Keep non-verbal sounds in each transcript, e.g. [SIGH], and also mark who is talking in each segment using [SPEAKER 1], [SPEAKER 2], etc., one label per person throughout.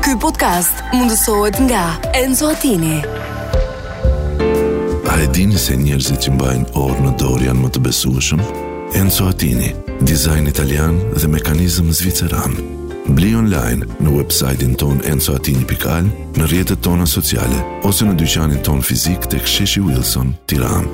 [SPEAKER 1] Ky podcast mundësohet nga Enzo Attini.
[SPEAKER 2] A e dini se njerëzit që mbajnë orë në dorë janë më të besueshëm? Enzo Attini, dizajn italian dhe mekanizëm zviceran. Bli online në website-in ton enzoatini.al, në rjetët tona sociale, ose në dyqanin ton fizik të ksheshi Wilson, tiran.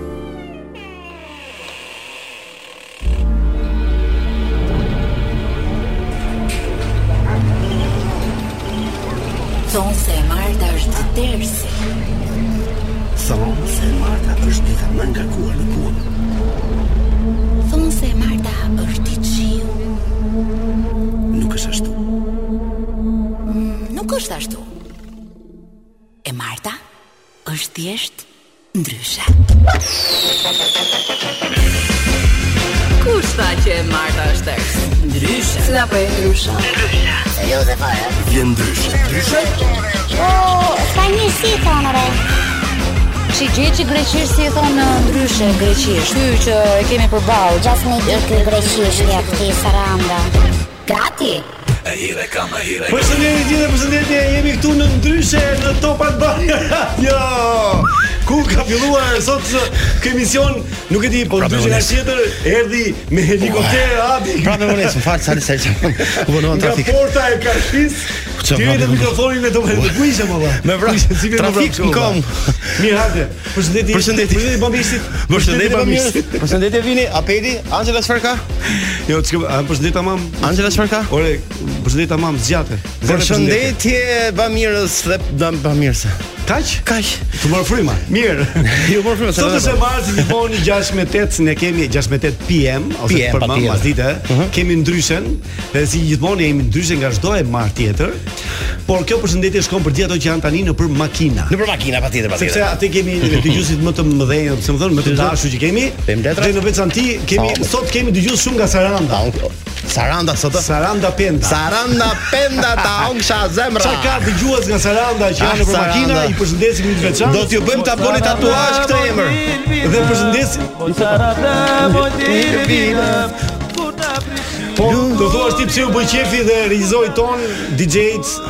[SPEAKER 3] Thonë se e Marta është dersi
[SPEAKER 4] Thonë se Marta është dita më nga kuar në punë
[SPEAKER 3] Thonë se e Marta është i qiu
[SPEAKER 4] Nuk është ashtu
[SPEAKER 3] Nuk është ashtu E Marta është thjesht ndryshe
[SPEAKER 5] Kush tha që e Marta është tërës? Ndryshe. Si po e ndryshe?
[SPEAKER 4] Vjen ndryshe
[SPEAKER 6] Spanjisht si thonë re?
[SPEAKER 7] Shi gjë që greqisht si e thonë ndryshe greqisht. Ky që e kemi përballë.
[SPEAKER 6] Gjas me di ky greqishtja këti saranda
[SPEAKER 3] Gati
[SPEAKER 8] Përshëndetje gjithë, përshëndetje. Jemi këtu në ndryshe në Top Albania Radio.
[SPEAKER 9] Jo!
[SPEAKER 8] Ku ka filluar sot kë emision? Nuk e di, po ndryshe nga tjetër erdhi me helikopter hapi.
[SPEAKER 9] Pra me vones, më fal sa sa.
[SPEAKER 4] [LAUGHS]
[SPEAKER 9] U vonova
[SPEAKER 8] Nga
[SPEAKER 9] trafik.
[SPEAKER 8] porta e Kashis.
[SPEAKER 9] Qa
[SPEAKER 8] Ti
[SPEAKER 9] vrapi,
[SPEAKER 8] e
[SPEAKER 9] më-
[SPEAKER 8] mikrofonin me domën. Ku ishe valla?
[SPEAKER 9] Me vrap.
[SPEAKER 8] Ku ishe? Si vjen me
[SPEAKER 9] Trafik
[SPEAKER 8] vrap,
[SPEAKER 9] në kom.
[SPEAKER 8] valla? [LAUGHS] Mirë, hajde. Përshëndetje.
[SPEAKER 9] Përshëndetje.
[SPEAKER 8] Përshëndetje bambishtit.
[SPEAKER 9] [LAUGHS] Përshëndetje pamishit. Përshëndetje Vini, Apeli, Angela çfarë ka?
[SPEAKER 8] Jo, çka, a, përshëndetje tamam.
[SPEAKER 9] Angela çfarë ka?
[SPEAKER 8] Ore, përshëndetje tamam, zgjate. Zgjate
[SPEAKER 9] Përshëndetje Bamirës dhe dam Bamirëse.
[SPEAKER 8] Kaq?
[SPEAKER 9] Kaq.
[SPEAKER 8] Të morë fryma. Mirë.
[SPEAKER 9] Ju morë fryma, se
[SPEAKER 8] Sot
[SPEAKER 9] do
[SPEAKER 8] është
[SPEAKER 9] të
[SPEAKER 8] e martë gjithmonë 16:08, ne kemi 16:08 PM ose
[SPEAKER 9] PM,
[SPEAKER 8] për më
[SPEAKER 9] patjetër.
[SPEAKER 8] pas dite,
[SPEAKER 9] Mhm.
[SPEAKER 8] kemi ndryshen, dhe si gjithmonë jemi ndryshe nga çdo e martë tjetër. Por kjo përshëndetje shkon për gjithë ato që janë tani në për makina.
[SPEAKER 9] Në për makina patjetër
[SPEAKER 8] Sepse
[SPEAKER 9] patjetër.
[SPEAKER 8] aty
[SPEAKER 9] [LAUGHS]
[SPEAKER 8] kemi në dëgjuesit më të mëdhenj, pse më thon, më të dashur që kemi.
[SPEAKER 9] Bëjmë letra?
[SPEAKER 8] Dhe në veçanti kemi
[SPEAKER 9] Po.
[SPEAKER 8] sot kemi dëgjues shumë nga Saranda.
[SPEAKER 9] Ta, unë- Saranda sot. ë?
[SPEAKER 8] Saranda Penda.
[SPEAKER 9] Saranda penda ta ongsha zemra.
[SPEAKER 8] Sa ka dëgjues nga Saranda që
[SPEAKER 9] Ah,
[SPEAKER 8] janë në për makina,
[SPEAKER 9] Saranda.
[SPEAKER 8] i përshëndesim në veçantë.
[SPEAKER 9] Do t'ju bëjmë ta bëni tatuazh këtë emër.
[SPEAKER 8] Dhe përshëndesim Po, do thua ti pse u bë qefi dhe regjizoi ton DJ-t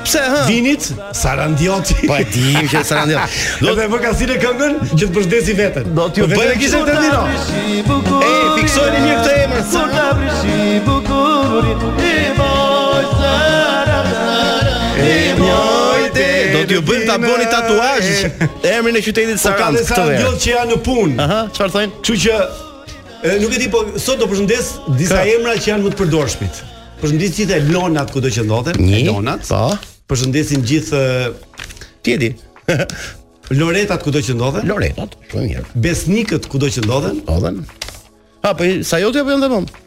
[SPEAKER 9] Pse hë?
[SPEAKER 8] Vinit Sarandioti. [LAUGHS]
[SPEAKER 9] Po e dim që Saranda.
[SPEAKER 8] Do
[SPEAKER 9] Do
[SPEAKER 8] të më ka sile këngën që të përshëndesi veten.
[SPEAKER 9] Do t'ju
[SPEAKER 8] Po, vetë
[SPEAKER 9] bëjmë
[SPEAKER 8] kishte të dino.
[SPEAKER 9] e fiksojeni mirë këtë emër. Saranda. Do t'ju bëjmë ta bëni tatuazh emrin e qytetit
[SPEAKER 8] Po ka
[SPEAKER 9] Sarand
[SPEAKER 8] dhe
[SPEAKER 9] këtë verë.
[SPEAKER 8] Sarandiot që janë në punë.
[SPEAKER 9] Aha, çfarë thonë?
[SPEAKER 8] Kështu që e, nuk e di po sot do përshëndes disa
[SPEAKER 9] Ka.
[SPEAKER 8] emra që janë më të përdorshmit. Përshëndes gjithë Elonat kudo që ndodhen,
[SPEAKER 9] Një,
[SPEAKER 8] Elonat.
[SPEAKER 9] po.
[SPEAKER 8] Përshëndesim gjithë
[SPEAKER 9] Ti e di.
[SPEAKER 8] e, Loretat kudo që ndodhen,
[SPEAKER 9] Loretat, shumë po mirë.
[SPEAKER 8] Besnikët kudo që ndodhen,
[SPEAKER 9] Ndodhen. Ha, po i- Sajoti apo janë ndonjë?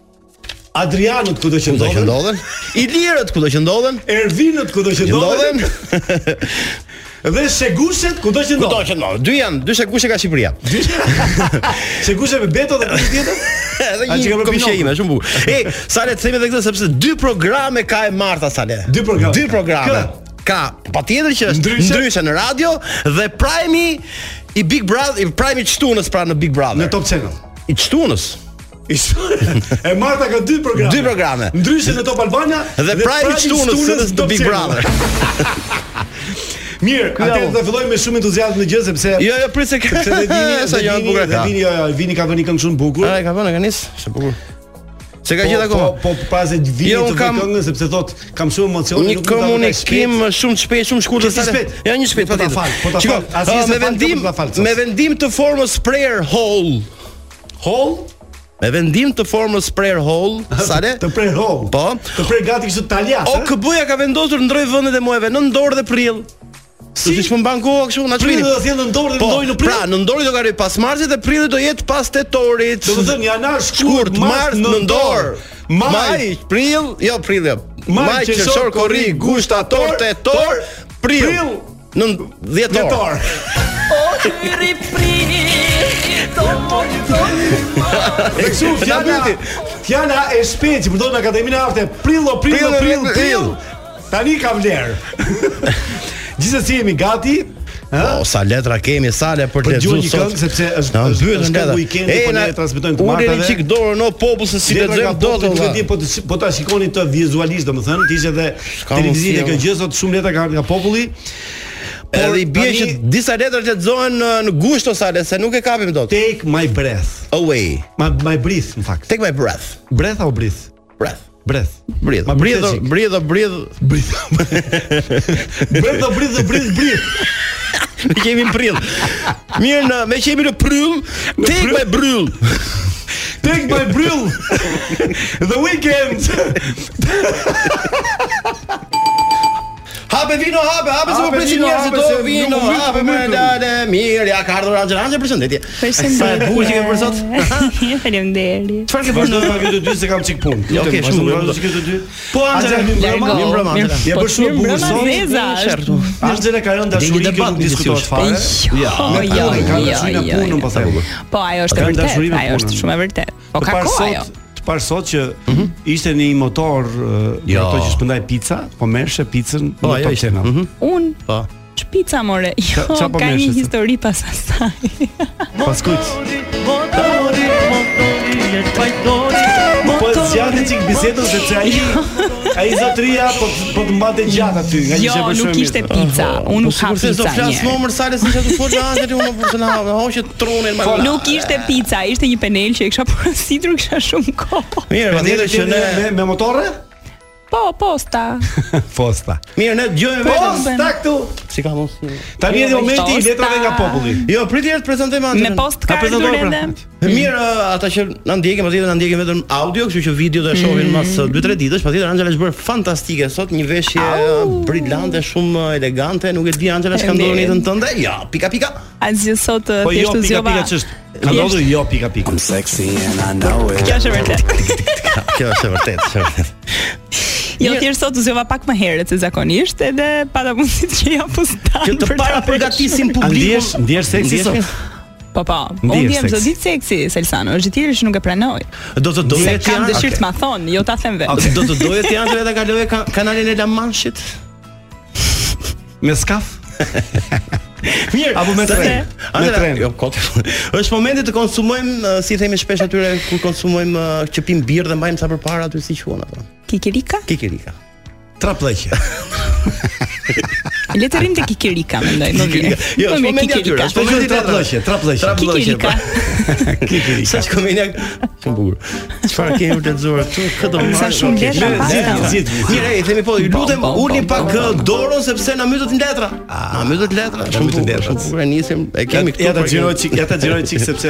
[SPEAKER 8] Adrianët kudo që
[SPEAKER 9] Kudo që
[SPEAKER 8] ndodhen,
[SPEAKER 9] ndodhen? Ilirët kudo që ndodhen?
[SPEAKER 8] Ervinët kudo që
[SPEAKER 9] Që ndodhen?
[SPEAKER 8] ndodhen dhe Shegushet kudo që
[SPEAKER 9] Kudo
[SPEAKER 8] ndodhen.
[SPEAKER 9] që ndodhen. Dy janë, dy shekushë ka Shqipëria.
[SPEAKER 8] Shegushe me Beto dhe kush tjetër?
[SPEAKER 9] [LAUGHS] Edhe
[SPEAKER 8] A që ka
[SPEAKER 9] një
[SPEAKER 8] bërë
[SPEAKER 9] komshë
[SPEAKER 8] Pinokio?
[SPEAKER 9] ime, shumë bukur. Ej, Sale, të themi edhe këtë sepse dy programe ka e Marta Sale.
[SPEAKER 8] Dy programe.
[SPEAKER 9] Dy programe. Ka, patjetër që është
[SPEAKER 8] Ndryshe?
[SPEAKER 9] ndryshe në radio dhe Prime i Big Brother, i Prime i çtunës pra në Big Brother.
[SPEAKER 8] Në Top Channel.
[SPEAKER 9] i çtunës.
[SPEAKER 8] Ish- e Marta ka dy programe.
[SPEAKER 9] Dy programe.
[SPEAKER 8] Ndryshe në Top Albania pra
[SPEAKER 9] Dhe Prime i çtunës në
[SPEAKER 8] Top
[SPEAKER 9] Big
[SPEAKER 8] Channel.
[SPEAKER 9] Brother.
[SPEAKER 8] Mirë, atëherë
[SPEAKER 9] unë.
[SPEAKER 8] do fillojmë me shumë entuziazëm në gjë sepse
[SPEAKER 9] Jo, jo, prit se ka.
[SPEAKER 8] sepse
[SPEAKER 9] [LAUGHS]
[SPEAKER 8] dhe vini,
[SPEAKER 9] Sa
[SPEAKER 8] dhe
[SPEAKER 9] janë
[SPEAKER 8] vini,
[SPEAKER 9] bukur
[SPEAKER 8] dhe
[SPEAKER 9] ka.
[SPEAKER 8] vini, jo, jo, vini ka vënë këngë shumë bukur.
[SPEAKER 9] Ai Ah, ka vënë, ka nis. Sa bukur. Se ka gjetë akoma.
[SPEAKER 8] Po, po para se të vini
[SPEAKER 9] Jo,
[SPEAKER 8] të
[SPEAKER 9] unë
[SPEAKER 8] vë
[SPEAKER 9] kam-
[SPEAKER 8] këngën sepse thot kam shumë emocione,
[SPEAKER 9] Një
[SPEAKER 8] nuk mund ta vë kaq shpejt.
[SPEAKER 9] komunikim shumë të shpejt, shumë të shkurtër.
[SPEAKER 8] Ti si
[SPEAKER 9] sa-
[SPEAKER 8] shpejt?
[SPEAKER 9] Ja, një shpejt
[SPEAKER 8] Po ta
[SPEAKER 9] patjetër.
[SPEAKER 8] fal, po ta
[SPEAKER 9] Shiko,
[SPEAKER 8] fal. Asnjë
[SPEAKER 9] ë,
[SPEAKER 8] se
[SPEAKER 9] me
[SPEAKER 8] fal, po
[SPEAKER 9] vendim
[SPEAKER 8] ta fal, sos.
[SPEAKER 9] me vendim të formës prayer hall.
[SPEAKER 8] Hall,
[SPEAKER 9] Me vendim të formës prayer hall,
[SPEAKER 8] [LAUGHS]
[SPEAKER 9] sale?
[SPEAKER 8] të prej hall.
[SPEAKER 9] Po.
[SPEAKER 8] Të prej gati kështu talja.
[SPEAKER 9] OKB-ja ka vendosur ndroj vendet e muajve në dorë dhe prill. Si që më mban koha kështu na
[SPEAKER 8] prill
[SPEAKER 9] çmini.
[SPEAKER 8] do të thjellë në dorë dhe ndoj Po, në prill.
[SPEAKER 9] pra, në dorë do ka rri pas marsit dhe prilli do jetë pas tetorit.
[SPEAKER 8] Do të thënë janar shkurt,
[SPEAKER 9] Shkurt, mars, nëndor,
[SPEAKER 8] Maj,
[SPEAKER 9] maj, prill, jo prill, jo.
[SPEAKER 8] Maj,
[SPEAKER 9] Maj,
[SPEAKER 8] qershor,
[SPEAKER 9] qershor, korri,
[SPEAKER 8] korrik,
[SPEAKER 9] gusht,
[SPEAKER 8] tor,
[SPEAKER 9] ator, tetor,
[SPEAKER 8] prill,
[SPEAKER 9] prill. Në dhjetor.
[SPEAKER 8] dhjetor. E kështu
[SPEAKER 9] [LAUGHS]
[SPEAKER 8] fjala
[SPEAKER 9] Dyti.
[SPEAKER 8] fjala e shpejtë që përdorin në Akademinë e Arte, prillo prillo
[SPEAKER 9] Prillo,
[SPEAKER 8] prill
[SPEAKER 9] prillo, [LAUGHS]
[SPEAKER 8] prill. Tani ka vlerë. Gjithsesi jemi gati
[SPEAKER 9] Po, sa letra kemi, sa le për të
[SPEAKER 8] Për
[SPEAKER 9] lexuar
[SPEAKER 8] gjuhë një
[SPEAKER 9] sot.
[SPEAKER 8] këngë sepse është
[SPEAKER 9] Na
[SPEAKER 8] është-
[SPEAKER 9] mbyetën
[SPEAKER 8] është
[SPEAKER 9] letra.
[SPEAKER 8] këngë weekendi po ne transmetojmë të
[SPEAKER 9] Uleni
[SPEAKER 8] martave.
[SPEAKER 9] çik dorën o popull se si
[SPEAKER 8] Letra
[SPEAKER 9] lexojmë
[SPEAKER 8] ka
[SPEAKER 9] dot.
[SPEAKER 8] popull, nuk e
[SPEAKER 9] valla.
[SPEAKER 8] di po të shi- po ta shikoni të vizualisht domethënë, ishte edhe
[SPEAKER 9] S'ka
[SPEAKER 8] televizion
[SPEAKER 9] mundësi,
[SPEAKER 8] kjo
[SPEAKER 9] ama.
[SPEAKER 8] gjë sot shumë letra kanë nga populli.
[SPEAKER 9] Edhe i bie që
[SPEAKER 8] tani-
[SPEAKER 9] disa letra lexohen në, në gusht ose ale se nuk e kapim dot.
[SPEAKER 8] Take my breath.
[SPEAKER 9] Away.
[SPEAKER 8] My my breath në fakt.
[SPEAKER 9] Take my breath.
[SPEAKER 8] Breath apo breath?
[SPEAKER 9] Breath.
[SPEAKER 8] Breath.
[SPEAKER 9] Bridh.
[SPEAKER 8] Ma
[SPEAKER 9] Bridh,
[SPEAKER 8] brithe qik.
[SPEAKER 9] bridh, bridh.
[SPEAKER 8] Breath. Breath apo breath, breath, breath.
[SPEAKER 9] Ne kemi në prill. Mirë, në, me që jemi në prill, take my prill.
[SPEAKER 8] Take my brill. The weekend.
[SPEAKER 9] Hape vino, hape, hape se po
[SPEAKER 8] Hape
[SPEAKER 9] presin
[SPEAKER 8] vino,
[SPEAKER 9] njerëzit
[SPEAKER 8] hape,
[SPEAKER 9] do
[SPEAKER 8] se nuk
[SPEAKER 9] vino,
[SPEAKER 8] mbyt,
[SPEAKER 9] hape
[SPEAKER 8] po
[SPEAKER 9] më
[SPEAKER 8] mbytëm.
[SPEAKER 9] dalë mirë, ja ka ardhur Angela, Angela përshëndetje.
[SPEAKER 10] Përshëndetje.
[SPEAKER 9] Sa e bukur që ke për sot.
[SPEAKER 10] Faleminderit.
[SPEAKER 9] Çfarë ke
[SPEAKER 8] Vazhdoj
[SPEAKER 9] punë?
[SPEAKER 8] pa këtë dy se kam çik punë.
[SPEAKER 9] Ja, okay, shumë mirë.
[SPEAKER 8] Vazhdoj këtë dy.
[SPEAKER 9] Po Angela,
[SPEAKER 8] Angela, mirë mbrëma.
[SPEAKER 9] Mirë mbrëma. Angela.
[SPEAKER 8] Je për shumë bukur
[SPEAKER 10] Po, mbrëma,
[SPEAKER 8] sot.
[SPEAKER 10] Zeza, është.
[SPEAKER 9] Qartu.
[SPEAKER 8] Angela ka rënë
[SPEAKER 9] Dini
[SPEAKER 8] dashuri që
[SPEAKER 9] debat
[SPEAKER 8] nuk
[SPEAKER 9] midis
[SPEAKER 8] diskutohet
[SPEAKER 9] jush.
[SPEAKER 8] fare.
[SPEAKER 10] Jo,
[SPEAKER 8] Me punën,
[SPEAKER 10] jo,
[SPEAKER 8] ka dashuri në
[SPEAKER 10] jo, jo.
[SPEAKER 8] punën po them.
[SPEAKER 10] Po ajo është
[SPEAKER 8] Ka
[SPEAKER 10] e
[SPEAKER 8] rënë dashuri
[SPEAKER 10] vërtet,
[SPEAKER 8] me
[SPEAKER 10] ajo është
[SPEAKER 8] punën.
[SPEAKER 10] shumë e vërtet. Po
[SPEAKER 8] Të
[SPEAKER 10] ka
[SPEAKER 8] parë
[SPEAKER 10] kohë
[SPEAKER 8] sot-
[SPEAKER 10] ajo.
[SPEAKER 8] Të parë sot që ishte në një motor
[SPEAKER 9] Jo.
[SPEAKER 8] Mhm. jo. ato që shpëndaj pica, po jo, merrshe picën
[SPEAKER 9] Po,
[SPEAKER 8] në
[SPEAKER 9] ajo
[SPEAKER 8] Top
[SPEAKER 9] ishte.
[SPEAKER 8] Channel.
[SPEAKER 9] Mhm.
[SPEAKER 10] Un
[SPEAKER 9] Po.
[SPEAKER 10] shpica more. Jo,
[SPEAKER 8] qa po
[SPEAKER 10] ka një
[SPEAKER 8] meshës?
[SPEAKER 10] histori pas asaj.
[SPEAKER 8] Pas kujt. Po
[SPEAKER 10] Jo,
[SPEAKER 8] zgjatë çik bisedën sepse ai ai zotria po po të mbante gjatë aty, nga që
[SPEAKER 10] Jo,
[SPEAKER 8] ishte për shumë
[SPEAKER 10] nuk
[SPEAKER 8] mirë.
[SPEAKER 10] ishte pica.
[SPEAKER 9] Po,
[SPEAKER 10] Unë nuk ha
[SPEAKER 9] sigurisht se do
[SPEAKER 10] pica.
[SPEAKER 9] flas
[SPEAKER 10] njerë.
[SPEAKER 9] numër sa le se çfarë fol Angela, unë po të na na hoqë tronin më.
[SPEAKER 10] Po, Nuk ishte pica, ishte një penel që e kisha [LAUGHS] porositur, kisha shumë kohë.
[SPEAKER 9] Mirë, patjetër që ne
[SPEAKER 8] me, me motorre?
[SPEAKER 10] Po, posta.
[SPEAKER 8] Fosta.
[SPEAKER 9] mirë ne
[SPEAKER 10] Po,
[SPEAKER 9] dëgjojmë vetëm
[SPEAKER 8] Posta këtu.
[SPEAKER 9] si ka mos.
[SPEAKER 8] Tani është
[SPEAKER 10] Jo, me
[SPEAKER 8] momenti i
[SPEAKER 10] posta.
[SPEAKER 8] letrave nga populli.
[SPEAKER 9] Jo, prit herë të prezantojmë
[SPEAKER 10] Me
[SPEAKER 9] Angelën.
[SPEAKER 10] post
[SPEAKER 8] Ka
[SPEAKER 10] ka
[SPEAKER 8] prezantuar
[SPEAKER 10] ardhur
[SPEAKER 8] pra.
[SPEAKER 10] edhe.
[SPEAKER 9] Mirë, ë, ata që na ndjekin, patjetër na ndjekin vetëm audio, kështu që video do e shohin mas ë, 2-3 ditësh. Patjetër Angela është bërë fantastike sot, një veshje ë, brillante, shumë ë, elegante. Nuk e di Angela s'ka ndodhur në
[SPEAKER 10] Faleminderit.
[SPEAKER 9] jetën tënde? Ja, pika pika.
[SPEAKER 10] Asgjë sot
[SPEAKER 8] Po jo
[SPEAKER 10] thjesht u
[SPEAKER 8] pika
[SPEAKER 10] zgjova.
[SPEAKER 8] pika ç'është? Ka ndodhur jo pika pika.
[SPEAKER 10] Kjo është e vërtet.
[SPEAKER 9] Kjo është e vërtetë, është e vërtetë.
[SPEAKER 10] Jo
[SPEAKER 9] Mirë.
[SPEAKER 10] thjesht sot u zgjova pak më herët se zakonisht edhe pata mundësi që ja fustan.
[SPEAKER 9] Që të
[SPEAKER 10] për ta
[SPEAKER 9] para
[SPEAKER 10] veshur.
[SPEAKER 9] përgatisin
[SPEAKER 8] A
[SPEAKER 9] publikun.
[SPEAKER 8] ndjesh ndjesh seksi
[SPEAKER 9] Ndjesh
[SPEAKER 8] sot?
[SPEAKER 9] mirë?
[SPEAKER 10] Po po, unë
[SPEAKER 8] Ndihesh
[SPEAKER 10] jem çdo
[SPEAKER 8] seksi.
[SPEAKER 10] ditë seksi, Selsano, është tjetër që nuk e pranoj.
[SPEAKER 9] Do të
[SPEAKER 10] Se
[SPEAKER 9] doje ti
[SPEAKER 10] kam dëshirë
[SPEAKER 9] Angela.
[SPEAKER 10] të ma thon, jo ta them vetë.
[SPEAKER 9] Okay. Do të doje ti Angela ta kaloje ka- kanalin e La Manshit?
[SPEAKER 8] Me skaf?
[SPEAKER 9] Mirë,
[SPEAKER 8] Apo me
[SPEAKER 9] sa-
[SPEAKER 8] tren. Me
[SPEAKER 9] Angela,
[SPEAKER 8] tren.
[SPEAKER 9] jo, kot. Është momenti të konsumojmë, ë, si themi shpesh atyre kur konsumojmë ë, që pim birë dhe mbajmë sa përpara aty si quhen ato.
[SPEAKER 10] Kikirika?
[SPEAKER 9] Kikirika.
[SPEAKER 8] Traplleqe.
[SPEAKER 10] Le të rrim te Kikirika, mendoj, më mirë.
[SPEAKER 9] Jo,
[SPEAKER 10] Më
[SPEAKER 9] është
[SPEAKER 10] mirë,
[SPEAKER 9] momenti aty,
[SPEAKER 10] Kikirika.
[SPEAKER 9] është momenti
[SPEAKER 8] Traplleqe, traplleqe.
[SPEAKER 9] Traplleqe.
[SPEAKER 10] Kikirika.
[SPEAKER 9] Sa që komenia po. Shumë bukur Çfarë kemi për të lexuar këtu Këtë marrë
[SPEAKER 10] Sa shumë
[SPEAKER 9] okej.
[SPEAKER 10] letra
[SPEAKER 9] Mirë,
[SPEAKER 10] pas
[SPEAKER 9] zgjidh,
[SPEAKER 10] kam.
[SPEAKER 9] zgjidh. Mirë, e themi po, ju lutem
[SPEAKER 10] bom, bom,
[SPEAKER 9] ulni
[SPEAKER 10] bom,
[SPEAKER 9] pak
[SPEAKER 10] bom,
[SPEAKER 9] eh, dorën sepse na mbytet letra. Na mbytet letra. Ah. Shumë
[SPEAKER 8] mbytën
[SPEAKER 9] bukur,
[SPEAKER 8] letrat.
[SPEAKER 9] shumë bukur e nisim. E
[SPEAKER 8] Ja
[SPEAKER 9] kemi këtu.
[SPEAKER 8] ja ta
[SPEAKER 9] por e kemi-
[SPEAKER 8] xhiroj çik, ja ta xhiroj çik sepse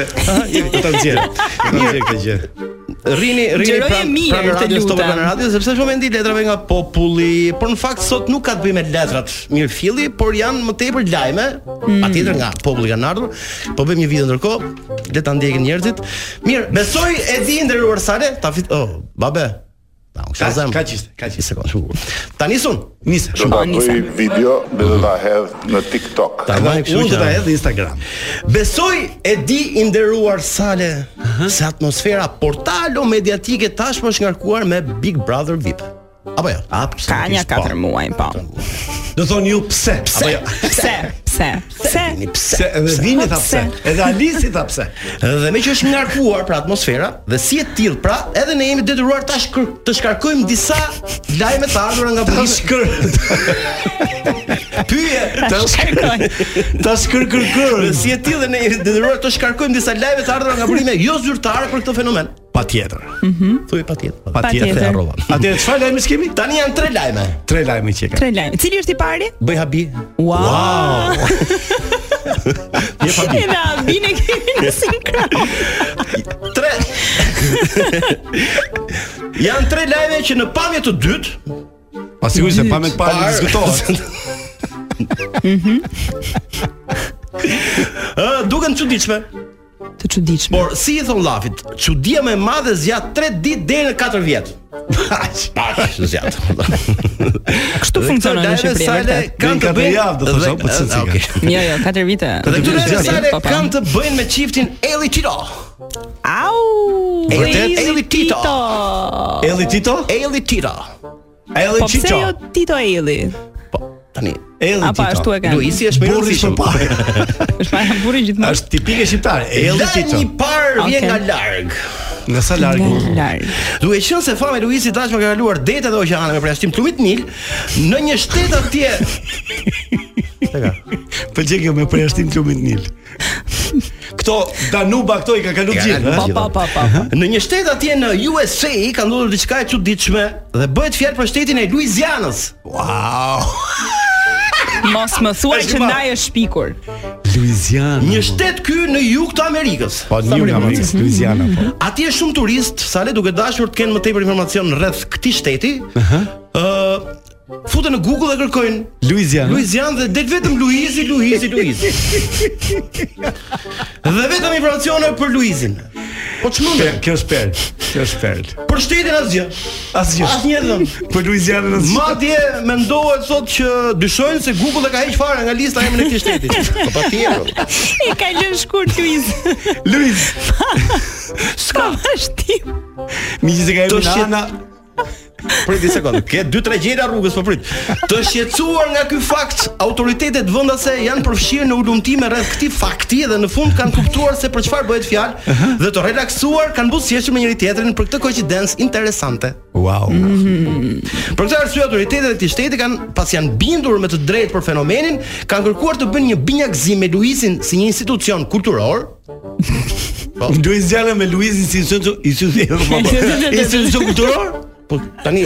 [SPEAKER 8] jemi do ta nxjerr. Do ta nxjerr këtë gjë.
[SPEAKER 9] Rini, pra, rini
[SPEAKER 10] Xhiroje
[SPEAKER 9] pranë
[SPEAKER 10] mirë,
[SPEAKER 9] pranë
[SPEAKER 10] të
[SPEAKER 9] radios,
[SPEAKER 10] lutem.
[SPEAKER 9] tope pranë radios, sepse shumë vendi letrave nga populli, por në fakt sot nuk ka të bëjë me letrat. Mirë filli, por janë më tepër lajme,
[SPEAKER 10] Hmm.
[SPEAKER 9] patjetër nga populli kanë ardhur. Po bëjmë një video ndërkohë, le ta ndjekin njerëzit. Mirë, besoj e di nderuar Sale, ta fit oh, babe. Ta u
[SPEAKER 8] Ka
[SPEAKER 9] shazam.
[SPEAKER 8] ka çiste, ka
[SPEAKER 9] Një
[SPEAKER 8] çiste.
[SPEAKER 9] sekondë, shumë bukur. Ta nisun.
[SPEAKER 8] Nise.
[SPEAKER 10] Po, nisem.
[SPEAKER 11] video dhe do ta hedh në TikTok.
[SPEAKER 9] Ta vaj kështu
[SPEAKER 8] Unë do
[SPEAKER 9] që
[SPEAKER 8] ta hedh në Instagram.
[SPEAKER 9] Besoj e di i nderuar Sale se atmosfera portalo mediatike tashmë është ngarkuar me Big Brother VIP. Apo jo? Absolutisht.
[SPEAKER 10] Ka një 4
[SPEAKER 9] po.
[SPEAKER 10] muaj, po.
[SPEAKER 8] Do thoni ju pse? Apo jo?
[SPEAKER 9] [LAUGHS]
[SPEAKER 10] Pse? Pse? Pse?
[SPEAKER 9] Një
[SPEAKER 8] Pse
[SPEAKER 9] pse.
[SPEAKER 8] edhe vini tha pse.
[SPEAKER 10] Pse?
[SPEAKER 8] Edhe Alisi tha pse.
[SPEAKER 9] Dhe me që është ngarkuar pra atmosfera dhe si e tillë pra, edhe ne jemi detyruar tash kër- të shkarkojmë disa lajme të ardhura nga
[SPEAKER 8] Ta
[SPEAKER 9] publiku.
[SPEAKER 8] shkër.
[SPEAKER 9] [LAUGHS] Pyje.
[SPEAKER 10] Ta shkarkoj.
[SPEAKER 8] [LAUGHS] Ta shkër kër kër.
[SPEAKER 9] Dhe si e tillë dhe ne jemi detyruar të shkarkojmë disa lajme të ardhura nga burime jo zyrtare për këtë fenomen.
[SPEAKER 8] Patjetër.
[SPEAKER 9] Thuaj patjetër.
[SPEAKER 8] Patjetër
[SPEAKER 10] Mhm. Patjetër.
[SPEAKER 8] harrova. Atëherë çfarë lajmi kemi?
[SPEAKER 9] Tani janë tre lajme.
[SPEAKER 8] Tre lajme që ka.
[SPEAKER 10] Tre lajme. Cili është i pari?
[SPEAKER 9] Bëj habi.
[SPEAKER 10] Wow.
[SPEAKER 8] Je pa
[SPEAKER 10] Edhe Abin e kemi në sinkron.
[SPEAKER 8] [LAUGHS]
[SPEAKER 9] Tre. Janë tre lajme që në pamje të dytë
[SPEAKER 8] Pa sigurisht se pa me të parë
[SPEAKER 9] Parë.
[SPEAKER 8] diskutohet.
[SPEAKER 9] ë duken të çuditshme,
[SPEAKER 10] Të çuditshme.
[SPEAKER 9] por si i thon llafit, çudia më e madhe zgjat 3 ditë deri në 4 vjet.
[SPEAKER 8] [LAUGHS]
[SPEAKER 9] Pak zgjat.
[SPEAKER 10] Kështu funksionon në Shqipëri vërtet.
[SPEAKER 8] Kanë
[SPEAKER 9] kanë të
[SPEAKER 8] katër javë, do thoshë, po çu sika.
[SPEAKER 10] Jo, jo, 4 vite.
[SPEAKER 9] Dhe këto lajme
[SPEAKER 10] Zgjat,
[SPEAKER 9] sale
[SPEAKER 10] po, po.
[SPEAKER 9] kanë të bëjnë me çiftin Eli Tito.
[SPEAKER 10] Au!
[SPEAKER 9] Vërtet?
[SPEAKER 10] Crazy
[SPEAKER 9] Elli Tito.
[SPEAKER 8] [LAUGHS] Elli Tito?
[SPEAKER 9] Eli Tito.
[SPEAKER 8] Elli
[SPEAKER 10] Po pse
[SPEAKER 8] Chicho.
[SPEAKER 10] jo Tito Eli?
[SPEAKER 9] Po, Tani,
[SPEAKER 10] Elli Apo Tito. ashtu e kanë.
[SPEAKER 9] Luisi është më i
[SPEAKER 10] Burri
[SPEAKER 9] rëndësishëm.
[SPEAKER 8] [LAUGHS]
[SPEAKER 10] Është para burri gjithmonë.
[SPEAKER 9] Është tipike shqiptare.
[SPEAKER 10] Elli
[SPEAKER 9] Elli
[SPEAKER 10] Tito.
[SPEAKER 9] Tito. Një parë vjen
[SPEAKER 10] Okay.
[SPEAKER 9] nga larg. Nga sa larg? Nga larg. Duke qenë se fama e Luisit tashmë ka kaluar detet dhe oqeane me përjashtim të lumit Nil, në një shtet [LAUGHS] atje. Teka.
[SPEAKER 8] Pëlqej kjo me përjashtim të lumit Nil. Këto Danuba këto i ka kaluar gjithë, ha?
[SPEAKER 9] Në një shtet atje në USA ka ndodhur diçka e çuditshme dhe bëhet fjalë për shtetin e Luizianës. Wow.
[SPEAKER 10] Mos më thuaj
[SPEAKER 9] Është
[SPEAKER 10] që
[SPEAKER 9] ma-
[SPEAKER 10] ndaj është pikur.
[SPEAKER 9] Luiziana. Një shtet ky në jug të Amerikës. Po
[SPEAKER 10] në jug të Amerikës, Louisiana, po.
[SPEAKER 9] Atje shumë turist, sa le duke dashur të kenë më tepër informacion rreth këtij shteti. Ëh. futen në Google dhe kërkojnë
[SPEAKER 8] Luiziana.
[SPEAKER 9] Luiziana dhe del vetëm Luizi, Luizi, Luizi. dhe vetëm informacione për Luizin. Po çmendë.
[SPEAKER 8] Kjo është perl. Kjo është perl.
[SPEAKER 9] Për shtetin asgjë.
[SPEAKER 8] Asgjë. Po
[SPEAKER 9] Asnjë dhëm.
[SPEAKER 8] Për Luizianën asgjë.
[SPEAKER 9] Madje mendohet sot që dyshojnë se Google e ka heq fare nga lista emrin e këtij shteti. Po patjetër.
[SPEAKER 10] I ka lënë shkurt Luiz.
[SPEAKER 8] Luiz.
[SPEAKER 10] S'ka vështim.
[SPEAKER 8] Miqësi ka
[SPEAKER 9] Të
[SPEAKER 8] emrin
[SPEAKER 9] shqet-
[SPEAKER 8] Ana.
[SPEAKER 9] Prit një sekondë. Ke dy tre gjëra rrugës po prit. Të shqetësuar nga ky fakt, autoritetet vendase janë përfshirë në ulumtime rreth këtij fakti dhe në fund kanë kuptuar se për çfarë bëhet fjalë dhe të relaksuar kanë buzëqeshur me njëri tjetrin për këtë koincidencë interesante.
[SPEAKER 8] Wow.
[SPEAKER 9] Për këtë arsye autoritetet e këtij shteti kanë pas janë bindur me të drejtë për fenomenin, kanë kërkuar të bëjnë një binjakëzim me Luisin si një institucion [LAUGHS] kulturor. Po.
[SPEAKER 8] Luiziana me Luizin si institucion institucion institucion kulturor?
[SPEAKER 9] Po tani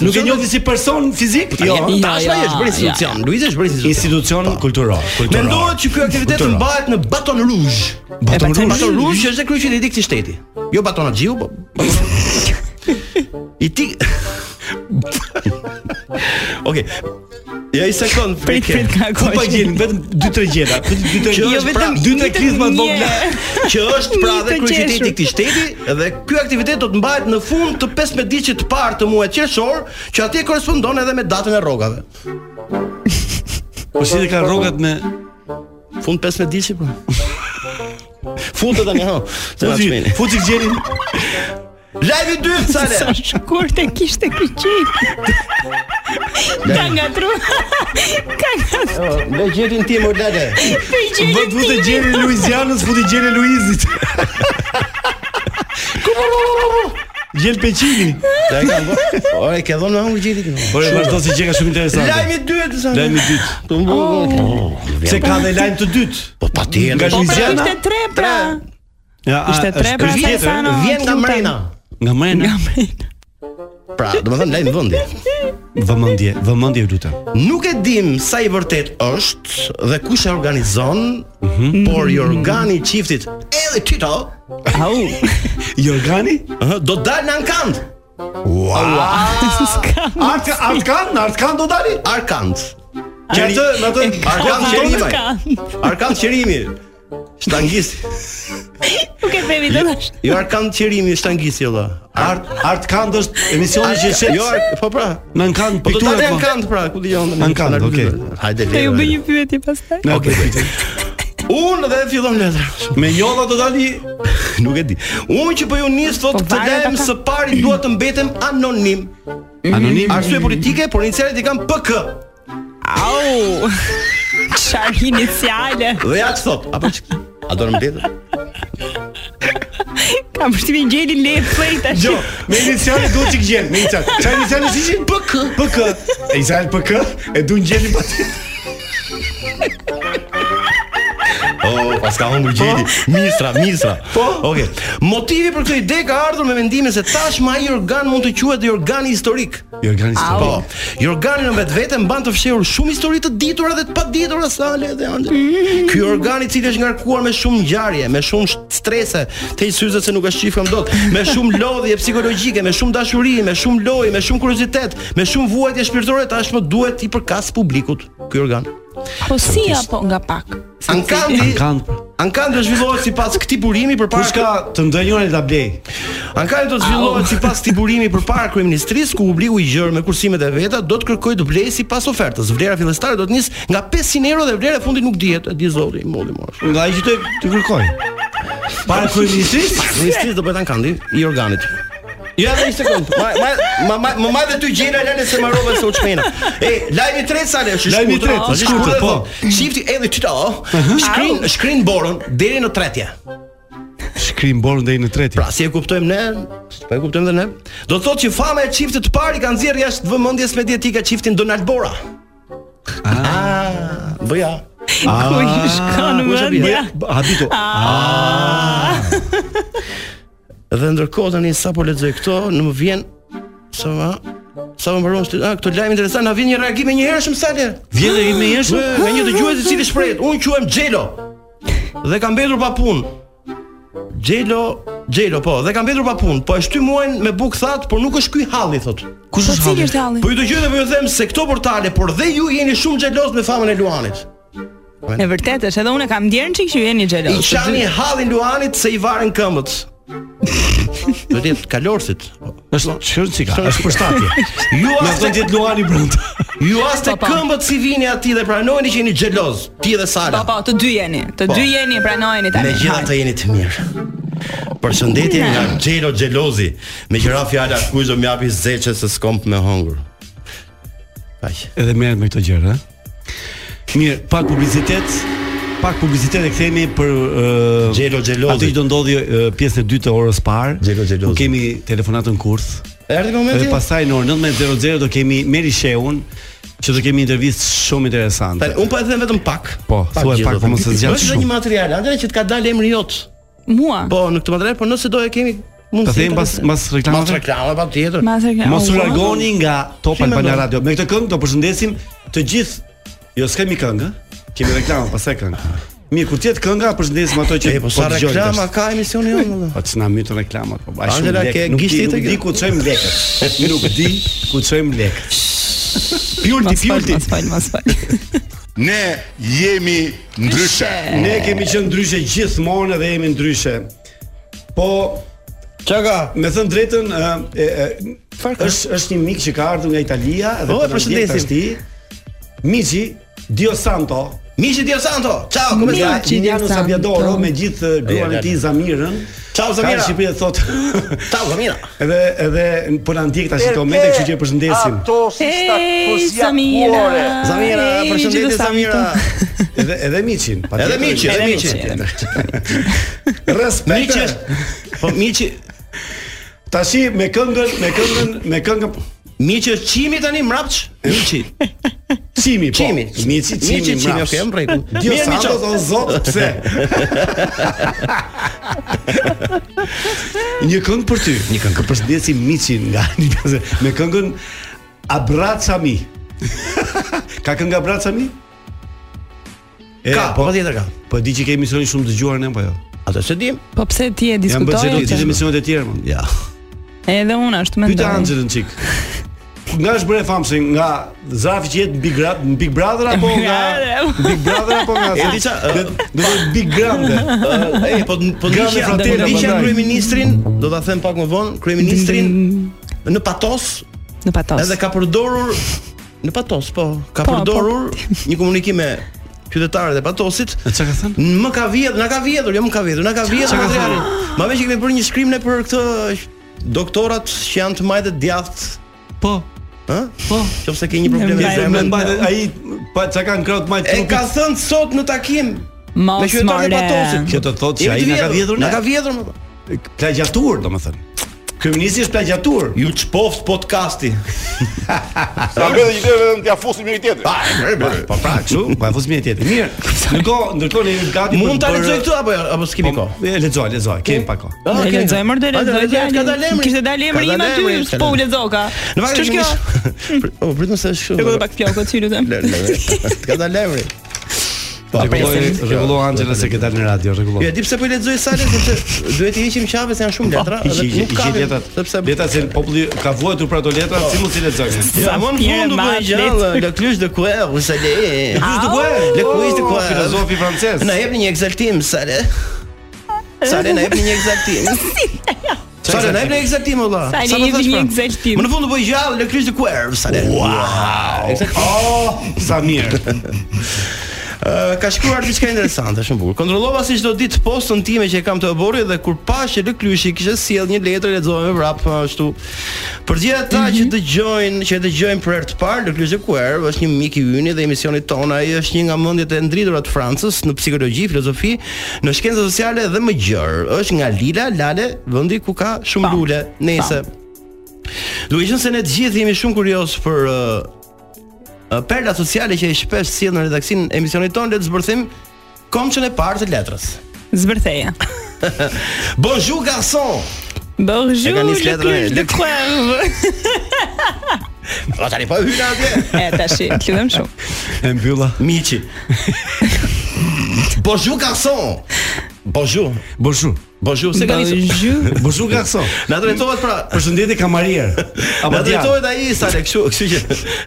[SPEAKER 8] nuk e njohti si person fizik?
[SPEAKER 9] Po, tani, tashmë ai është bërë institucion. Luizi është bërë institucion.
[SPEAKER 8] Institucion kulturor. kulturor.
[SPEAKER 9] Mendohet që ky aktivitet
[SPEAKER 8] Kulturor.
[SPEAKER 9] mbahet në Baton Rouge.
[SPEAKER 8] Baton Rouge.
[SPEAKER 9] Baton Rouge është kryeqyteti i këtij shteti. Jo Baton Axhiu, po. I ti [LAUGHS] Okej. Ja i sekond.
[SPEAKER 10] Prit, prit, ka
[SPEAKER 9] po
[SPEAKER 8] Ku pa
[SPEAKER 10] gojë.
[SPEAKER 8] gjen vetëm 2-3 gjëra, 2-3
[SPEAKER 9] Që
[SPEAKER 10] Jo,
[SPEAKER 9] është pra
[SPEAKER 10] vetëm
[SPEAKER 8] dy tre
[SPEAKER 10] një të
[SPEAKER 8] klizma të vogla.
[SPEAKER 10] mirë.
[SPEAKER 9] që është pra dhe
[SPEAKER 10] [LAUGHS] Një të
[SPEAKER 9] kryeqyteti i
[SPEAKER 10] qeshur.
[SPEAKER 9] këtij shteti dhe ky aktivitet do të mbahet në fund të 15 ditëve të parë të muajit qershor, që atje korrespondon edhe me datën e rrogave.
[SPEAKER 8] Po si dhe ka rrogat me
[SPEAKER 9] Fund 15 ditësh pra. Futë po. tani ha. Se na
[SPEAKER 8] Futi,
[SPEAKER 9] çmeni.
[SPEAKER 8] futi gjenin.
[SPEAKER 9] Live i dytë sale. [LAUGHS]
[SPEAKER 10] Sa shkurt e kishte ky qik. Ka ngatru. Ka ngatru.
[SPEAKER 9] Le gjetin tim o lele.
[SPEAKER 10] Për
[SPEAKER 8] Vë
[SPEAKER 10] gjërin
[SPEAKER 8] futi gjenin
[SPEAKER 10] timin.
[SPEAKER 8] Luizianës, futi gjenin Luizit. Gjel Peqini.
[SPEAKER 9] Ja kam. po. Ore ke dhënë me hungër gjetit.
[SPEAKER 8] Po e vazhdo si gjë ka shumë interesante.
[SPEAKER 9] Live i dytë sale.
[SPEAKER 8] Lajmi i dytë. Se ka dhe lajm të dytë.
[SPEAKER 9] Po patjetër.
[SPEAKER 8] Nga
[SPEAKER 10] Po pra
[SPEAKER 8] Luiziana.
[SPEAKER 10] ishte tre pra.
[SPEAKER 8] Ja, a,
[SPEAKER 10] Ishte tre
[SPEAKER 8] është-
[SPEAKER 10] pra
[SPEAKER 8] është
[SPEAKER 10] sa
[SPEAKER 8] tjetër,
[SPEAKER 10] Sano.
[SPEAKER 9] Vjen nga
[SPEAKER 10] t'lutem.
[SPEAKER 9] Mrena.
[SPEAKER 8] Nga mrena.
[SPEAKER 10] Nga Mrena.
[SPEAKER 9] Pra, domethënë lajm vendi.
[SPEAKER 8] Vëmendje, vëmendje ju lutem.
[SPEAKER 9] Nuk e dim sa i vërtet është dhe kush e organizon, por i organi i çiftit Elli Tito
[SPEAKER 10] Au.
[SPEAKER 8] Jorgani?
[SPEAKER 9] ëh, do dalë në Ankand.
[SPEAKER 8] Art ka art kan, art kan do dali.
[SPEAKER 9] Arkand. Që atë, në atë Arkand Qerimaj. Arkand Qerimi. Shtangist.
[SPEAKER 10] Nuk e themi dot tash.
[SPEAKER 9] Jo Arkand Qerimi, shtangisti olla.
[SPEAKER 8] Art art kan është emisioni që shet.
[SPEAKER 9] Jo, Ar- po pra.
[SPEAKER 8] në kan
[SPEAKER 9] Po do
[SPEAKER 8] piktura
[SPEAKER 9] dalë në
[SPEAKER 8] po.
[SPEAKER 9] Ankand pra, ku dëgjon.
[SPEAKER 8] Ankand, okay.
[SPEAKER 9] Hajde
[SPEAKER 10] Të ju
[SPEAKER 9] lejre.
[SPEAKER 10] bëj një pyetje pastaj.
[SPEAKER 8] Në okay.
[SPEAKER 9] Unë dhe fillon letra.
[SPEAKER 8] Me njolla do dali.
[SPEAKER 9] [LAUGHS] Nuk e di. Unë që po ju nis sot
[SPEAKER 10] Po
[SPEAKER 9] këtë
[SPEAKER 10] varet
[SPEAKER 9] lajm
[SPEAKER 10] ata.
[SPEAKER 9] së pari dua të mbetem anonim.
[SPEAKER 8] Anonim.
[SPEAKER 9] Arsye politike, por inicialet i kam PK.
[SPEAKER 10] Au. Çfarë iniciale?
[SPEAKER 9] Dhe ja që thot Apo që A do në mbetë?
[SPEAKER 10] Kam përshtimin gjeli le e play tash.
[SPEAKER 8] Jo, me iniciale duhet çik gjen, me iniciale. Çfarë iniciale si ishin? PK. PK. E inicial PK, e duan gjenin pati.
[SPEAKER 9] Oh, pas ka humbur gjeli. Mistra, mistra.
[SPEAKER 8] Po.
[SPEAKER 9] Okej. Motivi për këtë ide ka ardhur me mendimin se tashmë ai organ mund të quhet dhe organi historik.
[SPEAKER 8] Jorgani s'ka.
[SPEAKER 9] Po. Ky organi në vetvete mban të fshehur shumë histori të ditura dhe të paditura sale dhe ande. Ky organ i cili është ngarkuar me shumë ngjarje, me shumë sh- strese, te i syze se nuk e shifëm dot, me shumë lodhje psikologjike, me shumë dashuri, me shumë lojë, me shumë kuriozitet, me shumë vuajtje shpirtërore, tashmë duhet i përkas publikut ky organ.
[SPEAKER 10] Po si apo nga pak.
[SPEAKER 9] Ankandi
[SPEAKER 8] Ankand.
[SPEAKER 9] Ankandi do zhvillohet sipas këtij burimi përpara
[SPEAKER 8] Kush ka të ndonjërin ta blej?
[SPEAKER 9] Ankandi do zhvillohet sipas këtij burimi përpara kryeministrisë ku obligu i gjerë me kursimet e veta do të kërkojë të blejë sipas ofertës. Vlera fillestare do të nis nga 500 euro dhe vlera e fundit nuk dihet, e di zoti, molli mosh.
[SPEAKER 8] Nga ai që të të kërkoj. Para kryeministrit?
[SPEAKER 9] Kryeministrisë do bëhet Ankandi i organit. Jo, edhe një sekond. Ma ma ma ma ma ma dhe ty gjëra lale se më rrova se u çmena. E, lajmi i tretë sa le, është i
[SPEAKER 8] Lajmi i
[SPEAKER 9] shkurtër.
[SPEAKER 8] tretë,
[SPEAKER 9] është i
[SPEAKER 8] shkurtër,
[SPEAKER 9] shkurtër,
[SPEAKER 8] po.
[SPEAKER 9] po. Shifti edhe ti ta. Shkrin shkrin borën deri në tretje.
[SPEAKER 8] Shkrim borën deri në tretin.
[SPEAKER 9] Pra, si e kuptojmë ne, po e kuptojmë dhe ne. Do të thotë që fama e çiftit të parë i ka nxjerrë jashtë vëmendjes mediatike çiftin Donald Bora. Ah, bëja.
[SPEAKER 10] Ku i shkon
[SPEAKER 9] ku është
[SPEAKER 10] mendja?
[SPEAKER 9] bëja? Habito. Ah. Dhe ndërkohë tani sapo lexoj këto, në më vjen sa më sa më mbaron sti- ah, këto lajm interesant, na vjen një reagim e njëhershëm sa le.
[SPEAKER 8] Vjen dhe i me jeshtë?
[SPEAKER 9] Ue, Nga një dëgjues i cili shprehet, unë quhem Xhelo dhe kam mbetur pa punë. Xhelo, Xhelo po, dhe kam mbetur pa punë, po e shty muajin me buk thatë, por nuk është ky halli thotë.
[SPEAKER 8] Kush
[SPEAKER 10] Po
[SPEAKER 8] është
[SPEAKER 10] cili
[SPEAKER 8] halli?
[SPEAKER 10] është halli?
[SPEAKER 9] Po ju dëgjoj dhe po ju them se këto portale, por dhe ju jeni shumë xhelos me famën e Luanit.
[SPEAKER 10] Në vërtet është, edhe unë e kam ndjerë çik që jeni
[SPEAKER 9] I
[SPEAKER 10] xhelos.
[SPEAKER 9] çani hallin Luanit se i varen këmbët. [LAUGHS] Vërtet kalorsit.
[SPEAKER 8] Është çon çika, është [LAUGHS] përshtatje.
[SPEAKER 9] Ju
[SPEAKER 8] Na
[SPEAKER 9] as
[SPEAKER 8] thon ti Luani Po, brenda.
[SPEAKER 9] ju as te këmbët si vini aty dhe pranojeni që jeni xheloz, ti dhe
[SPEAKER 10] Po
[SPEAKER 9] Sala.
[SPEAKER 10] po, të dy jeni. Të dy jeni pranojeni tani.
[SPEAKER 9] Me gjitha të jeni të mirë Përshëndetje nga Gjelo Gjelozi Me qëra fjalla kush do mjapi zeqe se skomp me hongur Kaq
[SPEAKER 8] Edhe merret me këto gjëra, ha. Mirë, pak publicitet, pak publicitet e kthehemi për uh,
[SPEAKER 9] Xhelo Xhelozi.
[SPEAKER 8] Atë që do ndodhi uh, pjesën e dytë të orës parë.
[SPEAKER 9] Xhelo Xhelozi.
[SPEAKER 8] Ku kemi telefonatën kurth.
[SPEAKER 9] Erdi
[SPEAKER 8] Edhe
[SPEAKER 9] momenti
[SPEAKER 8] pastaj në orën 19:00 do kemi Meri Sheun, që do kemi intervistë shumë interesante.
[SPEAKER 9] Tani, Unë po e them vetëm pak
[SPEAKER 8] Po, thuaj
[SPEAKER 9] gjë
[SPEAKER 8] pak,
[SPEAKER 9] do
[SPEAKER 8] po
[SPEAKER 9] them.
[SPEAKER 8] mos e zgjatë
[SPEAKER 9] Është dhe
[SPEAKER 8] shumë.
[SPEAKER 9] një material Andrej që të ka dalë emri jot
[SPEAKER 10] Mua.
[SPEAKER 9] Po në këtë material Po nëse do e kemi
[SPEAKER 8] Ta
[SPEAKER 9] mundësi
[SPEAKER 8] them pas pas reklamave.
[SPEAKER 9] Mas reklama pa tjetër
[SPEAKER 10] Ma se ke-
[SPEAKER 8] Mos u
[SPEAKER 10] Ua.
[SPEAKER 8] largoni nga Top
[SPEAKER 9] Si me
[SPEAKER 8] Albana
[SPEAKER 9] ndon?
[SPEAKER 8] Radio. Me këtë këngë do përshëndesim të gjithë. Jo, s'kemi këngë, ë? kemi reklamë, pastaj këngë. Mirë, kur tjetë kënga, përshëndesim ato që
[SPEAKER 9] E po sa
[SPEAKER 8] dëgjojnë
[SPEAKER 9] reklama
[SPEAKER 8] tash.
[SPEAKER 9] ka emisioni jo, jonë
[SPEAKER 8] Po s'na mytë reklamat, po bash shumë
[SPEAKER 9] Angela,
[SPEAKER 8] lek.
[SPEAKER 9] ke
[SPEAKER 8] Nuk di,
[SPEAKER 9] gishti
[SPEAKER 8] nuk
[SPEAKER 9] të
[SPEAKER 8] di
[SPEAKER 9] kjo?
[SPEAKER 8] ku çojmë lekët.
[SPEAKER 9] [LAUGHS]
[SPEAKER 8] Nuk di ku çojmë lekët. Pjulti,
[SPEAKER 10] Mos fal,
[SPEAKER 8] pjulti.
[SPEAKER 10] mos fal, mos fal.
[SPEAKER 4] Ne jemi ndryshe.
[SPEAKER 8] Ne kemi qenë ndryshe gjithmonë dhe jemi ndryshe. Po
[SPEAKER 9] Çka ka?
[SPEAKER 8] Me thënë drejtën, ë, e, e, është është një mik që ka ardhur nga Italia dhe
[SPEAKER 9] Oh,
[SPEAKER 8] po
[SPEAKER 9] e
[SPEAKER 8] na
[SPEAKER 9] përshëndesim.
[SPEAKER 8] ndjek tash ti. Miqi Dio Santo,
[SPEAKER 9] Miqi Dio Santo, ciao, come
[SPEAKER 10] Miqi
[SPEAKER 9] stai?
[SPEAKER 10] Dio
[SPEAKER 8] Milano
[SPEAKER 10] Santo.
[SPEAKER 8] Sabbiadoro me gjithë eh, gruan e
[SPEAKER 9] Ja,
[SPEAKER 8] tij Zamirën.
[SPEAKER 9] Ciao,
[SPEAKER 8] Ka
[SPEAKER 9] Zamira.
[SPEAKER 8] në Shqipëri e thot. [LAUGHS]
[SPEAKER 9] Ciao, Samira.
[SPEAKER 8] edhe edhe po na ndjek tash këto momente, kështu që e përshëndesim.
[SPEAKER 10] Ej, Samira.
[SPEAKER 9] Samira,
[SPEAKER 10] Ej,
[SPEAKER 9] përshëndetje
[SPEAKER 10] gjithë
[SPEAKER 9] Samira.
[SPEAKER 8] Edhe edhe miqin, patjetër.
[SPEAKER 9] Edhe miqi, edhe miqi.
[SPEAKER 8] Respekt.
[SPEAKER 9] Miqi, po miqi,
[SPEAKER 8] Tashi me këngën, me këngën, me këngën
[SPEAKER 9] Miqi është çimi tani Po, mrapç? Miqi.
[SPEAKER 8] Çimi, po.
[SPEAKER 9] Çimi.
[SPEAKER 8] Miqi, Çimi,
[SPEAKER 9] Miqi, çimi,
[SPEAKER 8] mraps.
[SPEAKER 9] okay, në rregull. [LAUGHS]
[SPEAKER 8] Dio
[SPEAKER 9] Mirë, miqo.
[SPEAKER 8] Santo, o zot, pse? Një këngë për ty. Një këngë. Përshëndesim Miçin nga [LAUGHS] një pjesë me këngën [LAUGHS] Abracami. ka këngë Abracami? E,
[SPEAKER 9] Ka, po patjetër ka.
[SPEAKER 8] Po di që ke emisione shumë dëgjuar ne apo jo?
[SPEAKER 9] Atë se dim.
[SPEAKER 10] Po pse ti e
[SPEAKER 8] Jam bërë
[SPEAKER 10] diskutoj?
[SPEAKER 8] çdo ditë
[SPEAKER 10] ose?
[SPEAKER 8] emisionet e tjera. mo.
[SPEAKER 9] Ja.
[SPEAKER 10] Edhe unë ashtu mendoj.
[SPEAKER 8] Pyeta Anxhelën çik. Nga është bërë e famë se nga Zafi që jetë në Big Brother, në Big Brother apo po, nga
[SPEAKER 10] [LAUGHS] Brother.
[SPEAKER 8] Big Brother apo nga
[SPEAKER 9] E di ça,
[SPEAKER 8] Do do të thotë Big
[SPEAKER 9] [LAUGHS]
[SPEAKER 8] Grande.
[SPEAKER 9] Ej, po po
[SPEAKER 8] Grande
[SPEAKER 9] ndiqja
[SPEAKER 8] fratele,
[SPEAKER 9] po ndiqja
[SPEAKER 8] mandaj.
[SPEAKER 9] kryeministrin, do ta them pak më vonë, kryeministrin në patos
[SPEAKER 10] Në patos.
[SPEAKER 9] edhe ka përdorur në patos, po, ka
[SPEAKER 10] Po,
[SPEAKER 9] përdorur një komunikim me qytetarët e patosit.
[SPEAKER 8] Çka ka thënë?
[SPEAKER 9] Më ka vjedhur, na ka vjedhur, jo më ka vjedhur, na ka vjedhur materialin. Ma vetë që kemi bërë një shkrim ne për këtë doktorat që janë të majtë djathtë,
[SPEAKER 8] Po.
[SPEAKER 9] ë? Po, nëse ke një problem me
[SPEAKER 8] Më
[SPEAKER 10] Mbajtë-
[SPEAKER 9] zemrën.
[SPEAKER 8] mbajtë ai pa çka kanë krahut maj
[SPEAKER 9] E ka
[SPEAKER 8] trupit.
[SPEAKER 9] thënë sot në takim me
[SPEAKER 10] Mos
[SPEAKER 9] qytetarët e patosit.
[SPEAKER 10] more.
[SPEAKER 8] Kjo të thotë që
[SPEAKER 9] Jemi
[SPEAKER 8] ai
[SPEAKER 9] të
[SPEAKER 8] na ka vjedhur ne.
[SPEAKER 9] Na ka vjedhur po. më.
[SPEAKER 8] plagjatur, domethënë. Kryeministi është plagjatur.
[SPEAKER 9] Ju çpoft podcasti.
[SPEAKER 4] Sa bëhet një gjë vetëm t'ia fusim njëri tjetrin.
[SPEAKER 8] Po [LAUGHS] pra, kështu, po e fusmi e tjetër. Mirë. Ndërkohë, ndërkohë ne jemi gati
[SPEAKER 9] Mund ta
[SPEAKER 8] për-
[SPEAKER 9] lexoj këtu apo jo? apo s'kemi
[SPEAKER 8] Po,
[SPEAKER 9] kohë?
[SPEAKER 8] e, lexoj, lexoj. Kemi pak kohë.
[SPEAKER 9] Ah,
[SPEAKER 10] Ne
[SPEAKER 9] kemi.
[SPEAKER 10] lexoj mërë dhe
[SPEAKER 9] Hajde,
[SPEAKER 10] lexoj
[SPEAKER 9] lexoj, ka dalë
[SPEAKER 10] fjalin.
[SPEAKER 9] emri.
[SPEAKER 10] Kishte dalë emri
[SPEAKER 9] Ka
[SPEAKER 10] im
[SPEAKER 9] dalë
[SPEAKER 10] aty,
[SPEAKER 9] emri, ka
[SPEAKER 10] po u
[SPEAKER 9] dalë.
[SPEAKER 10] lexoka.
[SPEAKER 9] Në fakt
[SPEAKER 10] Ç'është kjo?
[SPEAKER 9] kjo. [LAUGHS] O, pritmë se është
[SPEAKER 10] E
[SPEAKER 9] kështu.
[SPEAKER 10] bëj pak flokë ty lutem. [LAUGHS]
[SPEAKER 9] Ka dalë emri. Po,
[SPEAKER 8] Rregulloj,
[SPEAKER 9] presim.
[SPEAKER 8] rregullo Angela se ke dalë në radio, rregullo.
[SPEAKER 9] Jo, e di pse po i lexoj salen sepse duhet i heqim qafës se janë shumë letra
[SPEAKER 8] Po, I
[SPEAKER 9] dhe
[SPEAKER 8] gjej
[SPEAKER 9] nuk
[SPEAKER 8] i
[SPEAKER 9] ka
[SPEAKER 8] gjej letrat.
[SPEAKER 9] sepse
[SPEAKER 8] Letrat se populli ka vuajtur për ato letra, si mund si lexojnë?
[SPEAKER 9] Ja, më në
[SPEAKER 10] Pierre
[SPEAKER 9] fund u bën
[SPEAKER 10] Matlet.
[SPEAKER 9] gjallë, le cluj de coeur, vous allez.
[SPEAKER 8] Kush të kuaj?
[SPEAKER 9] Le kuiz të kuaj.
[SPEAKER 8] Filozofi francez.
[SPEAKER 9] Na jepni një ekzaltim, Sale. Sale na jepni një
[SPEAKER 10] [LAUGHS]
[SPEAKER 9] ekzaltim. Sale na jepni një ekzaltim valla.
[SPEAKER 10] Sale,
[SPEAKER 9] Sa do
[SPEAKER 10] jepni
[SPEAKER 9] thosh,
[SPEAKER 10] një
[SPEAKER 9] pra?
[SPEAKER 10] ekzaltim.
[SPEAKER 9] Më në fund u bë gjallë le kryq të kuerv, Sale.
[SPEAKER 8] oh, Wow. Oh, sa mirë.
[SPEAKER 9] Ë, Eh, ka shkruar diçka interesante, shumë bukur. Kontrollova si çdo ditë postën time që e kam të oborrit dhe kur pa që lëklyshi kishte sjell një letër lexova me vrap eh, ashtu. Për gjithë ata që dëgjojnë, që e dëgjojnë për herë të parë, lëklyshi Kuer është një mik i yni dhe emisionit ton ai është një nga mendjet e ndritura të Francës në psikologji, filozofi, në shkenca sociale dhe më gjërë. Është nga Lila, Lale, vendi ku ka shumë lule. Nëse Duke qenë se ne të gjithë jemi shumë kurioz për uh, uh, perla sociale që i shpesh sjell në redaksin e emisionit tonë, le të zbërthim komçën e parë të letrës.
[SPEAKER 10] Zbërtheja.
[SPEAKER 9] Bonjour garçon.
[SPEAKER 10] Bonjour.
[SPEAKER 9] E ka nisë letrën. Le Po tani po hyna atje.
[SPEAKER 10] E tash, lutem shumë.
[SPEAKER 12] E mbylla.
[SPEAKER 9] [LAUGHS] Miqi. Bonjour garçon. Bonjour.
[SPEAKER 12] Bonjour.
[SPEAKER 9] Bonjour, [LAUGHS] se ka
[SPEAKER 10] Bonjour.
[SPEAKER 12] Bonjour garçon.
[SPEAKER 9] Na drejtohet pra.
[SPEAKER 12] Përshëndetje
[SPEAKER 8] [LAUGHS]
[SPEAKER 12] kamarier. Apo
[SPEAKER 9] Na
[SPEAKER 12] djalë.
[SPEAKER 9] drejtohet ai sa le kështu, kështu që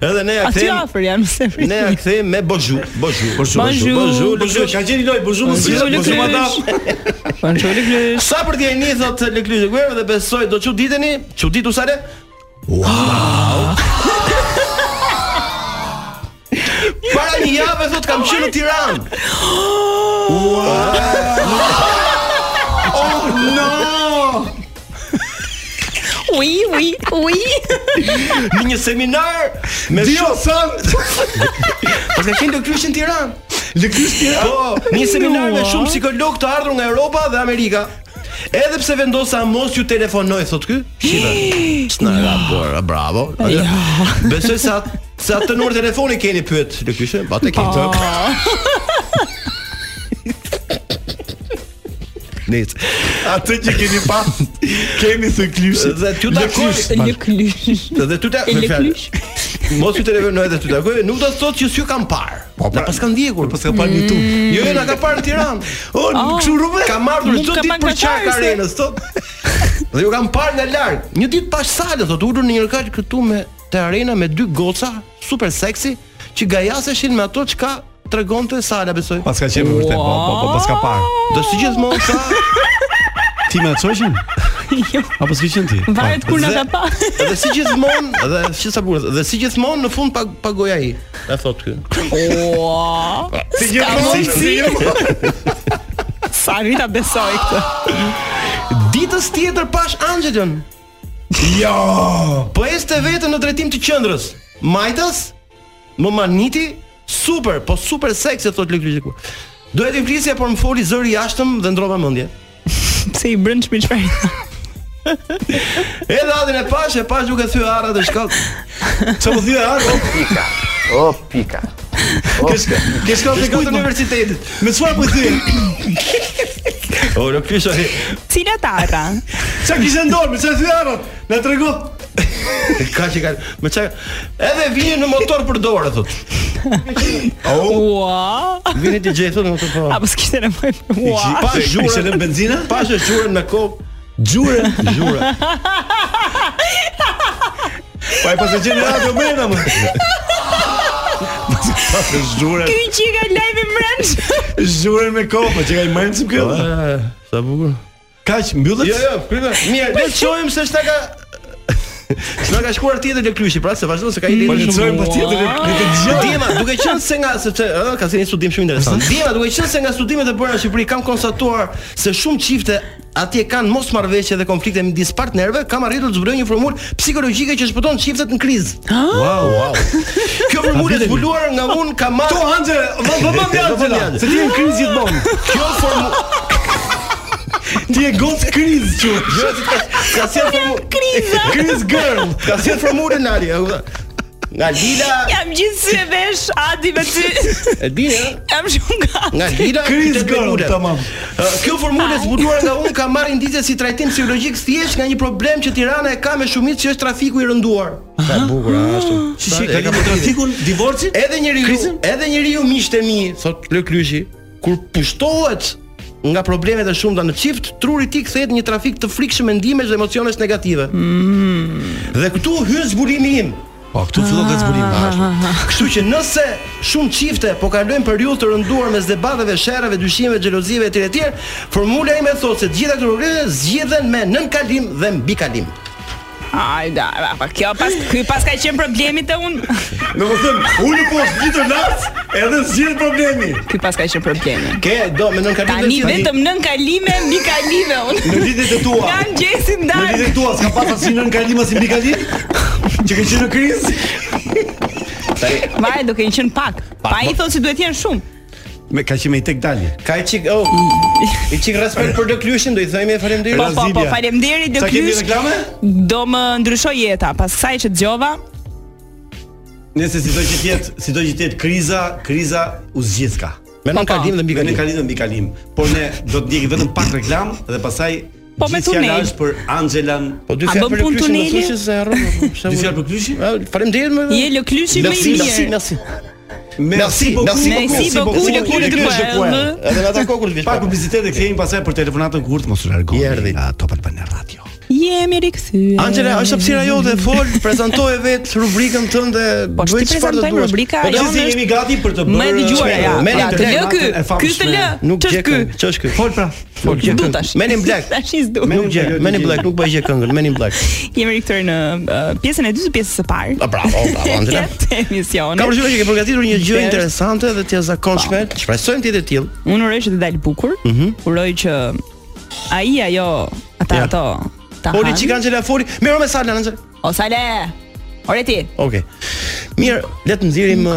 [SPEAKER 9] edhe ne ja
[SPEAKER 10] Aty
[SPEAKER 9] kthejmë
[SPEAKER 10] afër jam se
[SPEAKER 12] [LAUGHS]
[SPEAKER 10] prit.
[SPEAKER 9] ne ja kthejmë me bonjour, bonjour.
[SPEAKER 10] Bonjour.
[SPEAKER 9] bonjour.
[SPEAKER 12] Bonjour,
[SPEAKER 9] Lëkrysh.
[SPEAKER 12] ka gjeni loj, bonjour monsieur,
[SPEAKER 10] Bonjour,
[SPEAKER 12] bonjour
[SPEAKER 10] Lëkrysh.
[SPEAKER 12] madame.
[SPEAKER 10] Bonjour Lëklysh.
[SPEAKER 9] Sa për t'jeni thot Lëklysh Guerë dhe besoj do çuditeni, çuditu sa le? Wow. [LAUGHS] Para një javë thot kam qenë në Tiranë. [LAUGHS] Oh,
[SPEAKER 10] Ui, ui, ui.
[SPEAKER 9] në një seminar me
[SPEAKER 12] Dio san.
[SPEAKER 9] [LAUGHS] Po ka qenë Lëklysh në Tiranë.
[SPEAKER 12] Lëkrysh tira.
[SPEAKER 9] Po, në një seminar me shumë psikolog të ardhur nga Europa dhe Amerika. Edhe pse vendosa mos ju telefonoj, thot ky. Shiva. S'na ra bora, bravo. Besoj se atë se atë numër telefoni keni pyet Lëkyshe, po atë keni.
[SPEAKER 10] Ah,
[SPEAKER 9] Nic.
[SPEAKER 12] Atë që keni pa, kemi thë klyshit.
[SPEAKER 9] Dhe t'ju takoj.
[SPEAKER 10] Lëklysh.
[SPEAKER 9] Dhe t'ju takoj. me fjalë.
[SPEAKER 10] Lëklysh.
[SPEAKER 9] Mos ju telefonoj dhe t'ju takoj, nuk do të thotë që s'ju kam parë.
[SPEAKER 12] Po,
[SPEAKER 9] Na
[SPEAKER 12] pra-
[SPEAKER 9] pas kanë ndjekur.
[SPEAKER 12] Pas ka parë në YouTube.
[SPEAKER 9] Jo, jo, na ka parë në Tiranë. O, kështu rrugë. Ka marrë
[SPEAKER 10] Nuk
[SPEAKER 9] çdo
[SPEAKER 10] ka
[SPEAKER 9] ditë
[SPEAKER 10] pak
[SPEAKER 9] për
[SPEAKER 10] gatarë,
[SPEAKER 9] çak
[SPEAKER 10] se-
[SPEAKER 9] arenës, thot.
[SPEAKER 12] [LAUGHS]
[SPEAKER 9] Dhe ju kam parë nga larg. Një ditë pas sale, thot, ulur në një lokal këtu me te arena me dy goca super seksi që gajaseshin me ato çka tregonte sala besoj.
[SPEAKER 12] Pas ka qenë me vërtet, po, po, po, pas ka parë.
[SPEAKER 9] Do si gjithmonë sa
[SPEAKER 12] Ti me atë
[SPEAKER 10] [LAUGHS]
[SPEAKER 12] qojshin? Apo s'ke qenë ti?
[SPEAKER 10] Jo. Varet kur na ka
[SPEAKER 9] [LAUGHS]
[SPEAKER 10] pa.
[SPEAKER 9] Dhe si gjithmonë, dhe si sa bukur, dhe si gjithmonë në fund pag pagoi ai. E thot ky. Oh,
[SPEAKER 10] Ua.
[SPEAKER 12] Si gjithmonë, si gjithmonë.
[SPEAKER 10] [LAUGHS] Sa rita besoj këtë.
[SPEAKER 9] Ditës tjetër pash Angelën.
[SPEAKER 12] Jo!
[SPEAKER 9] Po este vetën në drejtim të qendrës. Majtas, më maniti, super, po super seksi thot Lëkliku. Duhet i flisja por më foli zëri i jashtëm dhe ndrova mendje.
[SPEAKER 10] Se i brëndshmi [LAUGHS] çfarë?
[SPEAKER 9] Edhe atin e pash, e pash duke thyer arrat e shkallë.
[SPEAKER 12] Ço
[SPEAKER 9] po
[SPEAKER 12] u thye arë?
[SPEAKER 13] Pika. O pika.
[SPEAKER 12] Ke ke shkallë të
[SPEAKER 9] Dhe kujt
[SPEAKER 12] kujt?
[SPEAKER 9] në universitetit.
[SPEAKER 12] Me çfarë po i thye?
[SPEAKER 9] O Lëkliku,
[SPEAKER 10] Cila tara?
[SPEAKER 12] Çka kishe ndorë? Me çfarë thye arët? Na trego.
[SPEAKER 9] [LAUGHS] ka që ka, me çka. Edhe vini në motor për dorë thot.
[SPEAKER 10] Ua.
[SPEAKER 9] Vini ti gjej thot në motor për dorë.
[SPEAKER 10] Apo s'kishte nevojë për ua.
[SPEAKER 9] Pa
[SPEAKER 12] Kishe lënë
[SPEAKER 9] zhurën,
[SPEAKER 12] benzina?
[SPEAKER 9] pa zhurën me kokë.
[SPEAKER 12] Gjurën.
[SPEAKER 9] Zhurën.
[SPEAKER 12] [LAUGHS] Pa e pas e gjeni radio mena më. Pas e zhurën.
[SPEAKER 10] Ky që ka live mbrëmsh.
[SPEAKER 12] Zhurën me kopë, që ka i mërën cip këllë.
[SPEAKER 9] Eh, Sa bukur.
[SPEAKER 12] Kaq, mbyllet?
[SPEAKER 9] Jo, jo, prima. Mirë, le të shohim se çka ka [LAUGHS] S'na ka shkuar tjetër në klyshi, pra se vazhdon se ka ide
[SPEAKER 12] Po
[SPEAKER 9] shumë.
[SPEAKER 12] lexojmë patjetër ne ne të dëgjojmë.
[SPEAKER 9] Djema, duke qenë se nga sepse ëh ka qenë një studim shumë interesant. Djema, duke qenë se nga studimet e bëra në Shqipëri kam konstatuar se shumë çifte atje kanë mos marrëveshje dhe konflikte midis partnerëve, kam arritur të zbuloj një formulë psikologjike që shpëton çiftet në krizë.
[SPEAKER 10] Ah.
[SPEAKER 12] Wow, wow.
[SPEAKER 10] Po,
[SPEAKER 9] Kjo formulë e zbuluar nga un ka
[SPEAKER 12] To
[SPEAKER 9] marrë
[SPEAKER 12] Angela, vë
[SPEAKER 10] po,
[SPEAKER 12] vë më
[SPEAKER 9] Vëmendje,
[SPEAKER 12] Angela,
[SPEAKER 9] Angela.
[SPEAKER 12] po, se ti je në krizë gjithmonë.
[SPEAKER 9] kjo formulë.
[SPEAKER 12] Ti je gocë krizë që.
[SPEAKER 9] Jo, se ka- ka sjell formulë.
[SPEAKER 12] Krizë girl.
[SPEAKER 9] Ka sjell formulën Nali, e kupton? Nga Lila,
[SPEAKER 10] Jam gjithë si e vesh Adi me [LAUGHS] ty.
[SPEAKER 9] e dini, ëh?
[SPEAKER 10] Jam shumë gati.
[SPEAKER 9] Nga Lila
[SPEAKER 12] Krizë
[SPEAKER 9] qytet
[SPEAKER 12] girl,
[SPEAKER 9] Bejmule.
[SPEAKER 12] tamam.
[SPEAKER 9] Ë, Kjo formulë e zbuluar nga unë ka marrë indicje si trajtim psikologjik thjesht nga një problem që Tirana e ka me shumicë që është trafiku i rënduar. Sa e bukur a, ashtu.
[SPEAKER 12] Shi, shi, ka kapur trafikun, divorcin?
[SPEAKER 9] Edhe njeriu, edhe njeriu miqtë e mi, thot Lëklyshi, kur pushtohet nga problemet e shumta në çift, truri i tij kthehet në një trafik të frikshëm mendimesh dhe emocionesh negative. Mm. Dhe këtu hyn zbulimi im.
[SPEAKER 12] Po, këtu fillon vetë
[SPEAKER 10] Ah,
[SPEAKER 12] zbulimi.
[SPEAKER 9] Kështu që nëse shumë çifte po kalojnë periudhë të rënduar mes debateve, sherrave, dyshimeve, xhelozive etj etj, formula ime thotë se të gjitha këto probleme zgjidhen me nënkalim dhe mbikalim.
[SPEAKER 10] Ai da, pa kjo pas ky pas ka qenë problemi te unë.
[SPEAKER 8] Domethën, unë po zgjidhur lart, edhe zgjidh problemi.
[SPEAKER 10] Ky pas ka qenë problemi.
[SPEAKER 9] Ke do me nën kalime.
[SPEAKER 10] Tani vetëm nën kalime, mbi kalime unë.
[SPEAKER 8] Në ditët e tua.
[SPEAKER 10] Nga mëngjesi ndaj.
[SPEAKER 8] Në ditët e tua s'ka pasur si nën kalim as mbi kalim? Që ke qenë në krizë?
[SPEAKER 10] Vaj, do ke qenë pak. Pa i thonë si duhet jenë shumë. Po,
[SPEAKER 8] Me ka qenë i tek dalje.
[SPEAKER 9] Ka i çik, oh. I çik respekt për Dëklyshin, do i thojmë faleminderit.
[SPEAKER 10] Po, po, po, faleminderit Dëklysh. Sa
[SPEAKER 8] kemi reklame?
[SPEAKER 10] Do më ndryshoj jeta pas kësaj që dëgjova.
[SPEAKER 8] Nëse si do që të jetë, si do që të jetë kriza, kriza u zgjidh ka.
[SPEAKER 9] Me nën kalim dhe mbi kalim.
[SPEAKER 8] Me nën kalim dhe mbi kalim. Por ne do të ndjekim vetëm pak reklam dhe pastaj
[SPEAKER 10] Po me tunel.
[SPEAKER 8] Gjithë për Angelan.
[SPEAKER 9] Po dy fjalë për Klyshin, mos thuaj se harrova.
[SPEAKER 8] Dy fjalë për Klyshin?
[SPEAKER 9] Faleminderit më.
[SPEAKER 10] Je lë Klyshi më i mirë.
[SPEAKER 9] Merci, merci.
[SPEAKER 8] Merci,
[SPEAKER 10] merci,
[SPEAKER 8] po-
[SPEAKER 10] merci beaucoup, le coup de poing.
[SPEAKER 9] Edhe ata kokul
[SPEAKER 8] vish. Pa po- publicitet e kthehemi pasaj për telefonatën kurt mos u largoni.
[SPEAKER 9] Jerdhi.
[SPEAKER 8] Nga Top Albana Radio.
[SPEAKER 10] Jemi rikthyer.
[SPEAKER 9] Angela, është hapësira jote, fol, prezantoje vet rubrikën tënde,
[SPEAKER 10] po ti prezantoj rubrika
[SPEAKER 8] Po si jemi gati për të bërë.
[SPEAKER 10] Më dëgjuara ja. ja të lë ky. Ky të lë.
[SPEAKER 9] Nuk gjej
[SPEAKER 10] ky.
[SPEAKER 9] Ç'është ky?
[SPEAKER 8] Fol pra.
[SPEAKER 9] Fol gjej.
[SPEAKER 10] Dutash.
[SPEAKER 9] Men in black.
[SPEAKER 10] [LAUGHS] Tash is du.
[SPEAKER 9] Nuk gjej. Men in black, nuk bëj gjë këngën. Men in black.
[SPEAKER 10] Jemi rikthyer në uh, pjesën e dytë të pjesës së parë.
[SPEAKER 9] Bravo,
[SPEAKER 10] [LAUGHS]
[SPEAKER 9] bravo Angela.
[SPEAKER 10] Të emisionit.
[SPEAKER 9] Ka përshtypjen që ke përgatitur një gjë interesante dhe të jashtëzakonshme. Shpresojmë ti të tillë.
[SPEAKER 10] Unë uroj që të dalë bukur. Uroj që ai ajo ata ato ta.
[SPEAKER 9] Foli çik Angela foli. Merro me Sala Angela.
[SPEAKER 10] O Sale. Ore ti.
[SPEAKER 9] Okej. Okay. Mirë, le të nxjerrim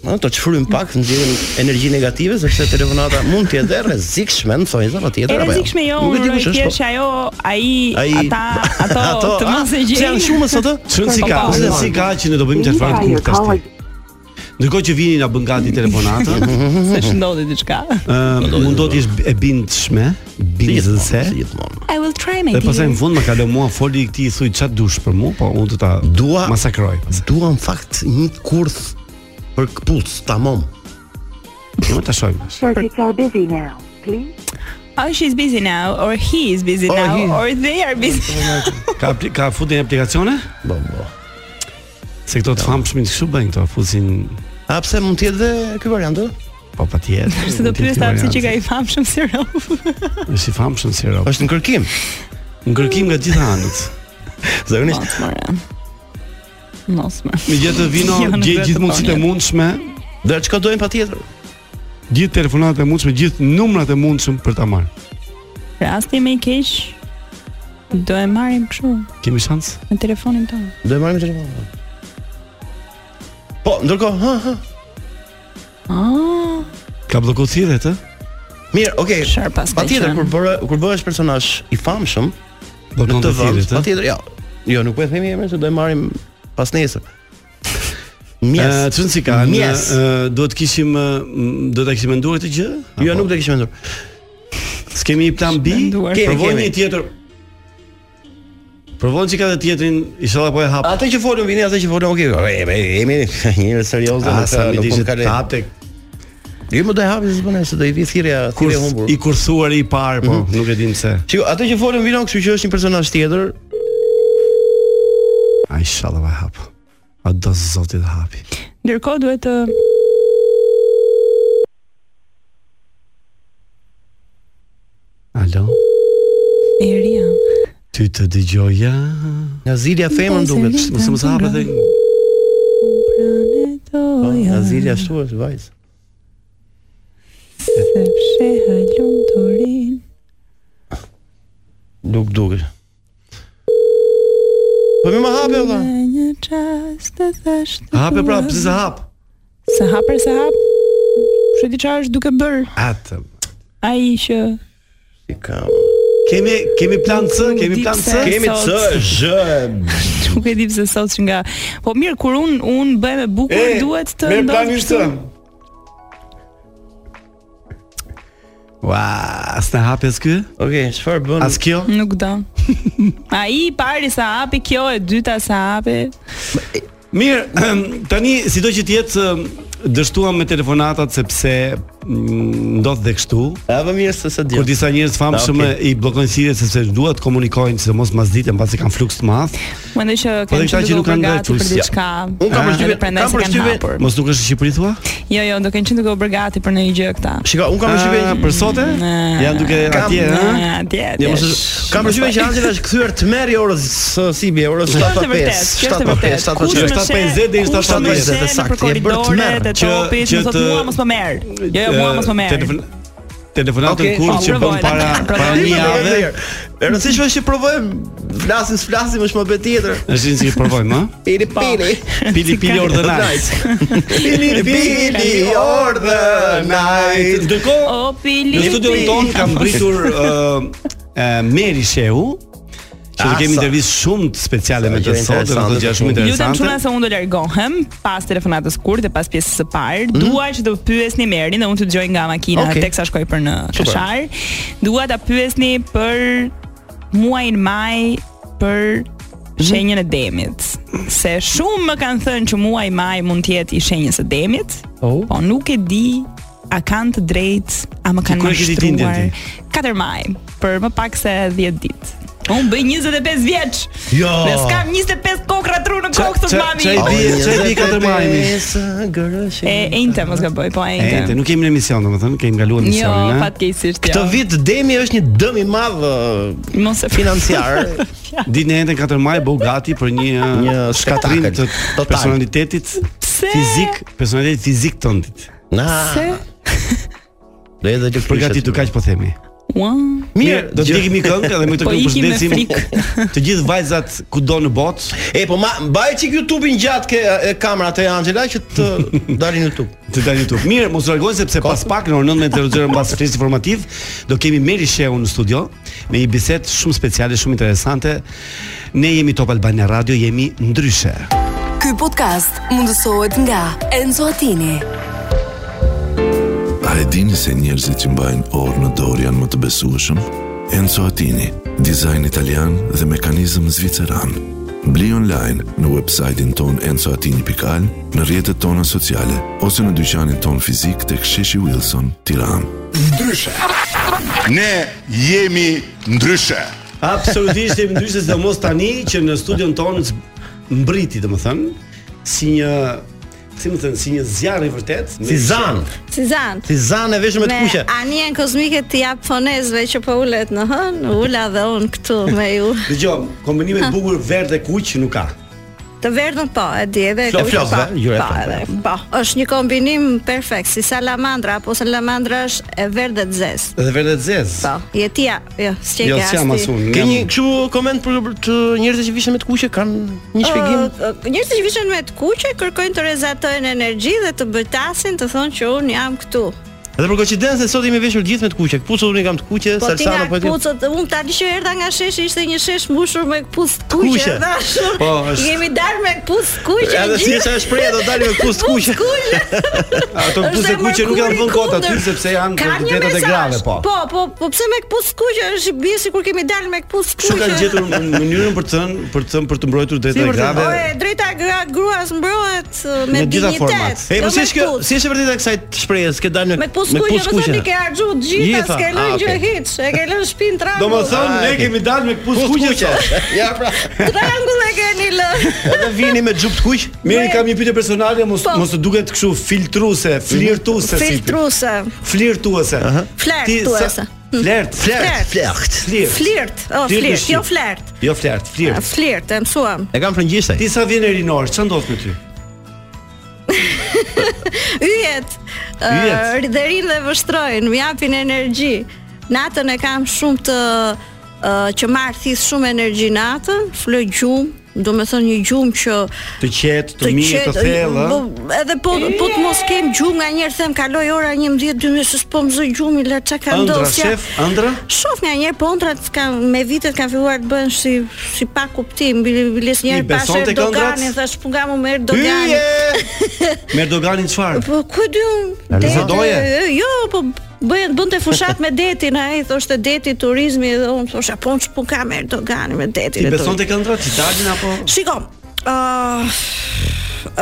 [SPEAKER 9] Ëh, të çfrym pak, të nxjerrim energji negative sepse telefonata mund të jetë e rrezikshme, në thonjë zëra tjetër
[SPEAKER 10] apo. E rrezikshme jo, nuk e di kush është.
[SPEAKER 9] po.
[SPEAKER 10] Është ajo, ai, ata, [LAUGHS]
[SPEAKER 9] [LAUGHS]
[SPEAKER 10] ato, ato të mos e po, gjej.
[SPEAKER 9] Se janë shumë
[SPEAKER 10] [LAUGHS]
[SPEAKER 9] sot?
[SPEAKER 8] Çon si ka, çon si ka që ne do bëjmë telefonat kur ka sti. Ndërkohë që vini na bën gati telefonatën,
[SPEAKER 10] se shndodhi diçka.
[SPEAKER 8] Ë, mund të jesh e bindshme, bindëse.
[SPEAKER 10] I will try my.
[SPEAKER 8] Dhe pastaj në fund më ka lënë mua foli i këtij thuj çat dush për mua, po unë do ta
[SPEAKER 9] dua
[SPEAKER 8] masakroj.
[SPEAKER 9] Dua në fakt një kurth për kputc, tamam.
[SPEAKER 8] Do ta shohim.
[SPEAKER 3] Circuits are busy now. Please.
[SPEAKER 10] Oh, she's busy now or he is busy now or they are busy.
[SPEAKER 8] ka ka futin aplikacione?
[SPEAKER 9] Po, po.
[SPEAKER 8] Se këto të famshmit kështu bëjnë këto, fusin
[SPEAKER 9] A pse mund të jetë dhe ky variant ë?
[SPEAKER 8] Po patjetër.
[SPEAKER 10] Se do pyesa pse që ka i famshëm si rop.
[SPEAKER 8] Është i famshëm si rop.
[SPEAKER 9] Është në kërkim.
[SPEAKER 8] Në kërkim nga gjitha anët.
[SPEAKER 9] Zakonisht.
[SPEAKER 10] Mos më.
[SPEAKER 8] Megjithatë vino gjej gjithë mundësitë e mundshme,
[SPEAKER 10] Po.
[SPEAKER 9] do të shkodojmë patjetër.
[SPEAKER 8] Gjithë telefonat e mundshme, gjithë numrat e mundshëm për ta marrë.
[SPEAKER 10] Rasti më i keq do e marrim kështu.
[SPEAKER 8] Kemi shans?
[SPEAKER 10] Me telefonin tonë.
[SPEAKER 9] Do e marrim me telefonin. Po, ndërkohë, ha ha.
[SPEAKER 10] Ah.
[SPEAKER 8] Ka blloku thirrjet, ë?
[SPEAKER 9] Mirë, okay. Patjetër kur bëre kur bëhesh personazh i famshëm,
[SPEAKER 8] blokon të thirrjet, ë?
[SPEAKER 9] Patjetër, jo. Jo, nuk po e themi emrin se do e marrim pas
[SPEAKER 8] [LAUGHS]
[SPEAKER 9] nesër.
[SPEAKER 8] Mjes. Ë, çon si ka?
[SPEAKER 9] Mjes.
[SPEAKER 8] Duhet kishim do ta kishim menduar këtë gjë?
[SPEAKER 9] Jo, nuk do kishim menduar.
[SPEAKER 8] S'kemi një plan B? Provojmë një tjetër. Provon që ka të tjetrin, inshallah po e hap.
[SPEAKER 9] Atë që folën vini, atë që folën, okay. Jemi [LAUGHS] njerëz seriozë,
[SPEAKER 8] nuk Ah, po sa mi dishit
[SPEAKER 9] të
[SPEAKER 8] hapte.
[SPEAKER 9] po Jo më do e hapi se bëna se do i vi thirrja, thirrja e humbur.
[SPEAKER 8] I kurthuar i parë, po, nuk e dim pse.
[SPEAKER 9] Shiko, atë që folën vino, kështu që është një personazh tjetër.
[SPEAKER 8] Ai inshallah va hap. A do zoti të hapi.
[SPEAKER 10] Ndërkohë duhet të
[SPEAKER 8] Alo.
[SPEAKER 10] Eria.
[SPEAKER 8] Ty të dëgjoja
[SPEAKER 9] Nga zilja femën duket
[SPEAKER 8] Mos mos hapë dhe
[SPEAKER 9] Nga zilja ashtu është vajz
[SPEAKER 10] Se fsheha lumturin
[SPEAKER 9] Duk duket Po më më hape ola
[SPEAKER 10] Një qas të thash të
[SPEAKER 8] Hape pra, pëse se hap
[SPEAKER 10] Se hape, se hap Shë di qarë është duke bërë
[SPEAKER 8] Atëm
[SPEAKER 10] A i që [LAUGHS]
[SPEAKER 9] Si kam
[SPEAKER 8] Kemi kemi plan C, kemi plan C,
[SPEAKER 9] kemi C, J.
[SPEAKER 10] Nuk e di pse sot që nga. Po mirë, kur un un bëj me bukur duhet të
[SPEAKER 8] ndodh. Merr planin C. Ua, s'na hapes ky?
[SPEAKER 9] Okej, okay, çfarë bën?
[SPEAKER 8] As kjo?
[SPEAKER 10] Nuk do.
[SPEAKER 8] [LAUGHS]
[SPEAKER 10] Ai i pari sa hapi kjo e dyta sa hapi.
[SPEAKER 8] [CLEARS THROAT] Mirë, tani sido që të jetë dështuam me telefonatat sepse mm, ndodh dhe kështu.
[SPEAKER 9] A më mirë se se di.
[SPEAKER 8] Kur disa njerëz famshëm i bllokojnë thirrjet sepse duan të komunikojnë se mos ditën pasi kanë fluks të madh.
[SPEAKER 10] Mendoj që
[SPEAKER 8] Po dhe
[SPEAKER 10] kanë
[SPEAKER 8] këta që
[SPEAKER 10] qenë
[SPEAKER 8] nuk kanë
[SPEAKER 10] kanë
[SPEAKER 8] ndajtur,
[SPEAKER 10] gati për
[SPEAKER 8] si-
[SPEAKER 10] diçka.
[SPEAKER 8] Unë kam
[SPEAKER 10] edhe
[SPEAKER 8] përshtypjen-
[SPEAKER 10] prandaj
[SPEAKER 8] kam
[SPEAKER 10] se kanë
[SPEAKER 8] përshtypjen-
[SPEAKER 10] hapur.
[SPEAKER 8] Mos nuk është në Shqipëri thua?
[SPEAKER 10] Jo, jo, do kanë qenë duke u bërë gati për ndonjë gjë këta.
[SPEAKER 9] Shiko, unë kam përshtypjen
[SPEAKER 8] Ah, për sote? Janë duke atje,
[SPEAKER 10] ëh?
[SPEAKER 8] ëh?
[SPEAKER 10] Atje.
[SPEAKER 9] Jo, mos është- kam përshtypjen që Angela është kthyer tmerri orës së- si bie, orës 7:05, 7:05, 7:05,
[SPEAKER 8] 7:50 deri 7:50
[SPEAKER 9] 7:50 saktë. Je bërë tmerr
[SPEAKER 10] Që që të mua mos më merr. Jo, jo, mua mos më merr.
[SPEAKER 8] Telefonatën
[SPEAKER 9] Okej,
[SPEAKER 8] kur
[SPEAKER 9] po,
[SPEAKER 8] që bën
[SPEAKER 9] provojnë,
[SPEAKER 8] para para një jave.
[SPEAKER 9] [LAUGHS] E rëndësishme është që provojmë, flasim, s'flasim, është më tjetër.
[SPEAKER 8] Është një si provojmë,
[SPEAKER 10] [LAUGHS]
[SPEAKER 8] ëh?
[SPEAKER 9] Pili pili.
[SPEAKER 8] Pili pili
[SPEAKER 9] Po.
[SPEAKER 8] [LAUGHS] ordonajt.
[SPEAKER 9] Pili pili ordonajt.
[SPEAKER 8] Ndërkohë
[SPEAKER 10] O Pili.
[SPEAKER 8] Në studion ton kam mbritur uh, ë ë, Meri Shehu, që do
[SPEAKER 10] Asa.
[SPEAKER 8] kemi intervistë shumë të speciale me
[SPEAKER 9] gjë
[SPEAKER 8] të sot, do të thotë gjëra shumë
[SPEAKER 10] Ju them çuna
[SPEAKER 8] interesante.
[SPEAKER 10] se unë do largohem pas telefonatës kurth e pas pjesës së parë. Dua që të pyesni Merin dhe unë t'ju dëgjoj nga makina
[SPEAKER 8] Mhm. Okej.
[SPEAKER 10] teksa shkoj për në
[SPEAKER 8] Super.
[SPEAKER 10] Kashar. Dua ta pyesni për muajin maj për
[SPEAKER 8] Mhm.
[SPEAKER 10] shenjën e demit. Se shumë më kanë thënë që muaji maj mund të jetë i shenjës së demit,
[SPEAKER 8] Oh.
[SPEAKER 10] po nuk e di a kanë të drejtë, a më kanë
[SPEAKER 8] Kur e ke ditë indjen
[SPEAKER 10] mashtruar. 4 maj, për më pak se 10 ditë. Po Unë bëj 25 vjeç.
[SPEAKER 8] Jo.
[SPEAKER 10] Dhe s'kam 25 kokra tru në kokë të mami.
[SPEAKER 8] Çai di, çai di katër majmi.
[SPEAKER 10] E ente mos gaboj, po e
[SPEAKER 8] E, te
[SPEAKER 10] ente.
[SPEAKER 8] nuk kemi në emision, domethënë, kemi kaluar
[SPEAKER 10] Jo,
[SPEAKER 8] emisionin, ha.
[SPEAKER 10] fatkeqësisht.
[SPEAKER 9] Këtë
[SPEAKER 10] jo.
[SPEAKER 9] vit demi është një dëm i madh ë,
[SPEAKER 10] mos e [LAUGHS]
[SPEAKER 8] [LAUGHS]
[SPEAKER 9] financiar.
[SPEAKER 8] Ditën e njëjtën 4 maj bëu gati për një ë,
[SPEAKER 9] Një
[SPEAKER 8] shkatrim
[SPEAKER 9] spektakël
[SPEAKER 8] të
[SPEAKER 9] total.
[SPEAKER 8] personalitetit fizik, personalitetit fizik tëndit.
[SPEAKER 9] Na.
[SPEAKER 10] Se?
[SPEAKER 9] Do edhe që
[SPEAKER 8] për gati të kaq po themi.
[SPEAKER 10] Ua.
[SPEAKER 8] Mirë, do të ndjekim një këngë dhe me këtë
[SPEAKER 10] Po
[SPEAKER 8] këngë
[SPEAKER 10] ikim me
[SPEAKER 8] përshëndesim të gjithë vajzat kudo në botë.
[SPEAKER 9] E po ma mbaj çik YouTube-in gjatë ke e, kamerat e Angela që të
[SPEAKER 8] [LAUGHS]
[SPEAKER 9] dalin në YouTube.
[SPEAKER 8] Të dalë në YouTube. Mirë, mos u largoni sepse pas pak në orën 19:00 mbas flis informativ do kemi Meri Shehu në studio me një bisedë shumë speciale, shumë interesante. Ne jemi Top Albania Radio, jemi ndryshe.
[SPEAKER 3] Ky podcast mundësohet nga Enzo Attini.
[SPEAKER 2] A e dini se njerëzit që mbajnë orë në dorë janë më të besueshëm? Enzo Attini, dizajn italian dhe mekanizëm zviceran. Bli online në website-in ton enzoatini.al, në rrjetet tona sociale, ose në dyqanin ton fizik të ksheshi Wilson, tiran.
[SPEAKER 13] Ndryshe. Ne jemi ndryshe.
[SPEAKER 8] Absolutisht jemi ndryshe se mos tani që në studion ton z- mbriti, domethënë, si një si më thënë, si një zjarr i vërtet,
[SPEAKER 9] Si zan.
[SPEAKER 14] Cizan.
[SPEAKER 9] Si zan e veshme të kuqe.
[SPEAKER 14] anjen kozmike të jap fonezve që po ulet në hën, ula dhe unë këtu me ju.
[SPEAKER 8] Dgjom, kombinime të bukur verdh dhe kuq nuk ka.
[SPEAKER 14] Të verdhën po, e di edhe.
[SPEAKER 8] Flo-
[SPEAKER 14] kuqe,
[SPEAKER 8] flokëve,
[SPEAKER 14] po,
[SPEAKER 8] jo e
[SPEAKER 14] po,
[SPEAKER 8] flokëve.
[SPEAKER 14] edhe, po, është një kombinim perfekt, si salamandra, apo salamandra është e verdhë dhe të zezë.
[SPEAKER 8] Edhe verdh dhe zez.
[SPEAKER 14] Po, jetia, jo, s'qe
[SPEAKER 8] Jo,
[SPEAKER 14] ke
[SPEAKER 8] s'jam
[SPEAKER 14] asti.
[SPEAKER 8] as unë.
[SPEAKER 9] Ke një kështu koment për për të njerëzit që vishin me të kuqe kanë një shpjegim?
[SPEAKER 14] Ë, ë, Njerëzit që vishen me të kuqe kërkojnë të rezatojnë energji dhe të bëtasin të thonë që unë jam këtu.
[SPEAKER 9] Edhe për koincidencë sot jemi veshur gjithë me të kuqe. Kputucët unë i kam të kuqe,
[SPEAKER 14] Po ti
[SPEAKER 9] salsano
[SPEAKER 14] nga
[SPEAKER 9] po e kam.
[SPEAKER 14] kpucët, unë tani që erdha nga sheshi ishte një shesh mbushur me kpucë të
[SPEAKER 9] Kuqe.
[SPEAKER 14] kuqe dashur.
[SPEAKER 9] Po, është-
[SPEAKER 14] Jemi dalë me kpucë të kuqe.
[SPEAKER 9] Edhe si
[SPEAKER 14] gjithë.
[SPEAKER 9] është ajo shprehja, do dalim me kpucë të kuqe.
[SPEAKER 8] Ato
[SPEAKER 14] Është
[SPEAKER 8] kputë
[SPEAKER 14] e
[SPEAKER 8] kuqe nuk janë
[SPEAKER 14] mërkuri
[SPEAKER 8] vënë kot aty
[SPEAKER 14] kundër.
[SPEAKER 8] sepse janë
[SPEAKER 14] Ka
[SPEAKER 8] për
[SPEAKER 14] një
[SPEAKER 8] detat e
[SPEAKER 14] mesazh.
[SPEAKER 8] grave, po.
[SPEAKER 14] Po, po, po pse me kpucë të kuqe është bie sikur kemi dalë me kpucë të
[SPEAKER 8] Kështu
[SPEAKER 14] kuqe.
[SPEAKER 8] kanë gjetur mënyrën për të thënë, për të thënë për të mbrojtur
[SPEAKER 14] Si
[SPEAKER 8] drejtat e
[SPEAKER 14] për të
[SPEAKER 8] grave.
[SPEAKER 14] O, e, drejta e gra- gruas mbrohet ë, me
[SPEAKER 8] Në gjitha
[SPEAKER 14] dignitet.
[SPEAKER 8] format.
[SPEAKER 9] E
[SPEAKER 14] jo
[SPEAKER 9] po si
[SPEAKER 14] me
[SPEAKER 9] është kjo?
[SPEAKER 14] kpucë.
[SPEAKER 9] Si është e vërteta e kësaj shprehjes? Ke dalë me
[SPEAKER 14] Me jo, kpucë kuqe, do të thotë
[SPEAKER 9] kuqe.
[SPEAKER 14] ke harxhu të gjitha,
[SPEAKER 9] Gjitha,
[SPEAKER 14] s'ke
[SPEAKER 9] a,
[SPEAKER 14] lënë gjë
[SPEAKER 9] okay.
[SPEAKER 14] hiç, e ke lënë shtëpinë trangull.
[SPEAKER 8] kemi dalë me kpucë
[SPEAKER 9] kuqe. Ja pra.
[SPEAKER 14] trangull e keni lënë.
[SPEAKER 9] Edhe [LAUGHS] vini me xhup të kuq.
[SPEAKER 8] Mirë, kam një pyetje personale, mos
[SPEAKER 14] Po. Mhm.
[SPEAKER 8] mos të duket kështu filtruese, flirtuese si.
[SPEAKER 14] Filtruse,
[SPEAKER 8] Flirtuese.
[SPEAKER 14] Flertuese.
[SPEAKER 8] Ti sa- Flert,
[SPEAKER 14] Flert.
[SPEAKER 8] flert. Flert.
[SPEAKER 14] flirt, oh
[SPEAKER 8] Flirt në
[SPEAKER 14] flirt,
[SPEAKER 8] Shqip.
[SPEAKER 14] jo flert.
[SPEAKER 8] Jo flert,
[SPEAKER 14] A,
[SPEAKER 8] flert.
[SPEAKER 14] Flirt, e mësuam.
[SPEAKER 9] E kam frëngjisaj.
[SPEAKER 8] Ti sa vjen rinor, ç'a ndodh me ty?
[SPEAKER 14] Yjet.
[SPEAKER 8] Yjet.
[SPEAKER 14] ë, Dhe rinë dhe vështrojnë, më japin energji. Natën e kam shumë të ë, që marr thith shumë energji natën, flë gjumë, do me thënë një gjumë që
[SPEAKER 8] Të qetë, të mirë, të
[SPEAKER 14] qetë,
[SPEAKER 8] thellë. ë?
[SPEAKER 14] bo- Edhe po, po të mos kem gjumë nga njerë them kaloj ora 11-12 se s'po më zë gjumë, le çka ka
[SPEAKER 8] Ëndra
[SPEAKER 14] ndosja.
[SPEAKER 8] shef, ëndra?
[SPEAKER 14] Shof nga njerë po ëndrat kanë me vitet kanë filluar të bëhen si si pa kuptim, bile- biles
[SPEAKER 8] I
[SPEAKER 14] njerë pas
[SPEAKER 8] beson tek ëndrat?
[SPEAKER 14] Erdoganin, thash po nga mu me Erdoganin. [LAUGHS]
[SPEAKER 8] Me Erdoganin çfarë?
[SPEAKER 14] Po ku di
[SPEAKER 8] A
[SPEAKER 14] unë?
[SPEAKER 8] rrezo doje?
[SPEAKER 14] e, Jo, po bëhet bënte fushat me detin, ai thoshte deti turizmi dhe unë thosha po unë ç'pun kam Erdoganin me detin.
[SPEAKER 8] Ti
[SPEAKER 14] e
[SPEAKER 8] beson
[SPEAKER 14] turizmin."
[SPEAKER 8] tek ëndrat, ti dalin apo?
[SPEAKER 14] Shiko, ë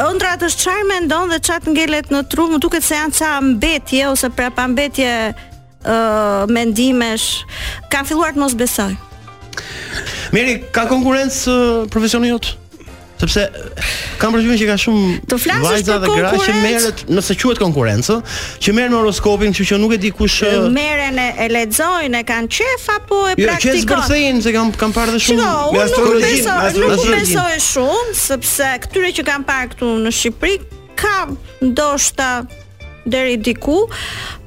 [SPEAKER 14] ëndrat është çfarë mendon dhe çat ngelet në tru, më duket se janë ca mbetje ose prapambetje ë mendimesh. Kam filluar të mos besoj.
[SPEAKER 9] Meri, ka konkurrencë ë, profesioni jot? Sepse uh, kam përgjithësinë që ka
[SPEAKER 14] Të
[SPEAKER 9] shumë
[SPEAKER 14] flasësh
[SPEAKER 9] vajza
[SPEAKER 14] për
[SPEAKER 9] dhe gra që
[SPEAKER 14] konkurrencë?
[SPEAKER 9] merret, nëse quhet konkurrencë, që merren me horoskopin, kështu që nuk e di kush ë,
[SPEAKER 14] Merren e, e lexojnë, e kanë qef apo
[SPEAKER 9] Jo,
[SPEAKER 14] e
[SPEAKER 9] që e
[SPEAKER 14] praktikojnë?
[SPEAKER 9] zbërthejnë se kam kam parë dhe shumë
[SPEAKER 14] Shiko,
[SPEAKER 9] me
[SPEAKER 14] unë nuk
[SPEAKER 9] astrologjin,
[SPEAKER 14] besoj,
[SPEAKER 9] me
[SPEAKER 14] nuk
[SPEAKER 9] astrologjin.
[SPEAKER 14] besoj shumë, sepse këtyre që kanë parë këtu në Shqipëri ka ndoshta deri diku,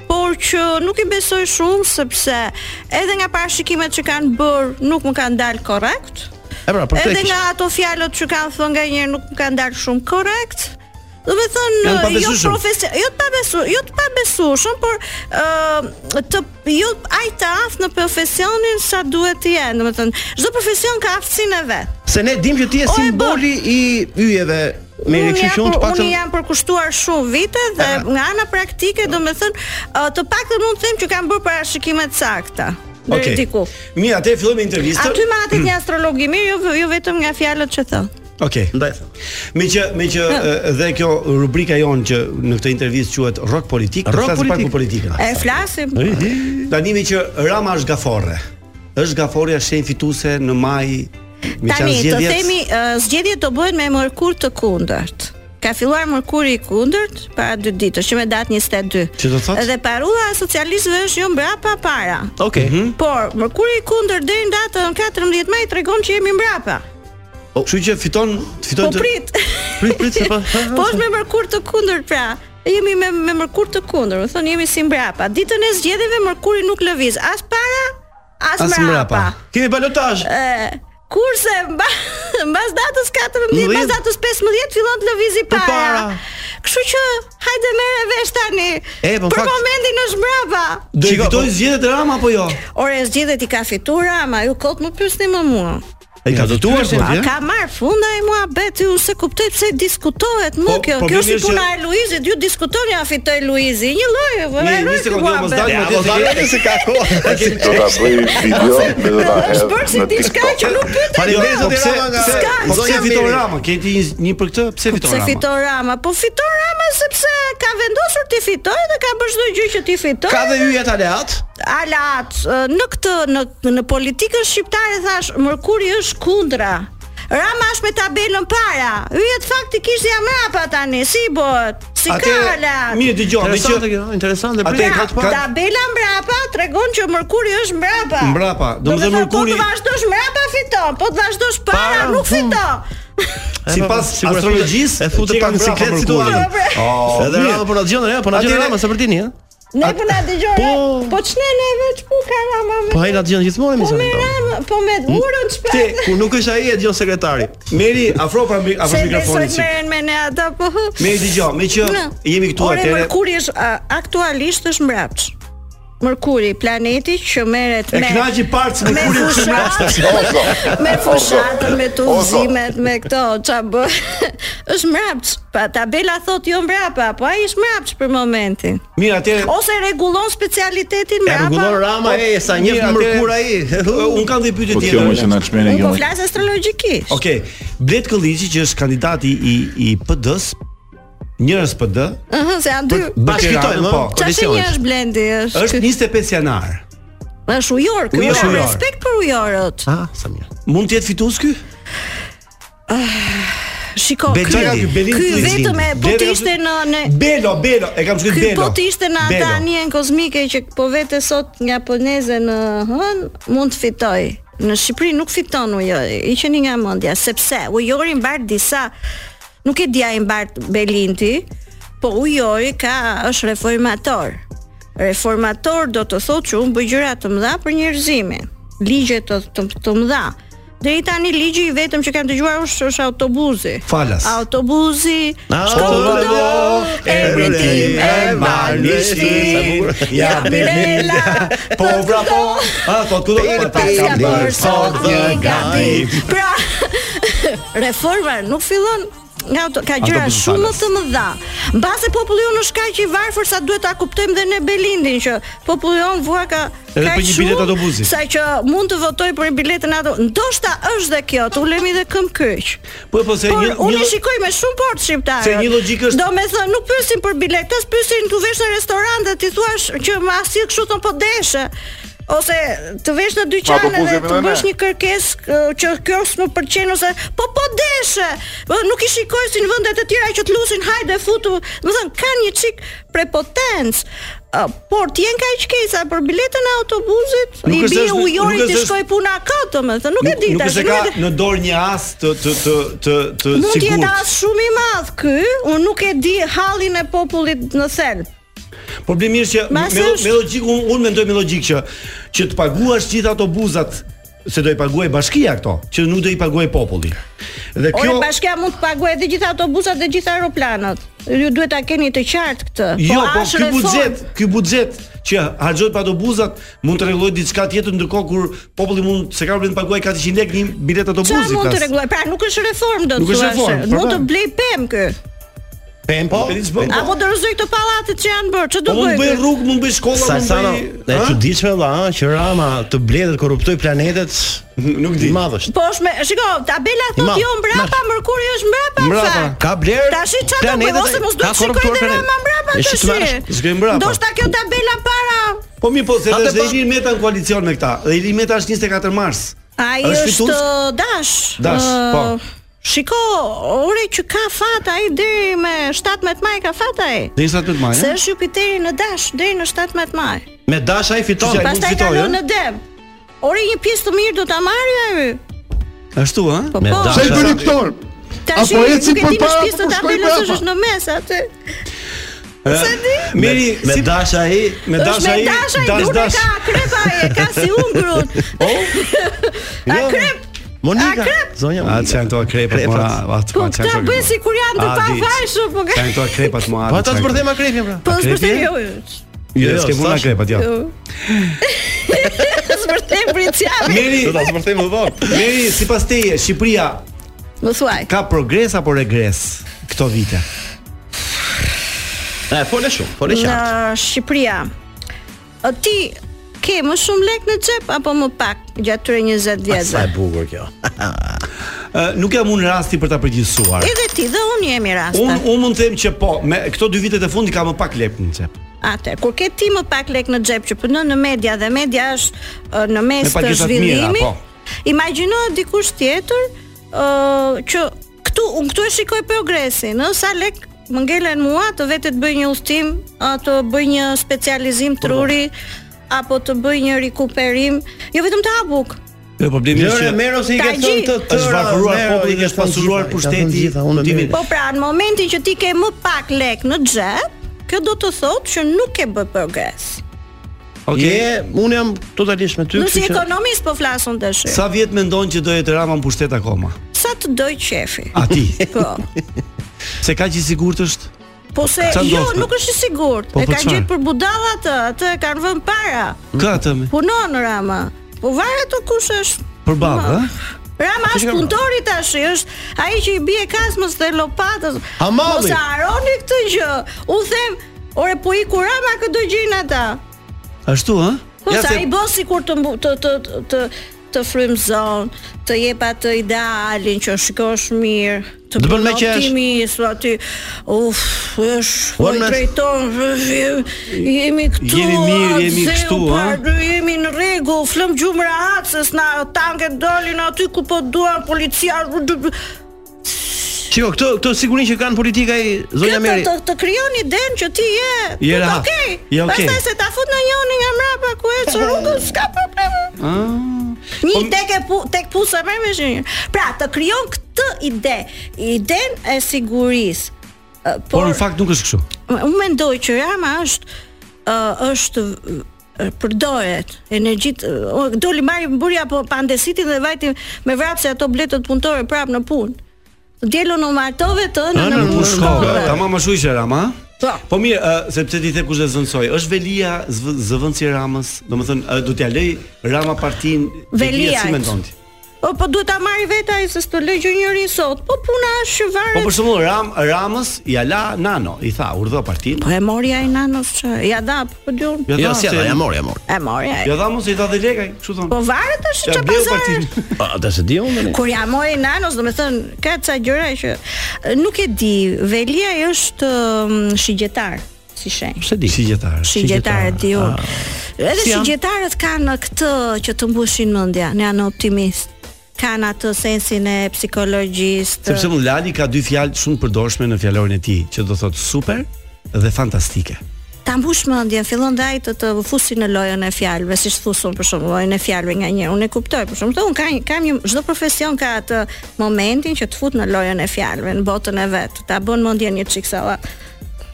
[SPEAKER 14] por që nuk i besoj shumë sepse edhe nga parashikimet që kanë bërë nuk më kanë dalë korrekt.
[SPEAKER 9] E pra, për
[SPEAKER 14] Edhe
[SPEAKER 9] këtë.
[SPEAKER 14] nga ato fjalët që kanë thënë nganjëherë nuk më kanë dalë shumë korrekt. Do të
[SPEAKER 9] Janë
[SPEAKER 14] thënë jo
[SPEAKER 9] pabesueshëm.
[SPEAKER 14] profesion, jo të pabesu, jo të pabesueshëm, por ë të jo ai të aft në profesionin sa duhet të jenë, do të thënë çdo profesion ka aftësinë e vet.
[SPEAKER 9] Se ne dim që ti je simboli i yjeve me
[SPEAKER 14] Unë
[SPEAKER 9] kështu
[SPEAKER 14] jam
[SPEAKER 9] që unë të
[SPEAKER 14] për-
[SPEAKER 9] paktën
[SPEAKER 14] unë jam përkushtuar shumë vite dhe nga ana praktike domethënë ë, të paktën mund të them që kam bërë parashikime të sakta. Deri
[SPEAKER 8] Okej.
[SPEAKER 14] diku.
[SPEAKER 8] Mirë, atë fillojmë intervistën.
[SPEAKER 14] Aty më atë një astrolog i mirë, jo jo vetëm nga fjalët që thon.
[SPEAKER 8] Okej.
[SPEAKER 9] Ndaj.
[SPEAKER 8] Me që me që e, dhe kjo rubrika jon që në këtë intervistë quhet Rock Politik,
[SPEAKER 9] Rock
[SPEAKER 8] flasim pak
[SPEAKER 9] Politik.
[SPEAKER 8] për politikën.
[SPEAKER 14] E flasim.
[SPEAKER 8] Tani me që Rama është gaforre. Është gaforja shenjë fituese në maj me
[SPEAKER 14] Tani,
[SPEAKER 8] qanë
[SPEAKER 14] të
[SPEAKER 8] zgjedhjet.
[SPEAKER 14] themi, uh, zgjedhjet të bëhen me mërkur të kundërt. Ka filluar mërkuri i kundërt para dy ditësh, që me datë 22.
[SPEAKER 8] Që do thotë?
[SPEAKER 14] Dhe parula e socialistëve është jo mbrapa para.
[SPEAKER 9] Okej.
[SPEAKER 8] Mhm.
[SPEAKER 14] Por mërkuri i kundërt deri në datën 14 maj tregon që jemi mbrapa.
[SPEAKER 8] Kështu që fiton
[SPEAKER 14] Po
[SPEAKER 8] fiton të- [LAUGHS]
[SPEAKER 14] prit.
[SPEAKER 9] Prit, prit se po.
[SPEAKER 14] [LAUGHS] po është me mërkur të kundërt pra. Jemi me me mërkur të kundërt, do thonë jemi si mbrapa. Ditën e zgjedhjeve mërkuri nuk lëviz as para, as,
[SPEAKER 9] As mbrapa.
[SPEAKER 14] mbrapa.
[SPEAKER 9] Kemi balotazh.
[SPEAKER 14] E, kurse mba, mbas datës 14, mbas datës 15 fillon të lëvizi para. Kështu që hajde merre vesh tani.
[SPEAKER 8] E, po, në
[SPEAKER 14] për
[SPEAKER 8] fakt-
[SPEAKER 14] momentin është mbrapa.
[SPEAKER 8] Do i fitoj
[SPEAKER 9] po-
[SPEAKER 8] zgjedhjet e Rama apo jo?
[SPEAKER 14] Ore zgjedhjet i ka fituar, ama ju kot më pyesni më mua.
[SPEAKER 8] Ai ka fituar po.
[SPEAKER 14] A
[SPEAKER 8] ja?
[SPEAKER 14] ka marr funda e mua beti, unë se kuptoj pse diskutohet më kjo.
[SPEAKER 8] po,
[SPEAKER 14] Kjo
[SPEAKER 8] mirë
[SPEAKER 14] është
[SPEAKER 8] që-
[SPEAKER 14] puna e Luizit, ju diskutoni a fitoi Luizi. Një lloj,
[SPEAKER 8] Mirë,
[SPEAKER 14] vërtet.
[SPEAKER 8] një sekondë, jo, mos dalë, mos dalë, se ka kohë.
[SPEAKER 13] Do ta bëj video dhe do ta hedh
[SPEAKER 14] Është bërë si
[SPEAKER 13] në
[SPEAKER 14] diçka
[SPEAKER 13] TikTok.
[SPEAKER 14] që nuk pyet.
[SPEAKER 8] Faleminderit
[SPEAKER 14] Jo,
[SPEAKER 8] zoti
[SPEAKER 14] pse-
[SPEAKER 8] Rama nga.
[SPEAKER 14] s'ka-
[SPEAKER 8] Po pse
[SPEAKER 14] s'ka
[SPEAKER 8] fiton
[SPEAKER 14] miri.
[SPEAKER 8] Rama? Ke ti një- një për këtë? Pse fiton
[SPEAKER 14] Pse
[SPEAKER 8] Rama?
[SPEAKER 14] fiton Rama? Po fiton Rama sepse ka vendosur ti fitoj dhe ka bërë çdo gjë që ti fitoj.
[SPEAKER 9] Ka dhe yjet aleat?
[SPEAKER 14] Alat ë, në këtë në në politikën shqiptare thash Mërkuri është kundra. Rama është me tabelën para. Yjet faktikisht janë mrapa tani. Si bëhet? Si ka
[SPEAKER 8] Atëherë,
[SPEAKER 14] alat?
[SPEAKER 8] mirë, dëgjoj, me që-
[SPEAKER 9] Interesante kjo, interesante.
[SPEAKER 8] Atë
[SPEAKER 9] prit.
[SPEAKER 8] ka
[SPEAKER 14] Pra, Tabela mbrapa tregon që Mërkuri është mbrapa.
[SPEAKER 8] Mbrapa, do më
[SPEAKER 14] Do të
[SPEAKER 8] thënë
[SPEAKER 14] thotë,
[SPEAKER 8] Mërkuri-
[SPEAKER 14] Po të vazhdosh mbrapa fiton, po të vazhdosh para,
[SPEAKER 8] Para,
[SPEAKER 14] nuk fiton.
[SPEAKER 8] Sipas
[SPEAKER 9] Sigur, e futet-
[SPEAKER 8] astrologjisë,
[SPEAKER 9] e futet pak në siklet situatën.
[SPEAKER 8] Oh,
[SPEAKER 9] Edhe Rama po na dëgjon, ja, po na dëgjon Rama se për tini, ha.
[SPEAKER 14] Ne po na dëgjoj. Po, po ç'ne neve ç'ku ka Rama? me-
[SPEAKER 9] Po ai na dëgjon gjithmonë
[SPEAKER 14] Po me
[SPEAKER 9] emisionin. tonë.
[SPEAKER 14] Rama, po me
[SPEAKER 8] Hmm?
[SPEAKER 14] urën
[SPEAKER 9] Te,
[SPEAKER 14] ç'për.
[SPEAKER 9] kur nuk është ai e dëgjon sekretari.
[SPEAKER 8] Meri, afro pra mik- afro
[SPEAKER 14] Se
[SPEAKER 8] mikrofonin.
[SPEAKER 14] besoj
[SPEAKER 8] sik.
[SPEAKER 14] merren me ne ata po. hë.
[SPEAKER 8] Meri, dëgjoj, me që
[SPEAKER 14] Në.
[SPEAKER 8] jemi këtu
[SPEAKER 14] Ore,
[SPEAKER 8] atëre.
[SPEAKER 14] Mërkuri është a, aktualisht është mbrapsh. Mërkuri, planeti që merret
[SPEAKER 8] E
[SPEAKER 14] me
[SPEAKER 8] knaqi parë se
[SPEAKER 14] me
[SPEAKER 8] Merkuri është
[SPEAKER 14] fushat,
[SPEAKER 8] mbrapsh.
[SPEAKER 14] [LAUGHS] me fushatën, me
[SPEAKER 8] Ozo.
[SPEAKER 14] tuzimet, me këto ça bë. [LAUGHS] është mbrapsh. Pa tabela thotë jo mbrapa, po ai është mbrapsh për momentin.
[SPEAKER 8] Mirë, atëre.
[SPEAKER 14] Ose rregullon specialitetin
[SPEAKER 9] E
[SPEAKER 14] mbrapa.
[SPEAKER 9] rregullon Rama, e sa njeh
[SPEAKER 8] Mirë, atëre,
[SPEAKER 9] mërkur ai.
[SPEAKER 8] [LAUGHS] Un kam dhe pyetje
[SPEAKER 13] Po
[SPEAKER 8] tjetër.
[SPEAKER 13] kjo më që na çmeni
[SPEAKER 14] Unë
[SPEAKER 13] kjo.
[SPEAKER 4] Jo.
[SPEAKER 13] më
[SPEAKER 14] po
[SPEAKER 13] që-
[SPEAKER 14] flas astrologjikisht.
[SPEAKER 8] Okej, Blet Këlliçi që është kandidati i i PD-s, njërës PD,
[SPEAKER 14] Ëhë, se janë dy.
[SPEAKER 8] bashkëtojnë po.
[SPEAKER 14] Çfarë një është Blendi është?
[SPEAKER 8] Është 25 janar.
[SPEAKER 14] Është ujor, kjo
[SPEAKER 8] Ujor,
[SPEAKER 14] është
[SPEAKER 8] ujor.
[SPEAKER 14] respekt për ujorët.
[SPEAKER 9] Ah, sa mirë.
[SPEAKER 8] Mund të jetë fitues ky?
[SPEAKER 14] Shiko,
[SPEAKER 8] Belin,
[SPEAKER 14] ky-
[SPEAKER 8] çka ka ky? Belin
[SPEAKER 14] ky
[SPEAKER 8] Klizin.
[SPEAKER 14] vetëm e po të
[SPEAKER 8] Bele-
[SPEAKER 14] ishte në në
[SPEAKER 8] Belo, Belo, e kam shkruar
[SPEAKER 14] Ky
[SPEAKER 8] Belo.
[SPEAKER 14] po të ishte në ata
[SPEAKER 8] Belo.
[SPEAKER 14] anijen kozmike që po vete sot nga Polneze në hën, mund të fitoj. Në Shqipëri nuk fiton ujori, i qeni nga mendja, sepse ujori mbar disa nuk e dia i mbar Belinti, po ujori ka është reformator. Reformator do të thotë që unë bëj gjëra të mëdha për njerëzimin, ligje të të, të mëdha. Deri tani ligji i vetëm që kam dëgjuar është, është autobuzi.
[SPEAKER 8] Falas.
[SPEAKER 14] Autobuzi.
[SPEAKER 8] Shkolla, emrin tim e mban në shpi, ja Belela, po vrapo, a thot ku do të ta
[SPEAKER 14] Ka
[SPEAKER 8] kam bërë
[SPEAKER 14] bërë
[SPEAKER 8] sot
[SPEAKER 14] sot
[SPEAKER 8] dhe
[SPEAKER 14] një
[SPEAKER 8] gati.
[SPEAKER 14] [LAUGHS] gati. Pra, reforma nuk fillon nga ato ka gjëra shumë më të mëdha. Mbase populli jon është kaq i varfër sa duhet ta kuptojmë dhe ne Belindin që populli jon vua ka
[SPEAKER 12] Edhe
[SPEAKER 14] kaq
[SPEAKER 12] për një biletë autobusi.
[SPEAKER 14] Sa që mund të votoj për biletën ato. Ndoshta është dhe kjo, të ulemi dhe këmbë kyç.
[SPEAKER 12] Po po se
[SPEAKER 14] Por
[SPEAKER 12] një
[SPEAKER 14] unë
[SPEAKER 12] një
[SPEAKER 14] e shikoj me shumë port shqiptarë.
[SPEAKER 12] Se një logjikë është-
[SPEAKER 14] Do me thënë, nuk pyesin për biletës, pyesin të vesh në restorante, ti thua që ma asil kështu të po deshe ose të vesh në dyqan
[SPEAKER 13] po,
[SPEAKER 14] edhe
[SPEAKER 13] puzemi
[SPEAKER 14] të
[SPEAKER 13] dhe ne.
[SPEAKER 14] bësh një kërkesë kë- që kjo s'më pëlqen ose po po deshe. Po, Nuk i shikoj si në vendet e tjera që të lusin hajde futu. Do të thënë kanë një çik prepotencë. Ë, Por ti jenë kaq keq sa për biletën e autobusit,
[SPEAKER 12] Nuk
[SPEAKER 14] i
[SPEAKER 12] është
[SPEAKER 14] bie
[SPEAKER 12] është- nuk
[SPEAKER 14] ujorit
[SPEAKER 12] është
[SPEAKER 14] të
[SPEAKER 12] është-
[SPEAKER 14] shkoj puna kot, domethënë, nuk e di
[SPEAKER 12] Nuk
[SPEAKER 14] tash.
[SPEAKER 12] është se
[SPEAKER 14] nuk
[SPEAKER 12] ka
[SPEAKER 14] e di-
[SPEAKER 12] në dorë një as të të të të të
[SPEAKER 14] Mund të jetë
[SPEAKER 12] sigurt.
[SPEAKER 14] as shumë i madh ky, unë nuk e di hallin e popullit në Thelb.
[SPEAKER 12] Problemi është që me,
[SPEAKER 14] Mas është-
[SPEAKER 12] me logjik unë un mendoj me logjik që që të paguash gjithë autobuzat se do i paguaj bashkia këto, që nuk do i paguaj populli. Dhe
[SPEAKER 14] Ore
[SPEAKER 12] kjo
[SPEAKER 14] bashkia mund të paguajë dhe gjithë autobusat dhe gjithë aeroplanët. Ju duhet ta keni të qartë këtë.
[SPEAKER 12] Jo, po
[SPEAKER 14] as
[SPEAKER 12] ky
[SPEAKER 14] reform-
[SPEAKER 12] buxhet, ky buxhet që harxhohet për autobusat mund të rregulloj diçka tjetër ndërkohë kur populli mund se ka problem të paguaj 400 lekë një bilet
[SPEAKER 14] Çfarë
[SPEAKER 12] autobusi
[SPEAKER 14] mund të
[SPEAKER 12] plas.
[SPEAKER 14] rregulloj? Pra nuk është reform do të
[SPEAKER 12] Nuk është
[SPEAKER 14] thuash.
[SPEAKER 12] reform, Po.
[SPEAKER 14] Mund
[SPEAKER 12] pra.
[SPEAKER 14] të blej pem ky.
[SPEAKER 12] Pem po.
[SPEAKER 14] Apo të rrezoj këto pallatet që janë bërë. Ç'do
[SPEAKER 12] Po mund të bëj
[SPEAKER 14] bëj? ky?
[SPEAKER 12] rrugë, mund të bëj shkolla,
[SPEAKER 9] Sa
[SPEAKER 12] mund
[SPEAKER 9] sa
[SPEAKER 12] të bëj.
[SPEAKER 9] e çuditshme valla, ëh, që Rama të bledet korruptoj planetet,
[SPEAKER 12] nuk di.
[SPEAKER 9] Madh është.
[SPEAKER 14] Po është me, shiko, tabela
[SPEAKER 9] Ma,
[SPEAKER 14] thotë jo mbrapa, Merkuri është mbrapa.
[SPEAKER 9] Mbrapa.
[SPEAKER 14] fakt.
[SPEAKER 9] Ka bler
[SPEAKER 14] Tashi çfarë do bëj
[SPEAKER 9] planetet
[SPEAKER 14] ose
[SPEAKER 9] e-
[SPEAKER 14] mos
[SPEAKER 9] ka
[SPEAKER 14] duhet shikoj
[SPEAKER 9] korruptuar
[SPEAKER 14] edhe
[SPEAKER 9] planetet.
[SPEAKER 14] Rama mbrapa
[SPEAKER 9] E,
[SPEAKER 14] tash.
[SPEAKER 9] shqiptar është- s'kemi mbrapa.
[SPEAKER 14] Ndoshta kjo tabela para
[SPEAKER 12] Po mirë po, se
[SPEAKER 9] Atë
[SPEAKER 12] dhe
[SPEAKER 9] po-
[SPEAKER 12] Ilir Meta në koalicion me këta. Dhe Ilir Meta është 24 mars.
[SPEAKER 14] Ai
[SPEAKER 12] Është
[SPEAKER 14] është
[SPEAKER 12] fitues?
[SPEAKER 14] uh, Dash.
[SPEAKER 12] Dash,
[SPEAKER 14] Uh,
[SPEAKER 12] po.
[SPEAKER 14] Shiko, ore që ka fat ai deri me 17 maj ka fat ai.
[SPEAKER 8] Deri 17 maj.
[SPEAKER 14] Se është Jupiteri në Dash deri në 17 maj.
[SPEAKER 9] Me dash ai fiton.
[SPEAKER 14] Pastaj kalon
[SPEAKER 8] eh?
[SPEAKER 14] në Deb. Ore një pjesë të mirë do ta marrë ai.
[SPEAKER 8] Ashtu ë?
[SPEAKER 14] Me po. dash- Sa i bëri
[SPEAKER 8] këtor?
[SPEAKER 14] Tash
[SPEAKER 8] Apo
[SPEAKER 14] nuk e
[SPEAKER 8] ecin
[SPEAKER 14] di
[SPEAKER 8] për
[SPEAKER 14] nëse
[SPEAKER 8] para,
[SPEAKER 14] pjesë
[SPEAKER 8] apo
[SPEAKER 14] të
[SPEAKER 8] shkoj
[SPEAKER 14] tabelës
[SPEAKER 8] brapa?
[SPEAKER 14] është në mes aty.
[SPEAKER 12] Se di? Miri,
[SPEAKER 9] me
[SPEAKER 12] si-
[SPEAKER 9] dash ai,
[SPEAKER 12] me dash ai,
[SPEAKER 14] dash ai,
[SPEAKER 12] dash
[SPEAKER 14] dune
[SPEAKER 12] dash.
[SPEAKER 14] ka krepa e ka si ungrut. A krep
[SPEAKER 9] Monika,
[SPEAKER 14] A krep?
[SPEAKER 9] zonja
[SPEAKER 8] Monika. Atë janë to krepat, mora, atë
[SPEAKER 14] Po
[SPEAKER 8] pa
[SPEAKER 14] këta
[SPEAKER 8] çfarë.
[SPEAKER 14] bën sikur janë të
[SPEAKER 8] A, di.
[SPEAKER 14] pafajshëm, po ka.
[SPEAKER 8] Janë to krepat mua.
[SPEAKER 9] Po ata të përdhem akrepin pra.
[SPEAKER 14] Po s'përthem jo.
[SPEAKER 8] Jo,
[SPEAKER 9] Jo,
[SPEAKER 8] s'ke mund
[SPEAKER 9] s'tash.
[SPEAKER 8] krepat, jo.
[SPEAKER 14] jo. S'përthem pritjave.
[SPEAKER 12] Meri,
[SPEAKER 9] Do ta zbërthem më vonë.
[SPEAKER 12] Meri, sipas teje, Shqipëria
[SPEAKER 14] Më thuaj.
[SPEAKER 8] Ka progres apo regres këto vite?
[SPEAKER 9] [LAUGHS] E, fole shumë, fole
[SPEAKER 14] Në
[SPEAKER 9] qartë.
[SPEAKER 14] Shqipëria. A ti ke më shumë lek në xhep apo më pak gjatë këtyre 20
[SPEAKER 9] Sa e
[SPEAKER 14] vjetëve?
[SPEAKER 9] bukur kjo.
[SPEAKER 8] Ë, nuk jam unë rasti për ta përgjithsuar.
[SPEAKER 14] Edhe ti dhe unë jemi raste.
[SPEAKER 8] Unë un mund të them që po, me këto dy vitet e fundit ka më pak lep në xhep.
[SPEAKER 14] Atë, kur ke ti më pak lek në xhep që punon në media dhe media është ë, në
[SPEAKER 8] Me
[SPEAKER 14] mes të
[SPEAKER 8] pagesat mira,
[SPEAKER 14] zhvillimit.
[SPEAKER 8] po.
[SPEAKER 14] Imagjinohet dikush tjetër ë që këtu unë këtu e shikoj progresin, ë sa lek më ngelen mua të vetë të bëj një udhtim, ë, të bëj një specializim
[SPEAKER 8] Po,
[SPEAKER 14] truri apo të bëj një rikuperim, jo vetëm të ha bukë.
[SPEAKER 8] Jo, problemi
[SPEAKER 9] Jo,
[SPEAKER 8] është që
[SPEAKER 9] merr ose i ke
[SPEAKER 14] Tagji.
[SPEAKER 9] thënë të
[SPEAKER 8] Është varfëruar populli, është pasuruar pushteti, motivi-
[SPEAKER 14] Po pra, në momentin që ti ke më pak lek në xhep, kjo do të thotë që nuk ke bë progres.
[SPEAKER 9] Okej,
[SPEAKER 8] Okej.
[SPEAKER 9] unë jam totalisht me ty,
[SPEAKER 14] Nuk si
[SPEAKER 9] kështu që
[SPEAKER 14] ekonomist po flasun tash.
[SPEAKER 8] Sa vjet mendon që do jetë Rama në pushtet akoma?
[SPEAKER 14] Sa të doj qefi.
[SPEAKER 8] A ti?
[SPEAKER 14] Po.
[SPEAKER 8] Se kaq i sigurt është?
[SPEAKER 14] Po se
[SPEAKER 8] Sa
[SPEAKER 14] jo,
[SPEAKER 8] ndodhte?
[SPEAKER 14] nuk është i sigurt.
[SPEAKER 8] Po,
[SPEAKER 14] e
[SPEAKER 8] po,
[SPEAKER 14] ka
[SPEAKER 8] çfarë?
[SPEAKER 14] gjetë për budalla atë, atë e kanë vënë para.
[SPEAKER 8] Ka atë me.
[SPEAKER 14] Punon Rama. Po varet o kush është.
[SPEAKER 8] Për babë, ë?
[SPEAKER 14] Rama është punëtori tash, është ai që i bie kasmës dhe lopatës.
[SPEAKER 9] Hamalli.
[SPEAKER 14] Mos e harroni këtë gjë. U them, ore po i ku Rama këtë gjin ata.
[SPEAKER 8] Ashtu, ë?
[SPEAKER 14] Po sa i bën sikur të mbu- të të të- të të frymëzon, të jep atë idealin që shikosh mirë, të
[SPEAKER 9] Të bën me qesh.
[SPEAKER 14] optimist po aty. Uf,
[SPEAKER 9] Bën
[SPEAKER 14] është po
[SPEAKER 9] me-
[SPEAKER 14] drejton, vë- jemi këtu.
[SPEAKER 8] Jemi mirë,
[SPEAKER 14] a,
[SPEAKER 8] jemi
[SPEAKER 14] zeu,
[SPEAKER 8] kështu,
[SPEAKER 14] pa,
[SPEAKER 8] a?
[SPEAKER 14] dy jemi në rregull, flëm gjumë rahat se s'na tanket dolin aty ku po duan policia. d- d- d-
[SPEAKER 9] Shiko, këto këto sigurisht që kanë politika i
[SPEAKER 14] Kjo
[SPEAKER 9] zonja
[SPEAKER 14] të,
[SPEAKER 9] Meri.
[SPEAKER 14] të, të krijon idenë që ti je.
[SPEAKER 8] Je
[SPEAKER 14] po,
[SPEAKER 8] rahat,
[SPEAKER 14] Okej.
[SPEAKER 8] je okej.
[SPEAKER 14] Pastaj se ta fut në njëri nga mbrapa ku ecë rrugën, s'ka problem.
[SPEAKER 8] Ah. Po
[SPEAKER 14] Një tek e pu, tek pusa merr me shenjë. Pra, të krijon këtë ide, iden e sigurisë. Ë,
[SPEAKER 8] Por
[SPEAKER 14] Por,
[SPEAKER 8] në fakt nuk është kështu.
[SPEAKER 14] unë mendoj që Rama është ë, është ë, përdoret energjit ë, o, doli marri burja po pa ndesitin dhe vajti me vrapse ato bletët punëtore prap në punë. Djelon u martove të në në
[SPEAKER 8] punë shkove.
[SPEAKER 14] punëtore.
[SPEAKER 8] Tamam ashtu ishte Rama.
[SPEAKER 14] Po.
[SPEAKER 8] Po mirë, ë, sepse ti the kush e zënësoj. Është Velia zv- zëvendësi i Ramës, domethënë ë, do t'ja lëj Rama partin
[SPEAKER 14] Velia.
[SPEAKER 8] si mendon ti?
[SPEAKER 14] O po duhet ta marrë vetë ai se s'të lë gjë njëri sot. Po puna është që
[SPEAKER 8] Po
[SPEAKER 14] varet.
[SPEAKER 8] për shembull Ram Ramës ja la Nano, i tha, urdhë partinë.
[SPEAKER 14] Po e mori ai nanos çë. Ja da, po di unë.
[SPEAKER 8] Ja, Jo, si ja dha, ja mori,
[SPEAKER 9] ja mori.
[SPEAKER 14] E mori ai.
[SPEAKER 8] Ja dha mos i dha dhe lekaj, kështu thon.
[SPEAKER 14] Po varet tash
[SPEAKER 8] Ja
[SPEAKER 14] çfarë
[SPEAKER 8] bleu
[SPEAKER 14] pazar.
[SPEAKER 8] partinë.
[SPEAKER 9] Po ata se di unë.
[SPEAKER 14] Kur ja mori nanos, do me thënë, ka ca gjëra që e, nuk e di, Velia është ëm, shigjetar, si shenjë.
[SPEAKER 8] Pse di? Shigjetar. Ah.
[SPEAKER 14] Shigjetar e di unë. Edhe
[SPEAKER 8] Si janë?
[SPEAKER 14] shigjetarët kanë këtë që të mbushin mendja, ne janë optimist. Kanë atë sensin e psikologjistë.
[SPEAKER 8] Sepse mund Lali ka dy fjalë shumë përdorshme në fjalorin e tij, që do thotë super dhe fantastike.
[SPEAKER 14] Ta mbush mendjen, fillon dhe ai të të fusi në lojën e fjalëve, siç fusun për shembull lojën e fjalëve nga një. Unë e kuptoj, për shembull, unë kam kam një çdo profesion ka atë momentin që të fut në lojën e fjalëve, në botën e vet. Ta bën mendjen një çik sa "Ua,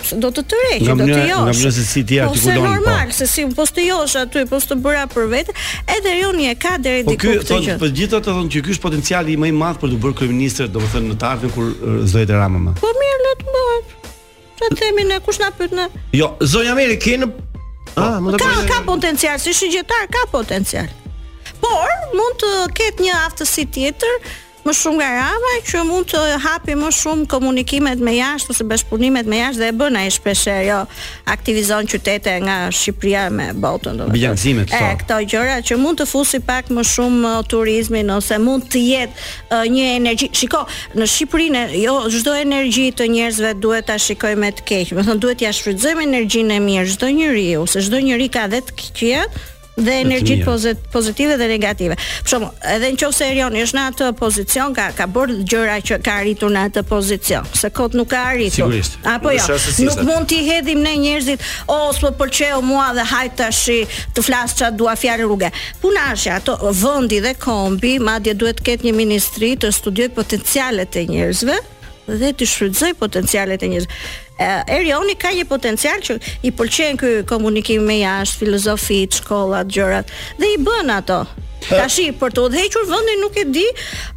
[SPEAKER 14] se do të tërheqë,
[SPEAKER 8] Nga
[SPEAKER 14] do të
[SPEAKER 8] mënyra-
[SPEAKER 14] josh.
[SPEAKER 8] nga mënyra se si ti
[SPEAKER 14] Po
[SPEAKER 8] artikulon,
[SPEAKER 14] se
[SPEAKER 8] po.
[SPEAKER 14] normal, se si po të josh aty, po të bëra për vete, edhe rjoni e ka deri
[SPEAKER 8] Po
[SPEAKER 14] diku
[SPEAKER 8] ky
[SPEAKER 14] këtë
[SPEAKER 8] thonë,
[SPEAKER 14] gjë.
[SPEAKER 8] po gjithë ato thonë që ky është potenciali më i madh për të bërë kryeministër, domethënë në të ardhmen kur ë, zdohet e Rama më.
[SPEAKER 14] Po mirë, le të bëhet. Sa themi ne, kush na pyet ne?
[SPEAKER 9] Jo, zonja Meri kanë Ah, mund
[SPEAKER 14] Ka
[SPEAKER 9] ta bësh.
[SPEAKER 14] ka potencial, si shigjetar ka potencial. Por mund të ketë një aftësi tjetër më shumë nga Rava që mund të hapi më shumë komunikimet me jashtë ose bashkëpunimet me jashtë dhe e bën ai shpesh jo aktivizon qytete nga Shqipëria me botën domethënë.
[SPEAKER 8] Bilancimet,
[SPEAKER 14] E
[SPEAKER 8] po.
[SPEAKER 14] këto gjëra që mund të fusi pak më shumë uh, turizmin ose mund të jetë uh, një energji. Shiko, në Shqipërinë jo çdo energji të njerëzve duhet ta shikojmë me të keq. Do të thonë duhet ja shfrytëzojmë energjinë e mirë çdo njeriu, se çdo njeri ka dhe të keqja dhe
[SPEAKER 15] të
[SPEAKER 14] energjitë
[SPEAKER 15] mira.
[SPEAKER 14] pozit- pozitive dhe negative. Për shembull, edhe nëse Erioni është në atë pozicion, ka ka bërë gjëra që ka arritur në atë pozicion, se kot nuk ka arritur.
[SPEAKER 15] Sigurisht.
[SPEAKER 14] Apo
[SPEAKER 15] Dhe
[SPEAKER 14] jo.
[SPEAKER 15] shërë se si
[SPEAKER 14] Nuk
[SPEAKER 15] është aty.
[SPEAKER 14] mund t'i hedhim ne njerëzit, o s'po pëlqeu mua dhe hajt tash të flas çfarë dua fjalë rrugë. Puna është që ato vendi dhe kombi, madje duhet të ketë një ministri të studioj potencialet e njerëzve dhe të shfrytëzoj potencialet e njerëzve. E, Erioni ka një potencial që i pëlqen ky komunikim me jashtë, filozofit, shkollat, gjërat dhe i bën ato. Tashi për të udhëhequr vendin nuk e di,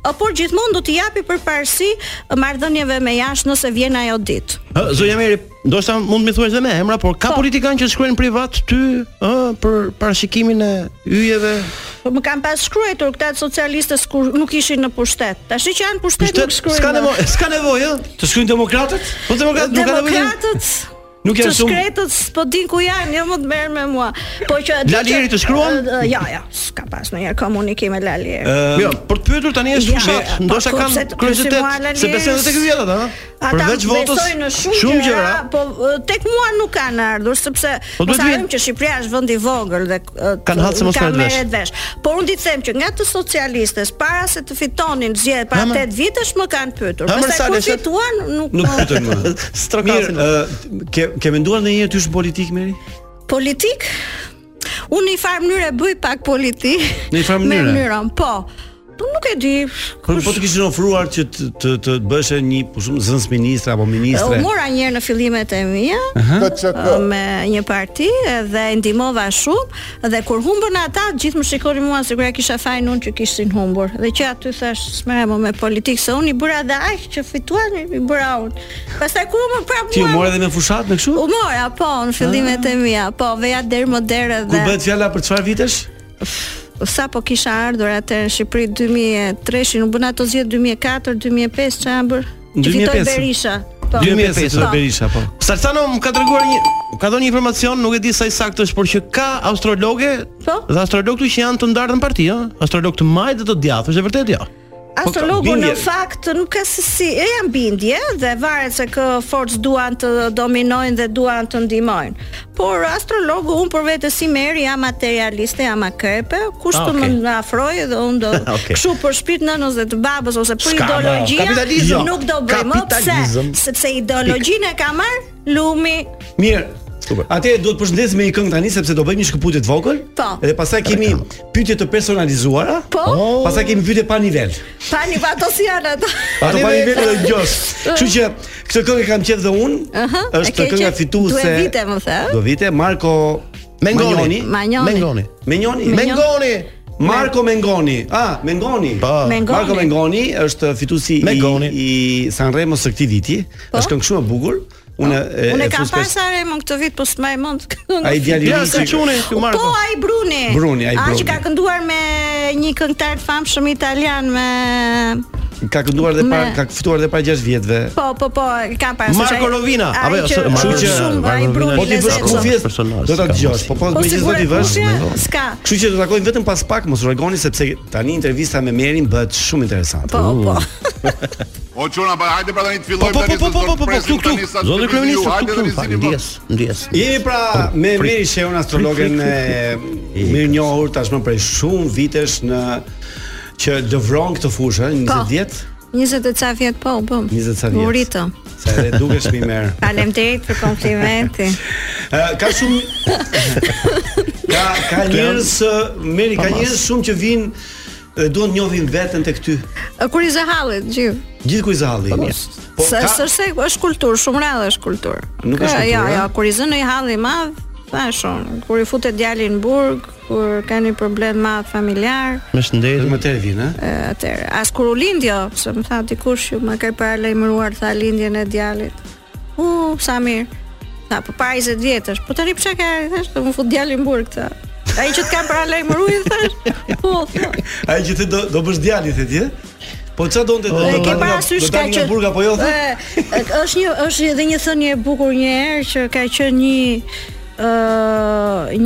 [SPEAKER 14] ë, por gjithmonë do t'i japi përparësi marrëdhënieve me jashtë nëse vjen ajo ditë.
[SPEAKER 9] Ë, Zonja Meri, ndoshta mund më thuash dhe me emra, por
[SPEAKER 14] Po.
[SPEAKER 9] ka politikanë që shkruajnë privat ty, ë, për parashikimin e yjeve.
[SPEAKER 14] Po më kanë pas shkruajtur këta socialistët kur nuk ishin në pushtet. Tashi që janë pushtet, nuk shkruajnë.
[SPEAKER 9] S'ka nevojë, s'ka nevojë, ë?
[SPEAKER 8] Të shkruajnë demokratët?
[SPEAKER 9] Po demokratët nuk kanë nevojë.
[SPEAKER 14] Demokratët
[SPEAKER 9] Nuk janë
[SPEAKER 14] të
[SPEAKER 9] shumë-
[SPEAKER 14] shkretët, po din ku janë, jo më të merr me mua. Po që
[SPEAKER 9] Lalieri të shkruan?
[SPEAKER 14] Ë, ë, Jo, jo, s'ka pas ndonjëherë komunikim me Lalieri.
[SPEAKER 8] Ehm,
[SPEAKER 9] Ë, jo, për të pyetur tani është fushat,
[SPEAKER 14] Po,
[SPEAKER 9] ndoshta kanë kuriozitet, se besojnë edhe tek hyjat ata, ë?
[SPEAKER 14] Ata
[SPEAKER 9] Përveç votës,
[SPEAKER 14] besojnë në shumë, gjëra, po ë, tek mua nuk kanë ardhur sepse
[SPEAKER 9] Po duhet
[SPEAKER 14] mos
[SPEAKER 9] vjen.
[SPEAKER 14] harrojmë që Shqipëria është vend i vogël dhe ë,
[SPEAKER 9] Kanë hatë se mos
[SPEAKER 14] kanë
[SPEAKER 9] merret vesh.
[SPEAKER 14] merret vesh. Por unë di të them që nga të socialistës para se të fitonin zgjedhje para 8 vitesh më kanë pyetur.
[SPEAKER 8] Ha, mërë,
[SPEAKER 14] Pastaj
[SPEAKER 8] Sale,
[SPEAKER 14] kur
[SPEAKER 8] shet-
[SPEAKER 14] fituan nuk po.
[SPEAKER 8] Nuk [LAUGHS] pyetën më.
[SPEAKER 9] Strokasin.
[SPEAKER 8] Mirë, ë, Ehm, ke ke menduar ndonjëherë ty është politik Meri?
[SPEAKER 14] Politik? Unë në një farë mënyrë e bëj pak politik.
[SPEAKER 8] Në një farë mënyrë?
[SPEAKER 14] Me mënyrën, po. Po nuk e di.
[SPEAKER 8] Po po të kishin ofruar që të të të bësh një po shumë zënës ministre apo ministre.
[SPEAKER 14] U mora një herë në fillimet e mia
[SPEAKER 8] Aha.
[SPEAKER 14] ë, me një parti dhe e ndihmova shumë dhe kur humbën ata gjithë më shikonin mua sikur ja kisha fajin unë që kishin humbur. Dhe që aty thash s'merrem më me politikë se unë i bëra dhe aq që fituan i bëra unë. Pastaj kur më prapë
[SPEAKER 8] Ti u mora edhe me fushat me kështu?
[SPEAKER 14] U mora po në fillimet e mia, po veja deri më derë
[SPEAKER 8] Kur
[SPEAKER 14] dhe
[SPEAKER 8] bëhet fjala për çfarë vitesh?
[SPEAKER 14] sa po kisha ardhur atë në Shqipëri 2003-shin, u bën ato zgjedhje 2004, 2005 që janë bërë. Që fitoi
[SPEAKER 9] 2005.
[SPEAKER 14] Berisha. po.
[SPEAKER 9] 2005
[SPEAKER 8] të Berisha, po.
[SPEAKER 9] Salsano më ka treguar një ka dhënë një informacion, nuk e di sa i saktë është, por që ka astrologe
[SPEAKER 14] Po?
[SPEAKER 9] dhe astrologët që janë të ndarë në parti, ëh, astrolog të majt dhe të djathtë, është e vërtetë jo.
[SPEAKER 8] Po,
[SPEAKER 14] Astrologu në
[SPEAKER 9] bindje.
[SPEAKER 14] fakt nuk ka se si, e janë bindje dhe varet se kë forcë duan të dominojnë dhe duan të ndihmojnë. Por astrologu unë për vetë si meri jam materialiste, jam akrepe, kush
[SPEAKER 15] Ah,
[SPEAKER 14] të
[SPEAKER 15] okay.
[SPEAKER 14] më afrojë dhe unë
[SPEAKER 8] [LAUGHS]
[SPEAKER 14] do
[SPEAKER 15] Okay.
[SPEAKER 14] kështu për shpirt nënës dhe të babës ose për
[SPEAKER 15] S'ka, no,
[SPEAKER 14] ideologjia
[SPEAKER 8] kapitalizëm.
[SPEAKER 14] nuk do bëj më pse
[SPEAKER 8] Kapitalizëm.
[SPEAKER 14] sepse ideologjinë e ka marr lumi
[SPEAKER 8] Mirë. Super. Atëherë duhet të përshëndesim me një këngë tani sepse do bëjmë një shkëputje të vogël.
[SPEAKER 14] Po.
[SPEAKER 8] Dhe pastaj kemi pyetje të personalizuara.
[SPEAKER 14] Po.
[SPEAKER 8] Pastaj kemi pyetje pa nivel.
[SPEAKER 14] Pani pa ato si janë ato.
[SPEAKER 8] Ato [LAUGHS] pa nivel dhe gjosh.
[SPEAKER 14] [LAUGHS]
[SPEAKER 8] Kështu që këtë këngë e kam qenë dhe unë.
[SPEAKER 14] Aha, e
[SPEAKER 8] Është
[SPEAKER 14] ke
[SPEAKER 8] kënga
[SPEAKER 14] qenë?
[SPEAKER 8] fituese.
[SPEAKER 14] Due vite më the.
[SPEAKER 8] Do vite Marko
[SPEAKER 9] Mengoni.
[SPEAKER 14] Manjoni.
[SPEAKER 9] Mengoni.
[SPEAKER 8] Mengoni.
[SPEAKER 9] Mengoni.
[SPEAKER 8] Marko Mengoni. Ah, Mengoni. Po.
[SPEAKER 14] Mengoni.
[SPEAKER 8] Marko Mengoni është fituesi i, i Sanremo së këtij viti. Është këngë shumë e bukur. Unë e-
[SPEAKER 14] Po. Ah.
[SPEAKER 8] e
[SPEAKER 14] Unë e kam
[SPEAKER 8] fus
[SPEAKER 14] parë
[SPEAKER 8] pas-
[SPEAKER 14] sa herë më këtë vit, po s'më mend.
[SPEAKER 8] Ai
[SPEAKER 14] [LAUGHS]
[SPEAKER 8] djali i Oh, ri që-
[SPEAKER 14] Po ai Bruni.
[SPEAKER 8] Bruni, ai
[SPEAKER 14] Ai
[SPEAKER 8] Bruni.
[SPEAKER 14] që ka kënduar me një këngëtar të famshëm italian me
[SPEAKER 8] Ka kënduar dhe para
[SPEAKER 14] Me-
[SPEAKER 8] ka ftuar dhe para 6 vjetëve.
[SPEAKER 14] Po, po, po, e kam parë.
[SPEAKER 8] Marko
[SPEAKER 14] s'është ai-
[SPEAKER 8] Rovina,
[SPEAKER 14] ai
[SPEAKER 8] apo jo,
[SPEAKER 14] që-
[SPEAKER 8] s'është Marko
[SPEAKER 14] shumë,
[SPEAKER 8] Rovina,
[SPEAKER 14] shumë,
[SPEAKER 8] Marko
[SPEAKER 14] ai
[SPEAKER 8] Rovina.
[SPEAKER 14] Bruni.
[SPEAKER 8] Po ti vësh
[SPEAKER 14] Lezetson.
[SPEAKER 8] kufjet,
[SPEAKER 9] personazh,
[SPEAKER 8] do ta
[SPEAKER 9] s'ka
[SPEAKER 8] dëgjosh,
[SPEAKER 9] mos.
[SPEAKER 8] po po
[SPEAKER 14] Po
[SPEAKER 8] me gjithë do
[SPEAKER 14] sigurë
[SPEAKER 8] ti vësh.
[SPEAKER 14] kufje s'ka.
[SPEAKER 8] Kështu që do takojmë vetëm pas pak, mos u rregoni sepse tani intervista me Merin bëhet shumë interesante.
[SPEAKER 14] Po, po.
[SPEAKER 13] O çuna, pa hajde pra tani të
[SPEAKER 8] Po
[SPEAKER 13] fillojmë
[SPEAKER 8] po po po po po po
[SPEAKER 13] presim
[SPEAKER 8] këtu
[SPEAKER 13] tani sa
[SPEAKER 8] këtu. Zoti
[SPEAKER 13] të
[SPEAKER 8] kryeminist
[SPEAKER 13] ju,
[SPEAKER 8] këtu
[SPEAKER 13] hajde
[SPEAKER 8] këtu.
[SPEAKER 13] tani zini
[SPEAKER 8] Ndjes, ndjes. Jemi pra me
[SPEAKER 9] Frik.
[SPEAKER 8] Meri Sheun astrologen
[SPEAKER 9] Frik, frik,
[SPEAKER 8] e mirë njohur tashmë prej shumë vitesh në që lëvron këtë
[SPEAKER 14] Po.
[SPEAKER 8] fushë, ëh, 20 vjet,
[SPEAKER 14] 20 e ca vjet po, po.
[SPEAKER 8] 20 ca vjet.
[SPEAKER 14] U ritëm.
[SPEAKER 8] sa edhe dukesh më
[SPEAKER 14] [LAUGHS]
[SPEAKER 8] merr.
[SPEAKER 14] Faleminderit për
[SPEAKER 8] [LAUGHS]
[SPEAKER 14] komplimentin.
[SPEAKER 8] Ë, ka shumë ka ka njerëz ë, Meri ka
[SPEAKER 14] Pa mas.
[SPEAKER 8] njerëz shumë që vinë dhe duan të njohin veten tek ty.
[SPEAKER 14] Kur i zëhallet gjithë.
[SPEAKER 8] Gjithë kujzalli.
[SPEAKER 14] Po sa sërse është kultur, shumë rrallë është kultur.
[SPEAKER 8] Nuk
[SPEAKER 14] Ka-
[SPEAKER 8] është kultur,
[SPEAKER 14] Jo,
[SPEAKER 8] a?
[SPEAKER 14] jo, kur i zënë i halli i madh, thashon, kur i futet djali në burg, kur ka një problem madh familjar,
[SPEAKER 9] Me shëndet.
[SPEAKER 8] Më tërë eh. vjen, ë?
[SPEAKER 14] e, atëherë as kur u lind jo, se më tha dikush ju më ka paralajmëruar tha lindjen e djalit. U, sa mirë. Tha, po para 20 vjetësh, po tani pse ka, thash, do më fut djali në burg tha. Ai që të ka paralajmëruar thash,
[SPEAKER 8] [LAUGHS]
[SPEAKER 14] po, tha.
[SPEAKER 8] Ai që ti do do bësh djalit e ti? Po çfarë donte do?
[SPEAKER 14] E
[SPEAKER 8] do
[SPEAKER 14] ke
[SPEAKER 8] dalë nga-
[SPEAKER 14] parasysh
[SPEAKER 8] do
[SPEAKER 14] ka
[SPEAKER 8] dalë
[SPEAKER 14] që
[SPEAKER 8] nga burg apo jo? thë?
[SPEAKER 14] E, e, Është një është edhe një thënie e bukur një herë që ka qenë një ë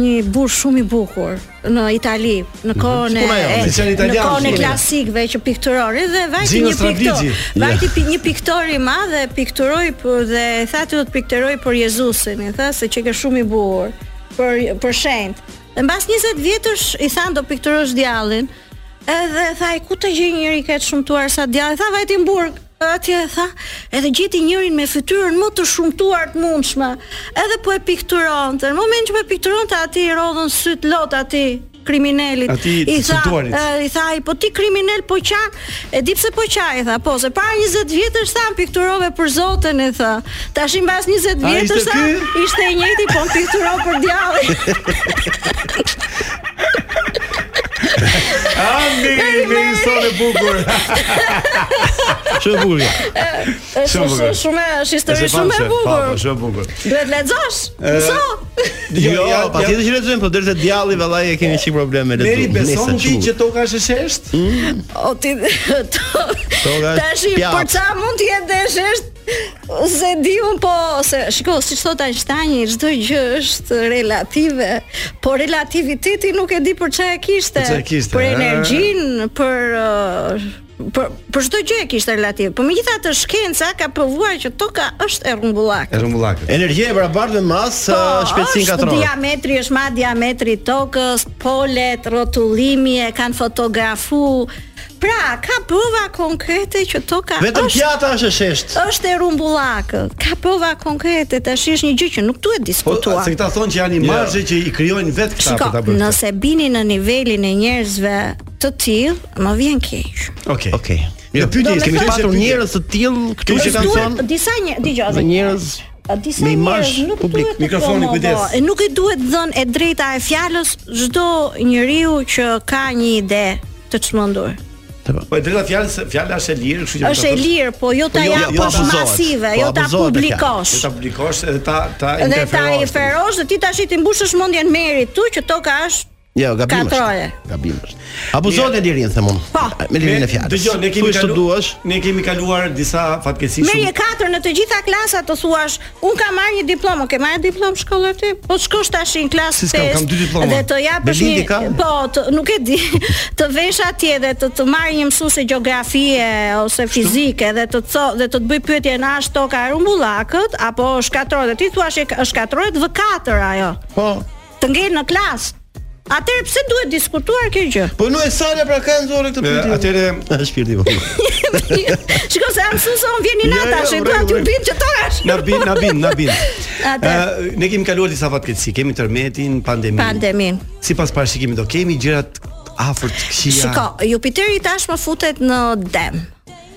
[SPEAKER 14] një burr shumë i bukur në Itali, në kohën e
[SPEAKER 8] Mhm. Si puna jote?
[SPEAKER 14] e-
[SPEAKER 8] Si qenë
[SPEAKER 14] në
[SPEAKER 8] italian,
[SPEAKER 14] kohën e
[SPEAKER 8] shumë.
[SPEAKER 14] klasikëve që pikturore dhe vajti
[SPEAKER 8] Gino
[SPEAKER 14] një piktor,
[SPEAKER 8] Strabligi.
[SPEAKER 14] vajti pi- një piktor i madh dhe pikturoi për- dhe tha ti do të pikturoj për Jezusin, i tha se që ke shumë i bukur, për për shenjtë. Dhe mbas 20 vjetësh i than do pikturosh djallin. Edhe tha, "Ai, ku të gjej njëri ka të shumtuar sa djalli?" Tha, "Vajti në burg." Atje tha, edhe gjeti njërin me fytyrën më të shumtuar të mundshme. Edhe po e pikturonte. Në moment që po e pikturonte aty i rodhën syt lot aty kriminalit.
[SPEAKER 8] Atij
[SPEAKER 14] I
[SPEAKER 8] të
[SPEAKER 14] tha,
[SPEAKER 8] cituarit.
[SPEAKER 14] e, i tha, "Ai, po ti kriminal po qan." E di pse po qan, i tha, "Po, se para 20 vjetësh tha pikturove për Zotin", i tha. Tash i mbas 20
[SPEAKER 8] A, ishte
[SPEAKER 14] vjetësh tha,
[SPEAKER 8] ky?
[SPEAKER 14] ishte i njëjti, po më pikturoi për
[SPEAKER 8] [LAUGHS]
[SPEAKER 14] djallin.
[SPEAKER 8] A Meri, Meri son e bukur.
[SPEAKER 9] Shumë e bukur. kjo.
[SPEAKER 8] Shumë
[SPEAKER 14] Është shumë
[SPEAKER 8] bukur.
[SPEAKER 14] shumë është histori
[SPEAKER 8] Është
[SPEAKER 14] shumë e
[SPEAKER 8] famshë,
[SPEAKER 14] bukur.
[SPEAKER 8] Po, po, shumë e bukur.
[SPEAKER 14] Duhet lexosh.
[SPEAKER 8] Ë,
[SPEAKER 14] Mëso.
[SPEAKER 9] Jo,
[SPEAKER 8] ja,
[SPEAKER 9] patjetër që lexojmë, po derisa djalli vallai e kemi çik probleme lexuar.
[SPEAKER 8] Meri beson ti që toka është e shesht?
[SPEAKER 14] O ti [LAUGHS]
[SPEAKER 9] Toga është
[SPEAKER 14] tash
[SPEAKER 9] pjatë.
[SPEAKER 14] për ça mund të jetë desh është se di un po se shiko siç thot Einsteini çdo gjë është relative, po relativiteti nuk e di për çfarë e kishte.
[SPEAKER 8] Për çfarë e kishte,
[SPEAKER 14] Për
[SPEAKER 8] ëh.
[SPEAKER 14] energjinë, për ë, për për çdo gjë e kishte relativ. Po megjithatë shkenca ka provuar që toka është e rrumbullak.
[SPEAKER 8] E rrumbullakët.
[SPEAKER 9] Energjia e barabartë me mas ë, uh, shpejtësinë
[SPEAKER 14] Po, Është
[SPEAKER 9] katrore.
[SPEAKER 14] diametri, është ma diametri i tokës, polet, rrotullimi e kanë fotografu. Pra, ka prova konkrete që toka
[SPEAKER 9] Vetëm pjata është e shesht.
[SPEAKER 14] është e rumbullakët. Ka prova konkrete, tash është një gjë që nuk duhet
[SPEAKER 8] Po
[SPEAKER 14] diskutuar.
[SPEAKER 8] se këta thonë që janë imazhe që i krijojnë vetë këta
[SPEAKER 14] Shiko,
[SPEAKER 8] për ta bërë. këtë.
[SPEAKER 14] nëse bini në nivelin e njerëzve të tillë, më vjen keq.
[SPEAKER 8] Okej.
[SPEAKER 9] Okej.
[SPEAKER 8] Jo, pyetje,
[SPEAKER 9] kemi
[SPEAKER 8] kemi
[SPEAKER 9] patur
[SPEAKER 8] pyetje.
[SPEAKER 9] njerëz të tillë këtu që
[SPEAKER 14] Nuk
[SPEAKER 9] kanë
[SPEAKER 14] duhet-
[SPEAKER 9] thonë
[SPEAKER 14] disa njerëz, dëgjoj.
[SPEAKER 9] me njerëz
[SPEAKER 14] Disa
[SPEAKER 9] me
[SPEAKER 14] njerëz
[SPEAKER 9] imazh
[SPEAKER 14] nuk
[SPEAKER 9] publik.
[SPEAKER 14] duhet të
[SPEAKER 9] Mikrofoni,
[SPEAKER 14] promovo-
[SPEAKER 9] kujdes.
[SPEAKER 14] e Nuk i duhet dhënë e drejta e fjalës çdo njeriu që ka një ide të çmendur.
[SPEAKER 8] Po e drejta fjalë se fjala është e lirë, kështu që
[SPEAKER 14] Është e lirë, po jo ta jap poshtë masive, jo ta publikosh.
[SPEAKER 8] Jo ta publikosh edhe ta Jo ta
[SPEAKER 14] Dhe ta i
[SPEAKER 8] interferosh.
[SPEAKER 14] ferosh dhe ti tash i ti mbushësh mendjen merit tu që to ka është
[SPEAKER 9] Jo, gabim
[SPEAKER 14] Katroje. Po.
[SPEAKER 9] është. Gabim është. Abuzohet e lirin them unë. Me lirin e fjalës.
[SPEAKER 8] Dëgjoj, ne kemi
[SPEAKER 9] Thuaj ç'do
[SPEAKER 8] kaluar, duash, ne kemi kaluar disa fatkeqësi
[SPEAKER 14] Merje
[SPEAKER 8] shumë.
[SPEAKER 14] katër në të gjitha klasat të thuash, un kam marrë një diplomë, ke marrë diplomë shkollë ti? Po shkosh tash në klasë
[SPEAKER 8] Si s'kam, kam dy diploma.
[SPEAKER 14] Dhe të japësh
[SPEAKER 8] Belindi
[SPEAKER 14] një
[SPEAKER 8] ka?
[SPEAKER 14] po, të, nuk e
[SPEAKER 8] [LAUGHS]
[SPEAKER 14] di, të vesh atje dhe të të marrë një mësuese gjeografie ose fizike dhe të co, dhe të të bëj pyetje na është toka e rumbullakët apo shkatror dhe ti thua që është shkatror të V4 ajo.
[SPEAKER 9] Po.
[SPEAKER 14] Të ngel në klasë. Atëherë pse duhet diskutuar kjo
[SPEAKER 8] [LAUGHS]
[SPEAKER 14] gjë?
[SPEAKER 9] Po nuk e sale pra ka nxorë këtë pyetje.
[SPEAKER 8] Atëre
[SPEAKER 9] shpirti po.
[SPEAKER 14] Shiko se jam mësuese, unë vjen një
[SPEAKER 8] Jo, jo,
[SPEAKER 14] natë tash,
[SPEAKER 8] ure,
[SPEAKER 14] dua t'ju
[SPEAKER 8] ure.
[SPEAKER 14] bind që toka është.
[SPEAKER 8] Na bin, na bin, na
[SPEAKER 14] [LAUGHS]
[SPEAKER 8] bin.
[SPEAKER 14] Atë.
[SPEAKER 8] Ë, ne kemi kaluar disa fatkeqësi, kemi tërmetin, pandemin.
[SPEAKER 14] Pandemin.
[SPEAKER 8] Sipas parashikimit do kemi gjërat afërt këshia.
[SPEAKER 14] Shiko, Jupiteri tashmë futet në dem.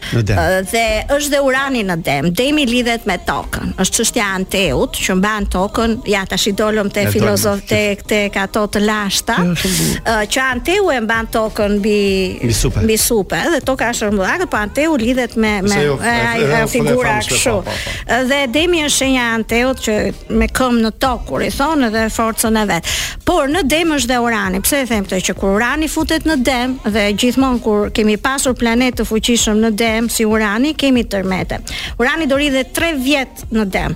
[SPEAKER 8] Në dem.
[SPEAKER 14] Ë, Dhe është dhe urani në dem. Demi lidhet me tokën. Është çështja e anteut që mban tokën. Ja tash i dolëm te
[SPEAKER 15] Ja, dolëm.
[SPEAKER 14] filozof te tek ato të lashta. Ë, që anteu e mban tokën mbi
[SPEAKER 8] Mbi supe.
[SPEAKER 14] Mbi supe dhe toka është rrëmbëllake, po anteu lidhet me me
[SPEAKER 15] Se jo,
[SPEAKER 14] e, ai
[SPEAKER 15] e, e,
[SPEAKER 14] e,
[SPEAKER 15] e, e,
[SPEAKER 14] figura
[SPEAKER 15] e,
[SPEAKER 14] kështu.
[SPEAKER 15] po, po, po.
[SPEAKER 14] Dhe Demi është shenja e anteut që me këmbë në tokë kur i thonë dhe forcën e vet. Por në Dem është dhe Urani. Pse e them këtë që kur Urani futet në Dem dhe gjithmonë kur kemi pasur planet të fuqishëm në Dem si Urani, kemi tërmete. Urani do rridhet 3 vjet në Dem.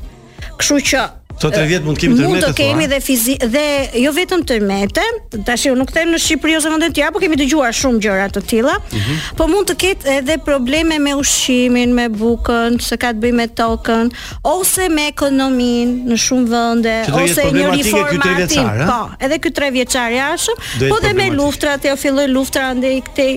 [SPEAKER 14] Kështu që
[SPEAKER 8] Këto tre vjet mund të kemi
[SPEAKER 14] Mund
[SPEAKER 8] tërmete,
[SPEAKER 14] të
[SPEAKER 8] thua,
[SPEAKER 14] kemi
[SPEAKER 8] a?
[SPEAKER 14] dhe fizi dhe jo vetëm tërmete, tash unë nuk them në Shqipëri ose vende të tjera, por kemi dëgjuar shumë gjëra të tilla.
[SPEAKER 8] Mhm.
[SPEAKER 14] Po mund të ketë edhe probleme me ushqimin, me bukën, se ka të bëjë me tokën ose me ekonominë në shumë vende
[SPEAKER 8] Që do jetë
[SPEAKER 14] ose një
[SPEAKER 8] problematike ky tre
[SPEAKER 14] riformatim.
[SPEAKER 8] vjeçar, a?
[SPEAKER 14] Po, edhe ky 3 vjeçar jashtë,
[SPEAKER 8] Do jetë
[SPEAKER 14] po dhe me
[SPEAKER 8] problematike.
[SPEAKER 14] luftrat, jo filloi luftra andej këtej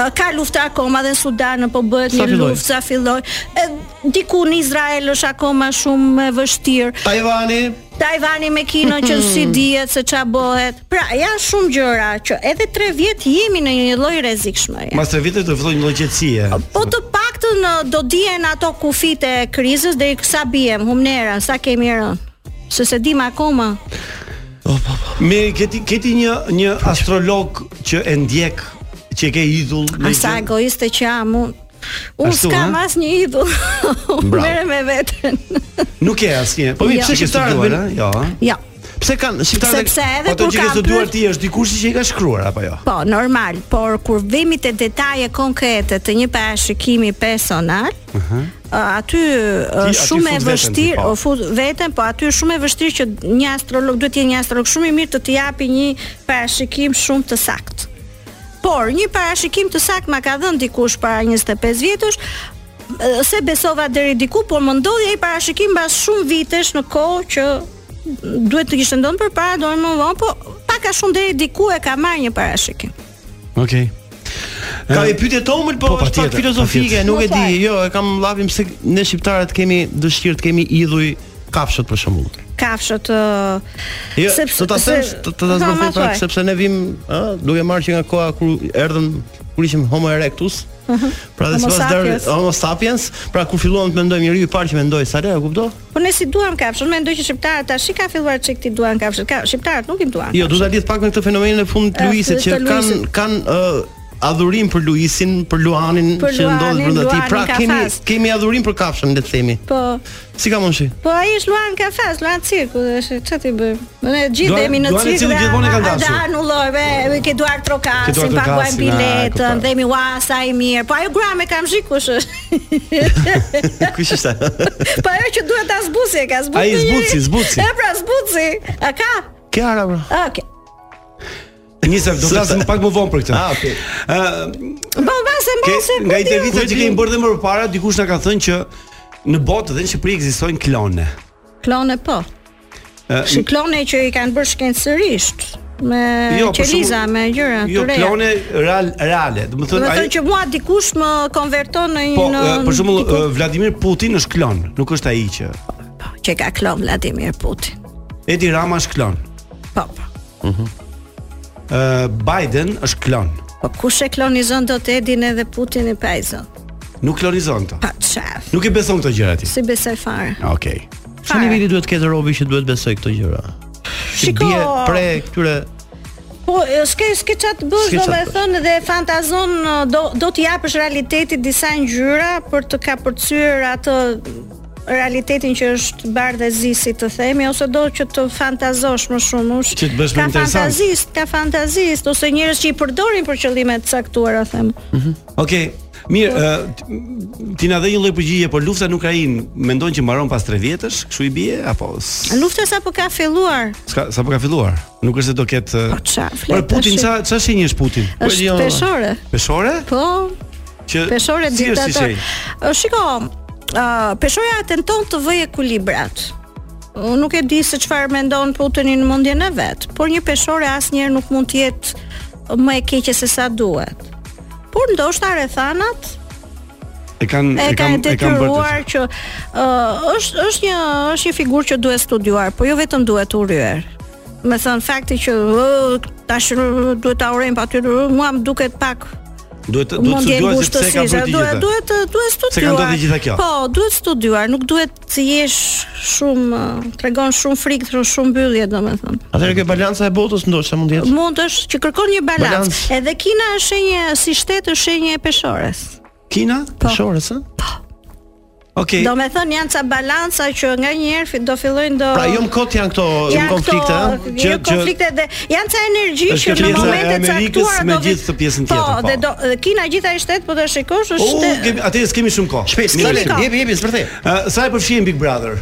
[SPEAKER 14] Ë, ka lufta akoma dhe në Sudan po bëhet
[SPEAKER 8] Sa
[SPEAKER 14] një
[SPEAKER 8] filloi?
[SPEAKER 14] luftë sa filloi. Ë, Diku në Izrael është akoma shumë e vështirë.
[SPEAKER 9] Tajvani
[SPEAKER 14] Tajvani me Kinën që si
[SPEAKER 8] Hmm.
[SPEAKER 14] dihet se ç'a bëhet. Pra, janë shumë gjëra që edhe 3 vjet jemi në një lloj rrezikshmërie.
[SPEAKER 8] Mbas tre viteve do filloj një lloj qetësie.
[SPEAKER 14] Po të paktën ë, do dihen ato kufit e krizës deri sa bijem humnerën, sa kemi rënë. Se se dim akoma.
[SPEAKER 8] Mirë, keti keti një një astrolog që e ndjek, që e ke idhull në
[SPEAKER 14] Asa egoiste që jam unë. Unë
[SPEAKER 8] Ashtu,
[SPEAKER 14] s'kam
[SPEAKER 8] ha?
[SPEAKER 14] asnjë idhull. Unë
[SPEAKER 8] Bravo.
[SPEAKER 14] Merrem me veten.
[SPEAKER 8] Nuk ke asnjë. Po mirë,
[SPEAKER 14] Jo.
[SPEAKER 8] pse shqiptarët
[SPEAKER 14] Studuar,
[SPEAKER 8] bën? Jo. a?
[SPEAKER 14] Jo.
[SPEAKER 9] Pse kanë
[SPEAKER 8] Shqiptarët-
[SPEAKER 14] Sepse edhe
[SPEAKER 8] po ato
[SPEAKER 14] kur
[SPEAKER 8] që ke
[SPEAKER 14] kam
[SPEAKER 8] studuar
[SPEAKER 14] pyet-
[SPEAKER 8] ti është dikush që i ka shkruar apo jo?
[SPEAKER 14] Po, normal, por kur vemi te detaje konkrete të një parashikimi personal,
[SPEAKER 8] Aha.
[SPEAKER 14] A-
[SPEAKER 8] Ti-
[SPEAKER 14] aty është
[SPEAKER 8] aty
[SPEAKER 14] shumë e
[SPEAKER 8] fut veten ti,
[SPEAKER 14] vështirë,
[SPEAKER 8] po.
[SPEAKER 14] o fut veten, po aty është shumë e vështirë që një astrolog duhet të jetë një astrolog shumë i mirë të të japi një parashikim shumë të saktë. Por një parashikim të saktë ma ka dhënë dikush para 25 vjetësh, ë, se besova deri diku, por më ndodhi ai parashikim mbas shumë vitesh në kohë që duhet të kishte ndonë për para, do më vonë, po pak a shumë deri diku e ka marrë një parashikim.
[SPEAKER 8] Okej.
[SPEAKER 9] Ka i pyetje tomël, po,
[SPEAKER 8] po,
[SPEAKER 9] është pak
[SPEAKER 8] patjetër,
[SPEAKER 9] filozofike,
[SPEAKER 8] patjetër.
[SPEAKER 9] nuk e
[SPEAKER 8] Po,
[SPEAKER 9] di. Jo, e kam llafim se ne shqiptarët kemi dëshirë të kemi idhuj kafshët për shembull.
[SPEAKER 14] Kafshët ë,
[SPEAKER 9] Jo, do ta
[SPEAKER 14] se-
[SPEAKER 9] them, do ta
[SPEAKER 14] Ha, ma
[SPEAKER 9] zbërthoj
[SPEAKER 14] thuaj.
[SPEAKER 9] pak sepse ne vim, ë, duke marrë që nga koha kur erdhëm kur ishim Homo erectus, pra dhe
[SPEAKER 14] Homo
[SPEAKER 9] sipas der
[SPEAKER 14] sapiens.
[SPEAKER 9] Homo sapiens, pra kur filluam të mendojmë njeriu i parë që mendoi sa le, e kupton?
[SPEAKER 14] Po ne si duam kafshën, mendoj që shqiptarët tash i ka filluar çik ti duan kafshën. Ka, shqiptarët nuk i duan.
[SPEAKER 9] Jo, do ta lidh pak me këtë fenomenin e fund
[SPEAKER 14] E,
[SPEAKER 9] të Luisit që
[SPEAKER 14] të
[SPEAKER 9] kanë
[SPEAKER 14] Luisit.
[SPEAKER 9] kanë ë, adhurim për Luisin, për Luanin
[SPEAKER 14] Për
[SPEAKER 9] që ndodhet
[SPEAKER 14] Luanin,
[SPEAKER 9] brenda tij.
[SPEAKER 14] Luanin
[SPEAKER 9] Pra
[SPEAKER 14] ka
[SPEAKER 9] kemi
[SPEAKER 14] fast.
[SPEAKER 9] kemi adhurim për kafshën, le të themi.
[SPEAKER 14] Po,
[SPEAKER 9] Si ka monshi?
[SPEAKER 14] po ai është Luan ka fas, Luan cirku, është ç'a ti bëj. Ne gjithë
[SPEAKER 9] Duan-
[SPEAKER 14] jemi në
[SPEAKER 9] Luani
[SPEAKER 14] cirk.
[SPEAKER 9] Cirku gjithmonë e ka
[SPEAKER 14] Ata
[SPEAKER 9] dashur.
[SPEAKER 14] anulloj, be, be, ke
[SPEAKER 8] Ke
[SPEAKER 14] duar
[SPEAKER 8] duar
[SPEAKER 14] trokasin, paguajnë
[SPEAKER 8] trokasin, a, kuptoj.
[SPEAKER 14] biletën, dhe mi ua sa i mirë. Po ajo gram e kam zhi kush
[SPEAKER 9] [LAUGHS]
[SPEAKER 14] është.
[SPEAKER 9] Kush ishte?
[SPEAKER 14] po ajo që duhet ta zbusi, e ka zbusi.
[SPEAKER 9] Ai
[SPEAKER 14] njëri.
[SPEAKER 9] zbuci, zbuci.
[SPEAKER 14] E pra zbuci. A ka?
[SPEAKER 9] Ke ara bra.
[SPEAKER 14] Okej.
[SPEAKER 8] Nisem, do flasim pak më vonë për këtë.
[SPEAKER 9] Ah, okay.
[SPEAKER 8] Ë,
[SPEAKER 14] Po mbase
[SPEAKER 8] Ke,
[SPEAKER 14] mbase.
[SPEAKER 8] nga
[SPEAKER 14] po,
[SPEAKER 8] intervista
[SPEAKER 14] ti-
[SPEAKER 8] që kemi bërë dhe më parë, dikush na ka thënë që në botë dhe në Shqipëri ekzistojnë klone.
[SPEAKER 14] klone po.
[SPEAKER 8] Ë,
[SPEAKER 14] Si klone që i kanë bërë shkencërisht me
[SPEAKER 8] Jo, për
[SPEAKER 14] qeliza,
[SPEAKER 8] shembull-
[SPEAKER 14] me gjëra
[SPEAKER 8] Jo,
[SPEAKER 14] të reja.
[SPEAKER 8] klone real, reale. Do të
[SPEAKER 14] Do
[SPEAKER 8] thonë
[SPEAKER 14] të
[SPEAKER 8] ai
[SPEAKER 14] thonë që mua dikush më konverton në një
[SPEAKER 8] po ë, për shembull
[SPEAKER 14] diku-
[SPEAKER 8] ë, Vladimir Putin është klon, nuk është ai që
[SPEAKER 14] që ka klon Vladimir Putin.
[SPEAKER 8] Edi Rama është klon.
[SPEAKER 14] Po.
[SPEAKER 8] Mhm. Ë eh, Biden është klon.
[SPEAKER 14] Po kush e klonizon do të edin edhe Putin e pajzon.
[SPEAKER 8] Nuk klonizon këto.
[SPEAKER 14] Pa çaf.
[SPEAKER 8] Nuk i beson këto gjëra ti.
[SPEAKER 14] Si besoj fare.
[SPEAKER 8] Okej.
[SPEAKER 9] Çfarë niveli duhet të ketë robi që duhet besoj këto gjëra? Që
[SPEAKER 14] Shiko-
[SPEAKER 9] bie pre këtyre
[SPEAKER 14] Po e, s'ke s'ke ç'a të bësh
[SPEAKER 9] S'ke ç'a të
[SPEAKER 14] domethënë dhe fantazon e, do do të japësh realitetit disa ngjyra për të kapërcyer atë realitetin që është bardhë e zi si të themi ose do që të fantazosh më shumë ush.
[SPEAKER 8] Që të bësh më
[SPEAKER 14] ka
[SPEAKER 8] interesant.
[SPEAKER 14] fantazist, ka fantazist ose njerëz që i përdorin për qëllime të caktuara them.
[SPEAKER 8] Okej. Mirë, ë, t- m- ti na dhe një lloj përgjigje, por lufta në Ukrainë mendon që mbaron pas 3 vjetësh, kështu i bie apo s-
[SPEAKER 14] Lufta sapo po ka filluar.
[SPEAKER 8] Ska sapo ka filluar. Nuk është se do ketë Po
[SPEAKER 14] çfarë
[SPEAKER 8] Por
[SPEAKER 14] flet
[SPEAKER 8] Putin
[SPEAKER 14] tash?
[SPEAKER 8] ça ça shenjë është Putin?
[SPEAKER 14] Është
[SPEAKER 9] jo.
[SPEAKER 8] Po,
[SPEAKER 14] peshore.
[SPEAKER 8] Peshore?
[SPEAKER 14] Po,
[SPEAKER 8] Që
[SPEAKER 14] peshore
[SPEAKER 8] si është si
[SPEAKER 14] diktator.
[SPEAKER 8] shenjë?
[SPEAKER 14] Ë, Shiko, ë, peshoja tenton të vëjë ekuilibrat. Unë nuk e di se çfarë mendon Putini në mendjen e vet, por një peshore asnjëherë nuk mund të jetë më e keqe se sa duhet. Por ndoshta rethanat
[SPEAKER 8] E kanë
[SPEAKER 14] e ka
[SPEAKER 8] kanë- kanë bërë të-
[SPEAKER 14] detyruar që ë, është është një është një figurë që duhet studiuar, por jo vetëm duhet u rryer. Me thënë fakti që ë, tash ë, duhet ta urojmë pa ty, ë, mua më duket pak
[SPEAKER 8] Duhet të- duhet të studiuar se pse ka bërë të
[SPEAKER 14] duhet
[SPEAKER 8] gjitha.
[SPEAKER 14] duhet të- duhet studiuar.
[SPEAKER 8] Se ka ndodhur gjitha kjo.
[SPEAKER 14] Po, duhet studiuar, nuk duhet të jesh shumë ë, tregon shumë frikë, shumë mbyllje domethënë.
[SPEAKER 9] Atëherë kjo balanca e botës ndoshta mund të jetë.
[SPEAKER 14] Mund është që kërkon një balans.
[SPEAKER 9] Balans.
[SPEAKER 14] Edhe Kina është shenjë si shtet është shenjë e peshores.
[SPEAKER 8] Kina?
[SPEAKER 14] Po.
[SPEAKER 9] Peshores, ë?
[SPEAKER 8] Okej.
[SPEAKER 14] Do me thënë janë ca balanca që nga njerë fi- do fillojnë do...
[SPEAKER 9] Pra jo më kot janë këto
[SPEAKER 14] Janë
[SPEAKER 9] janë konflikte,
[SPEAKER 14] këto-
[SPEAKER 9] ë?
[SPEAKER 14] jo konflikte dhe janë ca energji
[SPEAKER 9] Është kjo
[SPEAKER 14] që në
[SPEAKER 9] pjesa e
[SPEAKER 14] momente
[SPEAKER 8] Amerikës
[SPEAKER 14] caktuara
[SPEAKER 8] me
[SPEAKER 14] do vi-
[SPEAKER 8] gjithë të pjesën tjetër,
[SPEAKER 14] Po,
[SPEAKER 8] po.
[SPEAKER 14] dhe do dhe Kina gjitha e shtet, po ta shikosh është
[SPEAKER 8] U,
[SPEAKER 14] shtet-
[SPEAKER 8] kemi atë s'kemi shumë kohë.
[SPEAKER 9] Shpejt,
[SPEAKER 8] Mirë,
[SPEAKER 14] s'kemi
[SPEAKER 8] shumë.
[SPEAKER 14] kohë.
[SPEAKER 9] jepi, s'përthej.
[SPEAKER 8] Ë, sa e përfshihen Big Brother?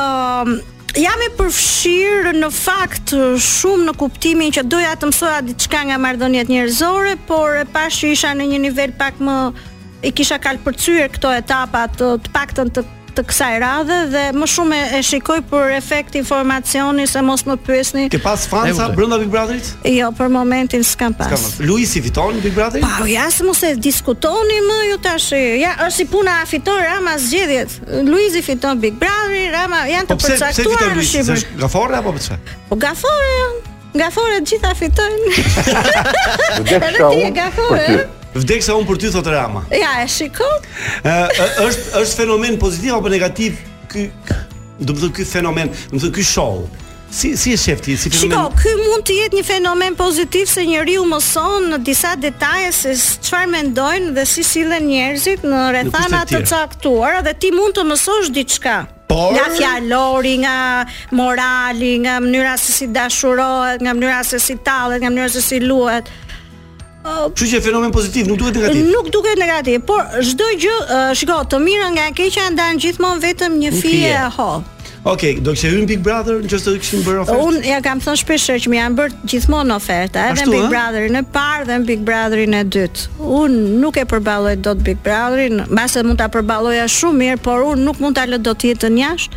[SPEAKER 14] Ëm jam e përfshirë në fakt shumë në kuptimin që doja të mësoja diçka nga marrëdhëniet njerëzore, por e pash që isha në një nivel pak më i kisha kalpërcyer këto etapa të, të paktën të të kësaj radhe dhe më shumë e- e shikoj për efekt informacioni se mos më pyesni.
[SPEAKER 8] Ke pas Franca brenda Big Brotherit?
[SPEAKER 14] Jo, për momentin s'kam pas.
[SPEAKER 8] S'ka më. Luisi fiton Big Brotherin?
[SPEAKER 14] Po, ja se mos e diskutoni më ju tash. Ja, është si puna a fiton Rama zgjedhjet. Luizi fiton Big Brother, Rama janë
[SPEAKER 8] Po
[SPEAKER 14] të
[SPEAKER 8] pse pse fiton
[SPEAKER 14] përcaktuar në
[SPEAKER 8] Luisi? Se
[SPEAKER 14] Shqipëri.
[SPEAKER 8] është gafore apo pse?
[SPEAKER 14] Po gafore janë. Gafore të gjitha fitojnë. Edhe ti je gafore. ëh?
[SPEAKER 8] Vdeksa unë për ty thotë Rama.
[SPEAKER 14] Ja, e shikoj.
[SPEAKER 8] Ë, ë, është është fenomen pozitiv apo negativ ky do të thotë ky fenomen, do të thotë ky show. Si si e shef ti si
[SPEAKER 14] Shiko,
[SPEAKER 8] fenomen?
[SPEAKER 14] ky mund të jetë një fenomen pozitiv se njeriu mëson në disa detaje se s- çfarë mendojnë dhe si sillen njerëzit në rrethana të
[SPEAKER 7] tjera.
[SPEAKER 14] caktuara dhe ti mund të mësosh diçka.
[SPEAKER 7] Por-
[SPEAKER 14] Nga fjalori, nga morali, nga mënyra se si dashurohet, nga mënyra se si tallet, nga mënyra se si luhet.
[SPEAKER 8] Kështu që fenomen pozitiv nuk duhet negativ.
[SPEAKER 14] Nuk duket negativ, por çdo gjë, ë, shiko, të mira nga e keqja ndan gjithmonë vetëm
[SPEAKER 8] Një
[SPEAKER 14] një fije
[SPEAKER 8] fije.
[SPEAKER 14] e hollë.
[SPEAKER 8] Okej, do kishte hyrë në Big Brother nëse do kishin bërë ofertë.
[SPEAKER 14] Unë ja kam thënë shpeshherë që më janë bërë gjithmonë oferta, edhe
[SPEAKER 8] Ashtu,
[SPEAKER 14] në Big
[SPEAKER 8] ë?
[SPEAKER 14] Brotherin e parë dhe në Big Brotherin e dytë. Unë nuk e përballoj dot Big Brotherin, mbase mund ta përballoja shumë mirë, por unë nuk mund ta lë dot jetën jashtë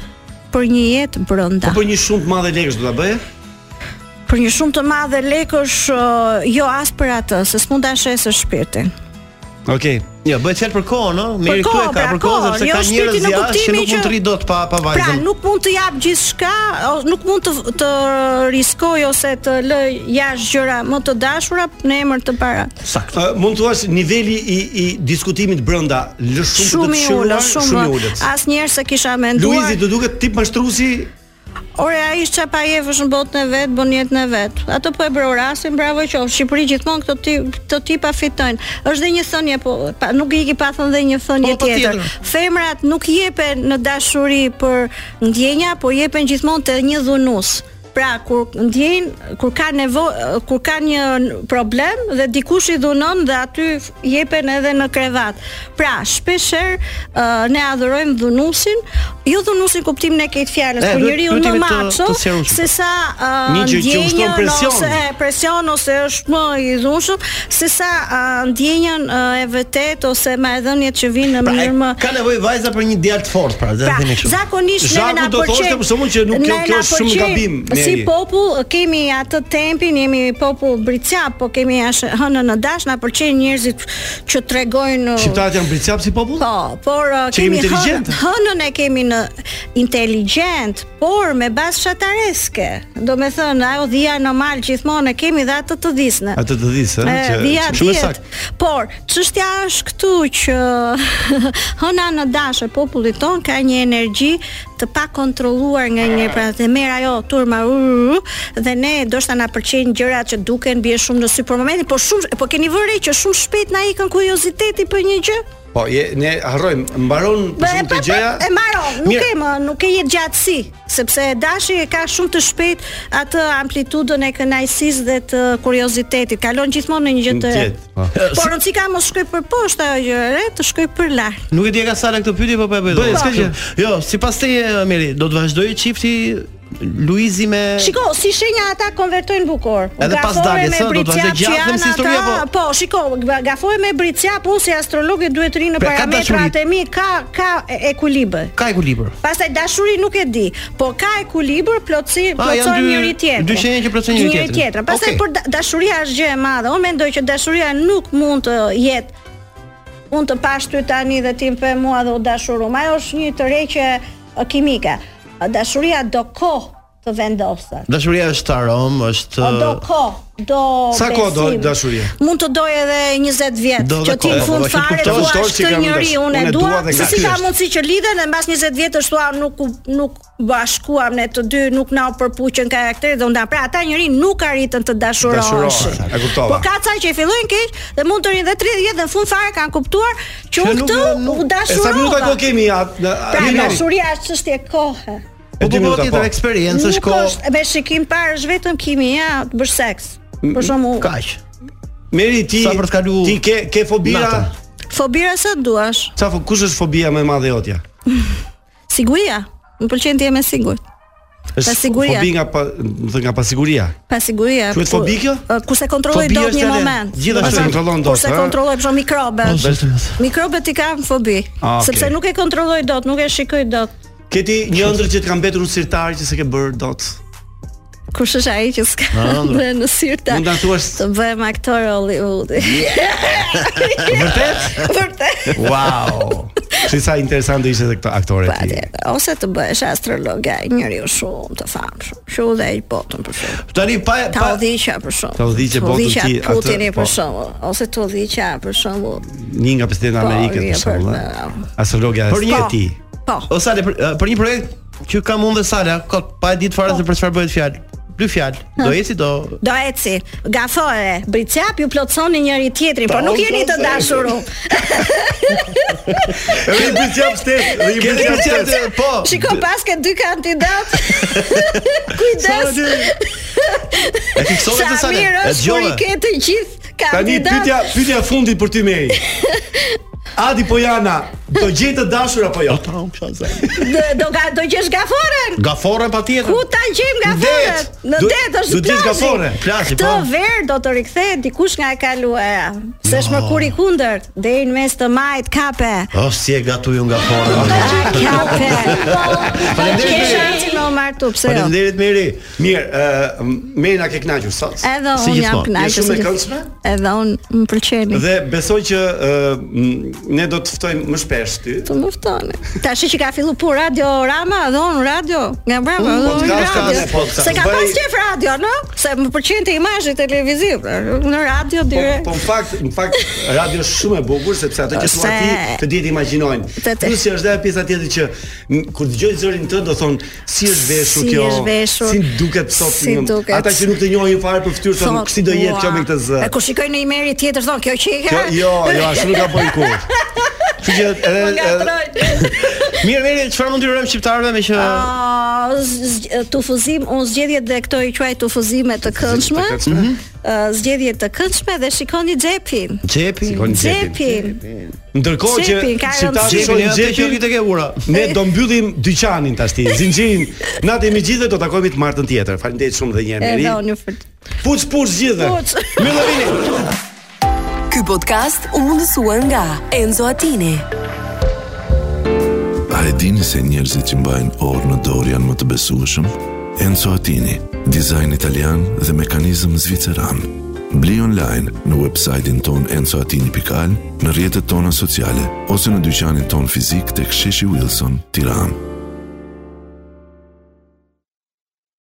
[SPEAKER 14] për një jetë brenda.
[SPEAKER 8] Po për një shumë të madhe lekësh do ta bëje?
[SPEAKER 14] Për një shumë të madhe lekësh, ë, jo as për atë, se s'mund ta shesë shpirtin.
[SPEAKER 8] Okej.
[SPEAKER 9] Jo, bëhet fjalë për kohën, ë?
[SPEAKER 14] Për
[SPEAKER 9] Mirë këtu e
[SPEAKER 14] kohën,
[SPEAKER 9] ka
[SPEAKER 14] pra,
[SPEAKER 9] për kohën
[SPEAKER 14] kohën,
[SPEAKER 9] sepse
[SPEAKER 14] jo
[SPEAKER 9] ka njerëz
[SPEAKER 14] shpirtin në
[SPEAKER 9] jashtë që
[SPEAKER 14] kuptimin
[SPEAKER 9] nuk mund
[SPEAKER 14] që-
[SPEAKER 9] të rri dot pa pa
[SPEAKER 14] Pra,
[SPEAKER 9] vajzën.
[SPEAKER 14] nuk mund të jap gjithçka, o- nuk mund të të riskoj ose të lë jashtë gjëra më të dashura në emër të para.
[SPEAKER 8] Saktë. mund të thuash niveli i i diskutimit brenda lë shumë,
[SPEAKER 14] Shumë
[SPEAKER 8] të
[SPEAKER 14] i
[SPEAKER 8] fshiruar,
[SPEAKER 14] ulët, shumë
[SPEAKER 8] i
[SPEAKER 14] i
[SPEAKER 8] ulët.
[SPEAKER 14] Asnjëherë se kisha menduar.
[SPEAKER 8] Luizi do duket tip mashtruesi
[SPEAKER 14] Ore, ai ish çapa jefësh në botën e vet, bën jetën e vet. Ato po e bëu rasin, bravo qof. Shqipëri gjithmonë këto tip, këto tipa fitojnë. Është dhe një thënie po, pa, nuk i ki pa thënë dhe një thënie
[SPEAKER 7] Po,
[SPEAKER 14] tjetër.
[SPEAKER 7] patjetër.
[SPEAKER 14] Femrat nuk jepen në dashuri për ndjenja, po jepen gjithmonë te një dhunues. Pra kur ndjejn, kur ka nevojë, kur ka një problem dhe dikush i dhunon dhe aty f- jepen edhe në krevat. Pra, shpeshherë ë, ne adhurojmë dhunusin, jo dhunusin kuptimin e këtë fjalës,
[SPEAKER 7] E,
[SPEAKER 14] Po
[SPEAKER 7] dhe
[SPEAKER 14] njeriu më
[SPEAKER 7] pyetjeve të-
[SPEAKER 14] macho
[SPEAKER 7] të serioze.
[SPEAKER 14] se sa uh,
[SPEAKER 7] Një gjë që
[SPEAKER 14] ndjenjën
[SPEAKER 7] ushton presion.
[SPEAKER 14] ose e, presion ose është më i dhunshëm se sa uh, ndjenjën uh, e vërtet ose marrëdhëniet që vinë në
[SPEAKER 9] Pra, e-
[SPEAKER 14] mënyrë më
[SPEAKER 9] ka nevojë vajza për një djalë të fortë, pra, dhe
[SPEAKER 14] Pra,
[SPEAKER 9] themi kështu.
[SPEAKER 14] zakonisht ne
[SPEAKER 8] Zhaku
[SPEAKER 14] na
[SPEAKER 8] do thoshte
[SPEAKER 14] pëlqen.
[SPEAKER 8] për shkakun që nuk-
[SPEAKER 14] ne
[SPEAKER 8] kjo- kjo
[SPEAKER 14] na
[SPEAKER 8] është shumë
[SPEAKER 14] pëlqen.
[SPEAKER 8] gabim,
[SPEAKER 14] Si
[SPEAKER 8] Meri.
[SPEAKER 14] popull kemi atë tempin, jemi popull bricjap, po kemi ash- hënën në dash, na pëlqejnë njerëzit që tregojnë uh,
[SPEAKER 8] Shqiptarët janë bricjap si popull?
[SPEAKER 14] Po, por uh,
[SPEAKER 8] Që jemi
[SPEAKER 14] kemi hën,
[SPEAKER 8] inteligjent.
[SPEAKER 14] hënën e kemi në inteligjent, por me bazë shatareske. Do me thënë, ajo dhia normal gjithmonë e kemi dhe atë të dhisnë.
[SPEAKER 8] Atë të disë, ë,
[SPEAKER 14] E,
[SPEAKER 8] që-
[SPEAKER 14] dhja
[SPEAKER 8] shumë e
[SPEAKER 14] dihet.
[SPEAKER 8] saktë.
[SPEAKER 14] Por, çështja është këtu që [LAUGHS] hëna në dashë e popullit ton ka një energji të pa kontrolluar nga një pra dhe merr ajo turma u, u, u, dhe ne ndoshta na pëlqejnë gjërat që duken bie shumë në sy për momentin, por shumë po keni vënë re që shumë shpejt na ikën kurioziteti për një gjë.
[SPEAKER 8] Po, je, ne harrojmë, mbaron për
[SPEAKER 14] E,
[SPEAKER 8] shumë të
[SPEAKER 14] pa, pa,
[SPEAKER 8] gjëja.
[SPEAKER 14] E maron, nuk
[SPEAKER 8] Mirë.
[SPEAKER 14] e më, nuk e jetë gjatësi, sepse dashi e ka shumë të shpejt atë amplitudën e kënaqësisë dhe të kuriozitetit. Kalon gjithmonë në një gjë të re.
[SPEAKER 9] po.
[SPEAKER 14] Por rëndësi ka mos shkoj për poshtë ajo gjë e re, të shkoj për lart.
[SPEAKER 9] Nuk e di e ka sala këtë pyetje po po e bëj.
[SPEAKER 14] Bëj,
[SPEAKER 9] dot.
[SPEAKER 14] s'ka gjë.
[SPEAKER 9] Jo, sipas teje Meri, do të vazhdojë çifti Luizi me
[SPEAKER 14] Shiko, si shenja ata konvertojnë bukur.
[SPEAKER 9] Edhe
[SPEAKER 14] Gafore
[SPEAKER 9] pas daljes,
[SPEAKER 14] me
[SPEAKER 9] ë, do të
[SPEAKER 14] bricjap
[SPEAKER 9] vazhdoj
[SPEAKER 14] që
[SPEAKER 9] gjatë, them si
[SPEAKER 14] janë
[SPEAKER 9] historia,
[SPEAKER 14] ata- Po, shiko, ga- gafoj me bricjap, unë si astrologe duhet të ri në
[SPEAKER 9] Pra, ka
[SPEAKER 14] parametrat
[SPEAKER 9] dashuri.
[SPEAKER 14] e mi, ka ka e- ekuilibër.
[SPEAKER 9] ka ekuilibër.
[SPEAKER 14] Pastaj dashuri nuk e di, po ka ekuilibër, plotësi
[SPEAKER 9] Ah, janë
[SPEAKER 14] plotson
[SPEAKER 9] dy-
[SPEAKER 14] njëri tjetrin.
[SPEAKER 9] dy shenja që plotësojnë njëri tjetrin.
[SPEAKER 14] tjetrin. Pastaj
[SPEAKER 9] Okej.
[SPEAKER 14] për da- dashuria është gjë e madhe. Unë mendoj që dashuria nuk mund të jetë unë të pash ty tani dhe ti për mua dhe u dashurum. Ajo është një tërheqje e, kimike. Dashuria do kohë të vendosen.
[SPEAKER 9] Dashuria është tarom, është
[SPEAKER 14] O Po, do kohë, do
[SPEAKER 9] Sa kohë do
[SPEAKER 14] besim.
[SPEAKER 9] dashuria?
[SPEAKER 14] Mund të doj edhe 20 vjet,
[SPEAKER 9] Do dhe
[SPEAKER 14] që ti
[SPEAKER 9] kohë,
[SPEAKER 14] në fund
[SPEAKER 9] po, po,
[SPEAKER 14] fare
[SPEAKER 9] kuptoj,
[SPEAKER 14] thua
[SPEAKER 9] kuptoj që
[SPEAKER 14] këtë
[SPEAKER 9] kam
[SPEAKER 14] njëri
[SPEAKER 9] ndas-
[SPEAKER 14] unë e
[SPEAKER 9] unë e
[SPEAKER 14] dua,
[SPEAKER 9] dua dhe
[SPEAKER 14] se
[SPEAKER 9] nga
[SPEAKER 14] si ka
[SPEAKER 9] thjesht.
[SPEAKER 14] mundësi që lidhen dhe mbas 20 vjetësh thua nuk u- nuk bashkuam ne të dy, nuk na u përpuqën karakteri dhe unda. Pra ata njëri nuk arritën të dashuroheshin.
[SPEAKER 8] Dashurohen, e kuptova.
[SPEAKER 14] Po ka ca që e fillojnë keq dhe mund të rinë dhe 30 vjet dhe në fund fare kanë kuptuar që unë këtë u
[SPEAKER 8] E sa minuta
[SPEAKER 14] dashurova.
[SPEAKER 8] kohë kemi ja?
[SPEAKER 14] Pra dashuria është çështje kohë.
[SPEAKER 9] Po po po tjetër
[SPEAKER 14] Nuk
[SPEAKER 9] eksperiencë është kohë.
[SPEAKER 14] është me shikim parë është vetëm kimia të bësh seks. Për shembull,
[SPEAKER 9] kaq.
[SPEAKER 8] Meri ti
[SPEAKER 9] Sa për të kalu
[SPEAKER 8] ti ke ke fobira.
[SPEAKER 9] natën.
[SPEAKER 14] fobira sa duash.
[SPEAKER 8] Sa fo- kush është fobia më e madhe jotja?
[SPEAKER 14] Siguria. Më pëlqen të jem e sigurt.
[SPEAKER 8] Është
[SPEAKER 14] Pasiguria.
[SPEAKER 8] fobi nga pa, më thënë nga pasiguria.
[SPEAKER 14] Pa siguria.
[SPEAKER 8] Quhet
[SPEAKER 14] ku-
[SPEAKER 8] fobi kjo?
[SPEAKER 14] Ë, Ku se kontrolloj
[SPEAKER 8] Fobia
[SPEAKER 14] dot
[SPEAKER 8] është
[SPEAKER 14] një
[SPEAKER 8] talent.
[SPEAKER 14] moment.
[SPEAKER 8] Gjithashtu
[SPEAKER 14] Do të thonë,
[SPEAKER 8] kontrollon dot,
[SPEAKER 14] Kur se
[SPEAKER 8] ha?
[SPEAKER 14] kontrolloj për shembull mikrobet.
[SPEAKER 8] O, zot.
[SPEAKER 14] Mikrobet i kam fobi,
[SPEAKER 8] Ah, okay.
[SPEAKER 14] sepse nuk e kontrolloj dot, nuk e shikoj dot.
[SPEAKER 8] Ke ti një ëndër që të ka mbetur në sirtar që s'e ke bër dot.
[SPEAKER 14] Kush është ai që s'ka
[SPEAKER 8] Ah, ndër.
[SPEAKER 14] dhe [LAUGHS] në sirta?
[SPEAKER 8] Mund ta
[SPEAKER 14] [LAUGHS]
[SPEAKER 8] thuash-
[SPEAKER 14] të bëhem aktor
[SPEAKER 8] [LAUGHS]
[SPEAKER 14] Hollywoodi.
[SPEAKER 8] Vërtet?
[SPEAKER 14] [LAUGHS] Vërtet.
[SPEAKER 8] Wow. Shi sa interesante ishte edhe këto aktore ti.
[SPEAKER 14] Ose të bëhesh astrologe, njeriu shumë të famshëm, që u dhej botën për shemb.
[SPEAKER 9] Tani pa
[SPEAKER 14] Ta udhëhiqja për shemb.
[SPEAKER 8] Ta udhëhiqja
[SPEAKER 14] Të
[SPEAKER 8] botën
[SPEAKER 14] udhëhiqja
[SPEAKER 8] ti, atë,
[SPEAKER 14] Putini
[SPEAKER 8] po.
[SPEAKER 14] për shemb, ose të udhëhiqja për shemb.
[SPEAKER 8] Një nga presidentë
[SPEAKER 14] Po,
[SPEAKER 8] Amerikës
[SPEAKER 14] mirë,
[SPEAKER 8] për shembull.
[SPEAKER 14] për-
[SPEAKER 8] ëh. Astrologja
[SPEAKER 9] Për një
[SPEAKER 8] e ti.
[SPEAKER 14] Po.
[SPEAKER 9] O Sale, për, eh, për një projekt që kam unë dhe Sala, kot pa e ditë
[SPEAKER 14] Po.
[SPEAKER 9] fare se për çfarë bëhet fjalë. Dy fjalë. Do eci do
[SPEAKER 14] Do eci, gafore, bricap ju plotsoni njëri tjetrin, por nuk jeni të dashur. u.
[SPEAKER 12] Edhe i bëjmë shtet, edhe i
[SPEAKER 9] Ke
[SPEAKER 12] bëjmë
[SPEAKER 9] qenë
[SPEAKER 12] shtet.
[SPEAKER 9] të- po.
[SPEAKER 14] [LAUGHS] Shiko pas ke dy kandidat.
[SPEAKER 9] Sa
[SPEAKER 14] Kujdes.
[SPEAKER 9] do E fiksove
[SPEAKER 14] Sa
[SPEAKER 9] të Sale.
[SPEAKER 14] mirë
[SPEAKER 9] E
[SPEAKER 14] është kur i
[SPEAKER 9] dëgjove.
[SPEAKER 14] ke të gjithë
[SPEAKER 8] Tani
[SPEAKER 14] kandidat.
[SPEAKER 8] pyetja pyetja e fundit për ty Meri.
[SPEAKER 14] [LAUGHS]
[SPEAKER 8] Adi Pojana, do gjej të dashur apo jo?
[SPEAKER 14] D- Do ga, do gjesh gaforen.
[SPEAKER 9] Gafore patjetër.
[SPEAKER 14] Ku ta gjejmë gaforen?
[SPEAKER 9] Det.
[SPEAKER 14] Në
[SPEAKER 9] Du-
[SPEAKER 14] det është Jo.
[SPEAKER 9] du gjesh
[SPEAKER 14] plazhi.
[SPEAKER 9] gafore, plazhi,
[SPEAKER 14] Këtë
[SPEAKER 9] po.
[SPEAKER 14] verë do të rikthehet dikush nga e kaluara. Se është mërkuri kundërt deri në mes të majit kape.
[SPEAKER 9] O si e gatuju nga fora.
[SPEAKER 14] Kape.
[SPEAKER 8] Faleminderit,
[SPEAKER 14] Ke
[SPEAKER 8] Meri.
[SPEAKER 14] shansin më martu, pse jo?
[SPEAKER 8] Faleminderit Meri. Mirë, ë Meri na ke kënaqur sot.
[SPEAKER 14] Edhe unë jam kënaqur.
[SPEAKER 8] Je shumë
[SPEAKER 14] si
[SPEAKER 8] e
[SPEAKER 14] gjithmonë.
[SPEAKER 8] këndshme
[SPEAKER 14] Edhe unë më pëlqeni.
[SPEAKER 8] dhe besoj që ë, m, ne do të ftojmë më shpesh ty.
[SPEAKER 14] Të më ftoni. Tashi që ka fillu pu Radio Rama, dhe unë radio, nga brava,
[SPEAKER 8] Mm,
[SPEAKER 14] dhe unë
[SPEAKER 8] podcast,
[SPEAKER 14] radio.
[SPEAKER 8] podcast.
[SPEAKER 14] Se ka
[SPEAKER 8] Bëj-
[SPEAKER 14] pas qef radio, no? Se më pëlqente imazhi televiziv, në radio
[SPEAKER 8] Po,
[SPEAKER 14] direkt.
[SPEAKER 8] po në fakt, në fakt radio është shumë e bukur sepse ato që thua
[SPEAKER 14] Se-
[SPEAKER 8] ti të ditë imagjinojnë.
[SPEAKER 14] Të- të-
[SPEAKER 8] Plus që është edhe pjesa tjetër që m, kur dëgjoj zërin tënd do thon si është veshur
[SPEAKER 14] Si
[SPEAKER 8] kjo.
[SPEAKER 14] është veshur,
[SPEAKER 8] si duket sot.
[SPEAKER 14] si
[SPEAKER 8] në-
[SPEAKER 14] duket.
[SPEAKER 8] Ata që nuk të njohin fare për fytyrë thon
[SPEAKER 14] Thot,
[SPEAKER 8] po, si do jetë kjo
[SPEAKER 14] "Ua."
[SPEAKER 8] me këtë zë.
[SPEAKER 14] E kur shikoj në imeri tjetër thon, kjo që i ka.
[SPEAKER 8] Kjo
[SPEAKER 14] [LAUGHS]
[SPEAKER 8] jo, jo, ashtu nuk ka bën kur. Kështu që edhe
[SPEAKER 14] Më
[SPEAKER 8] edhe-
[SPEAKER 14] ngatroj.
[SPEAKER 9] Mirë, mirë, çfarë mund t'i urojmë shqiptarëve me që
[SPEAKER 14] Ah, zg- tufuzim, unë zgjedhje dhe këto i quaj tufuzime të këndshme.
[SPEAKER 8] këndshme.
[SPEAKER 14] Mhm. Ah, Zgjedhje të këndshme dhe shikoni xhepin.
[SPEAKER 9] xhepi,
[SPEAKER 8] Shikoni xhepin.
[SPEAKER 14] Xhepin.
[SPEAKER 8] Ndërkohë që
[SPEAKER 14] Xhepin, ka
[SPEAKER 8] shqiptarët shohin
[SPEAKER 14] rëndësi.
[SPEAKER 9] Xhepin, ja,
[SPEAKER 8] xhepin
[SPEAKER 9] te që i ke ura.
[SPEAKER 8] Ne do mbyllim dyqanin tash ti, zinxhirin. Natë jemi gjithë dhe do takohemi të martën tjetër. Faleminderit shumë dhe një herë.
[SPEAKER 14] Edhe
[SPEAKER 8] Meri.
[SPEAKER 14] unë ju fut.
[SPEAKER 8] Puç puç gjithë.
[SPEAKER 14] Puç.
[SPEAKER 8] Mirë vini.
[SPEAKER 3] Ky podcast u mundësua nga Enzo Attini.
[SPEAKER 2] A e dini se njerëzit që mbajnë orë në dorë janë më të besueshëm? Enzo Attini, dizajn italian dhe mekanizëm zviceran. Bli online në website-in ton enzoatini.al, në rrjetet tona sociale ose në dyqanin ton fizik tek Sheshi Wilson, Tiranë.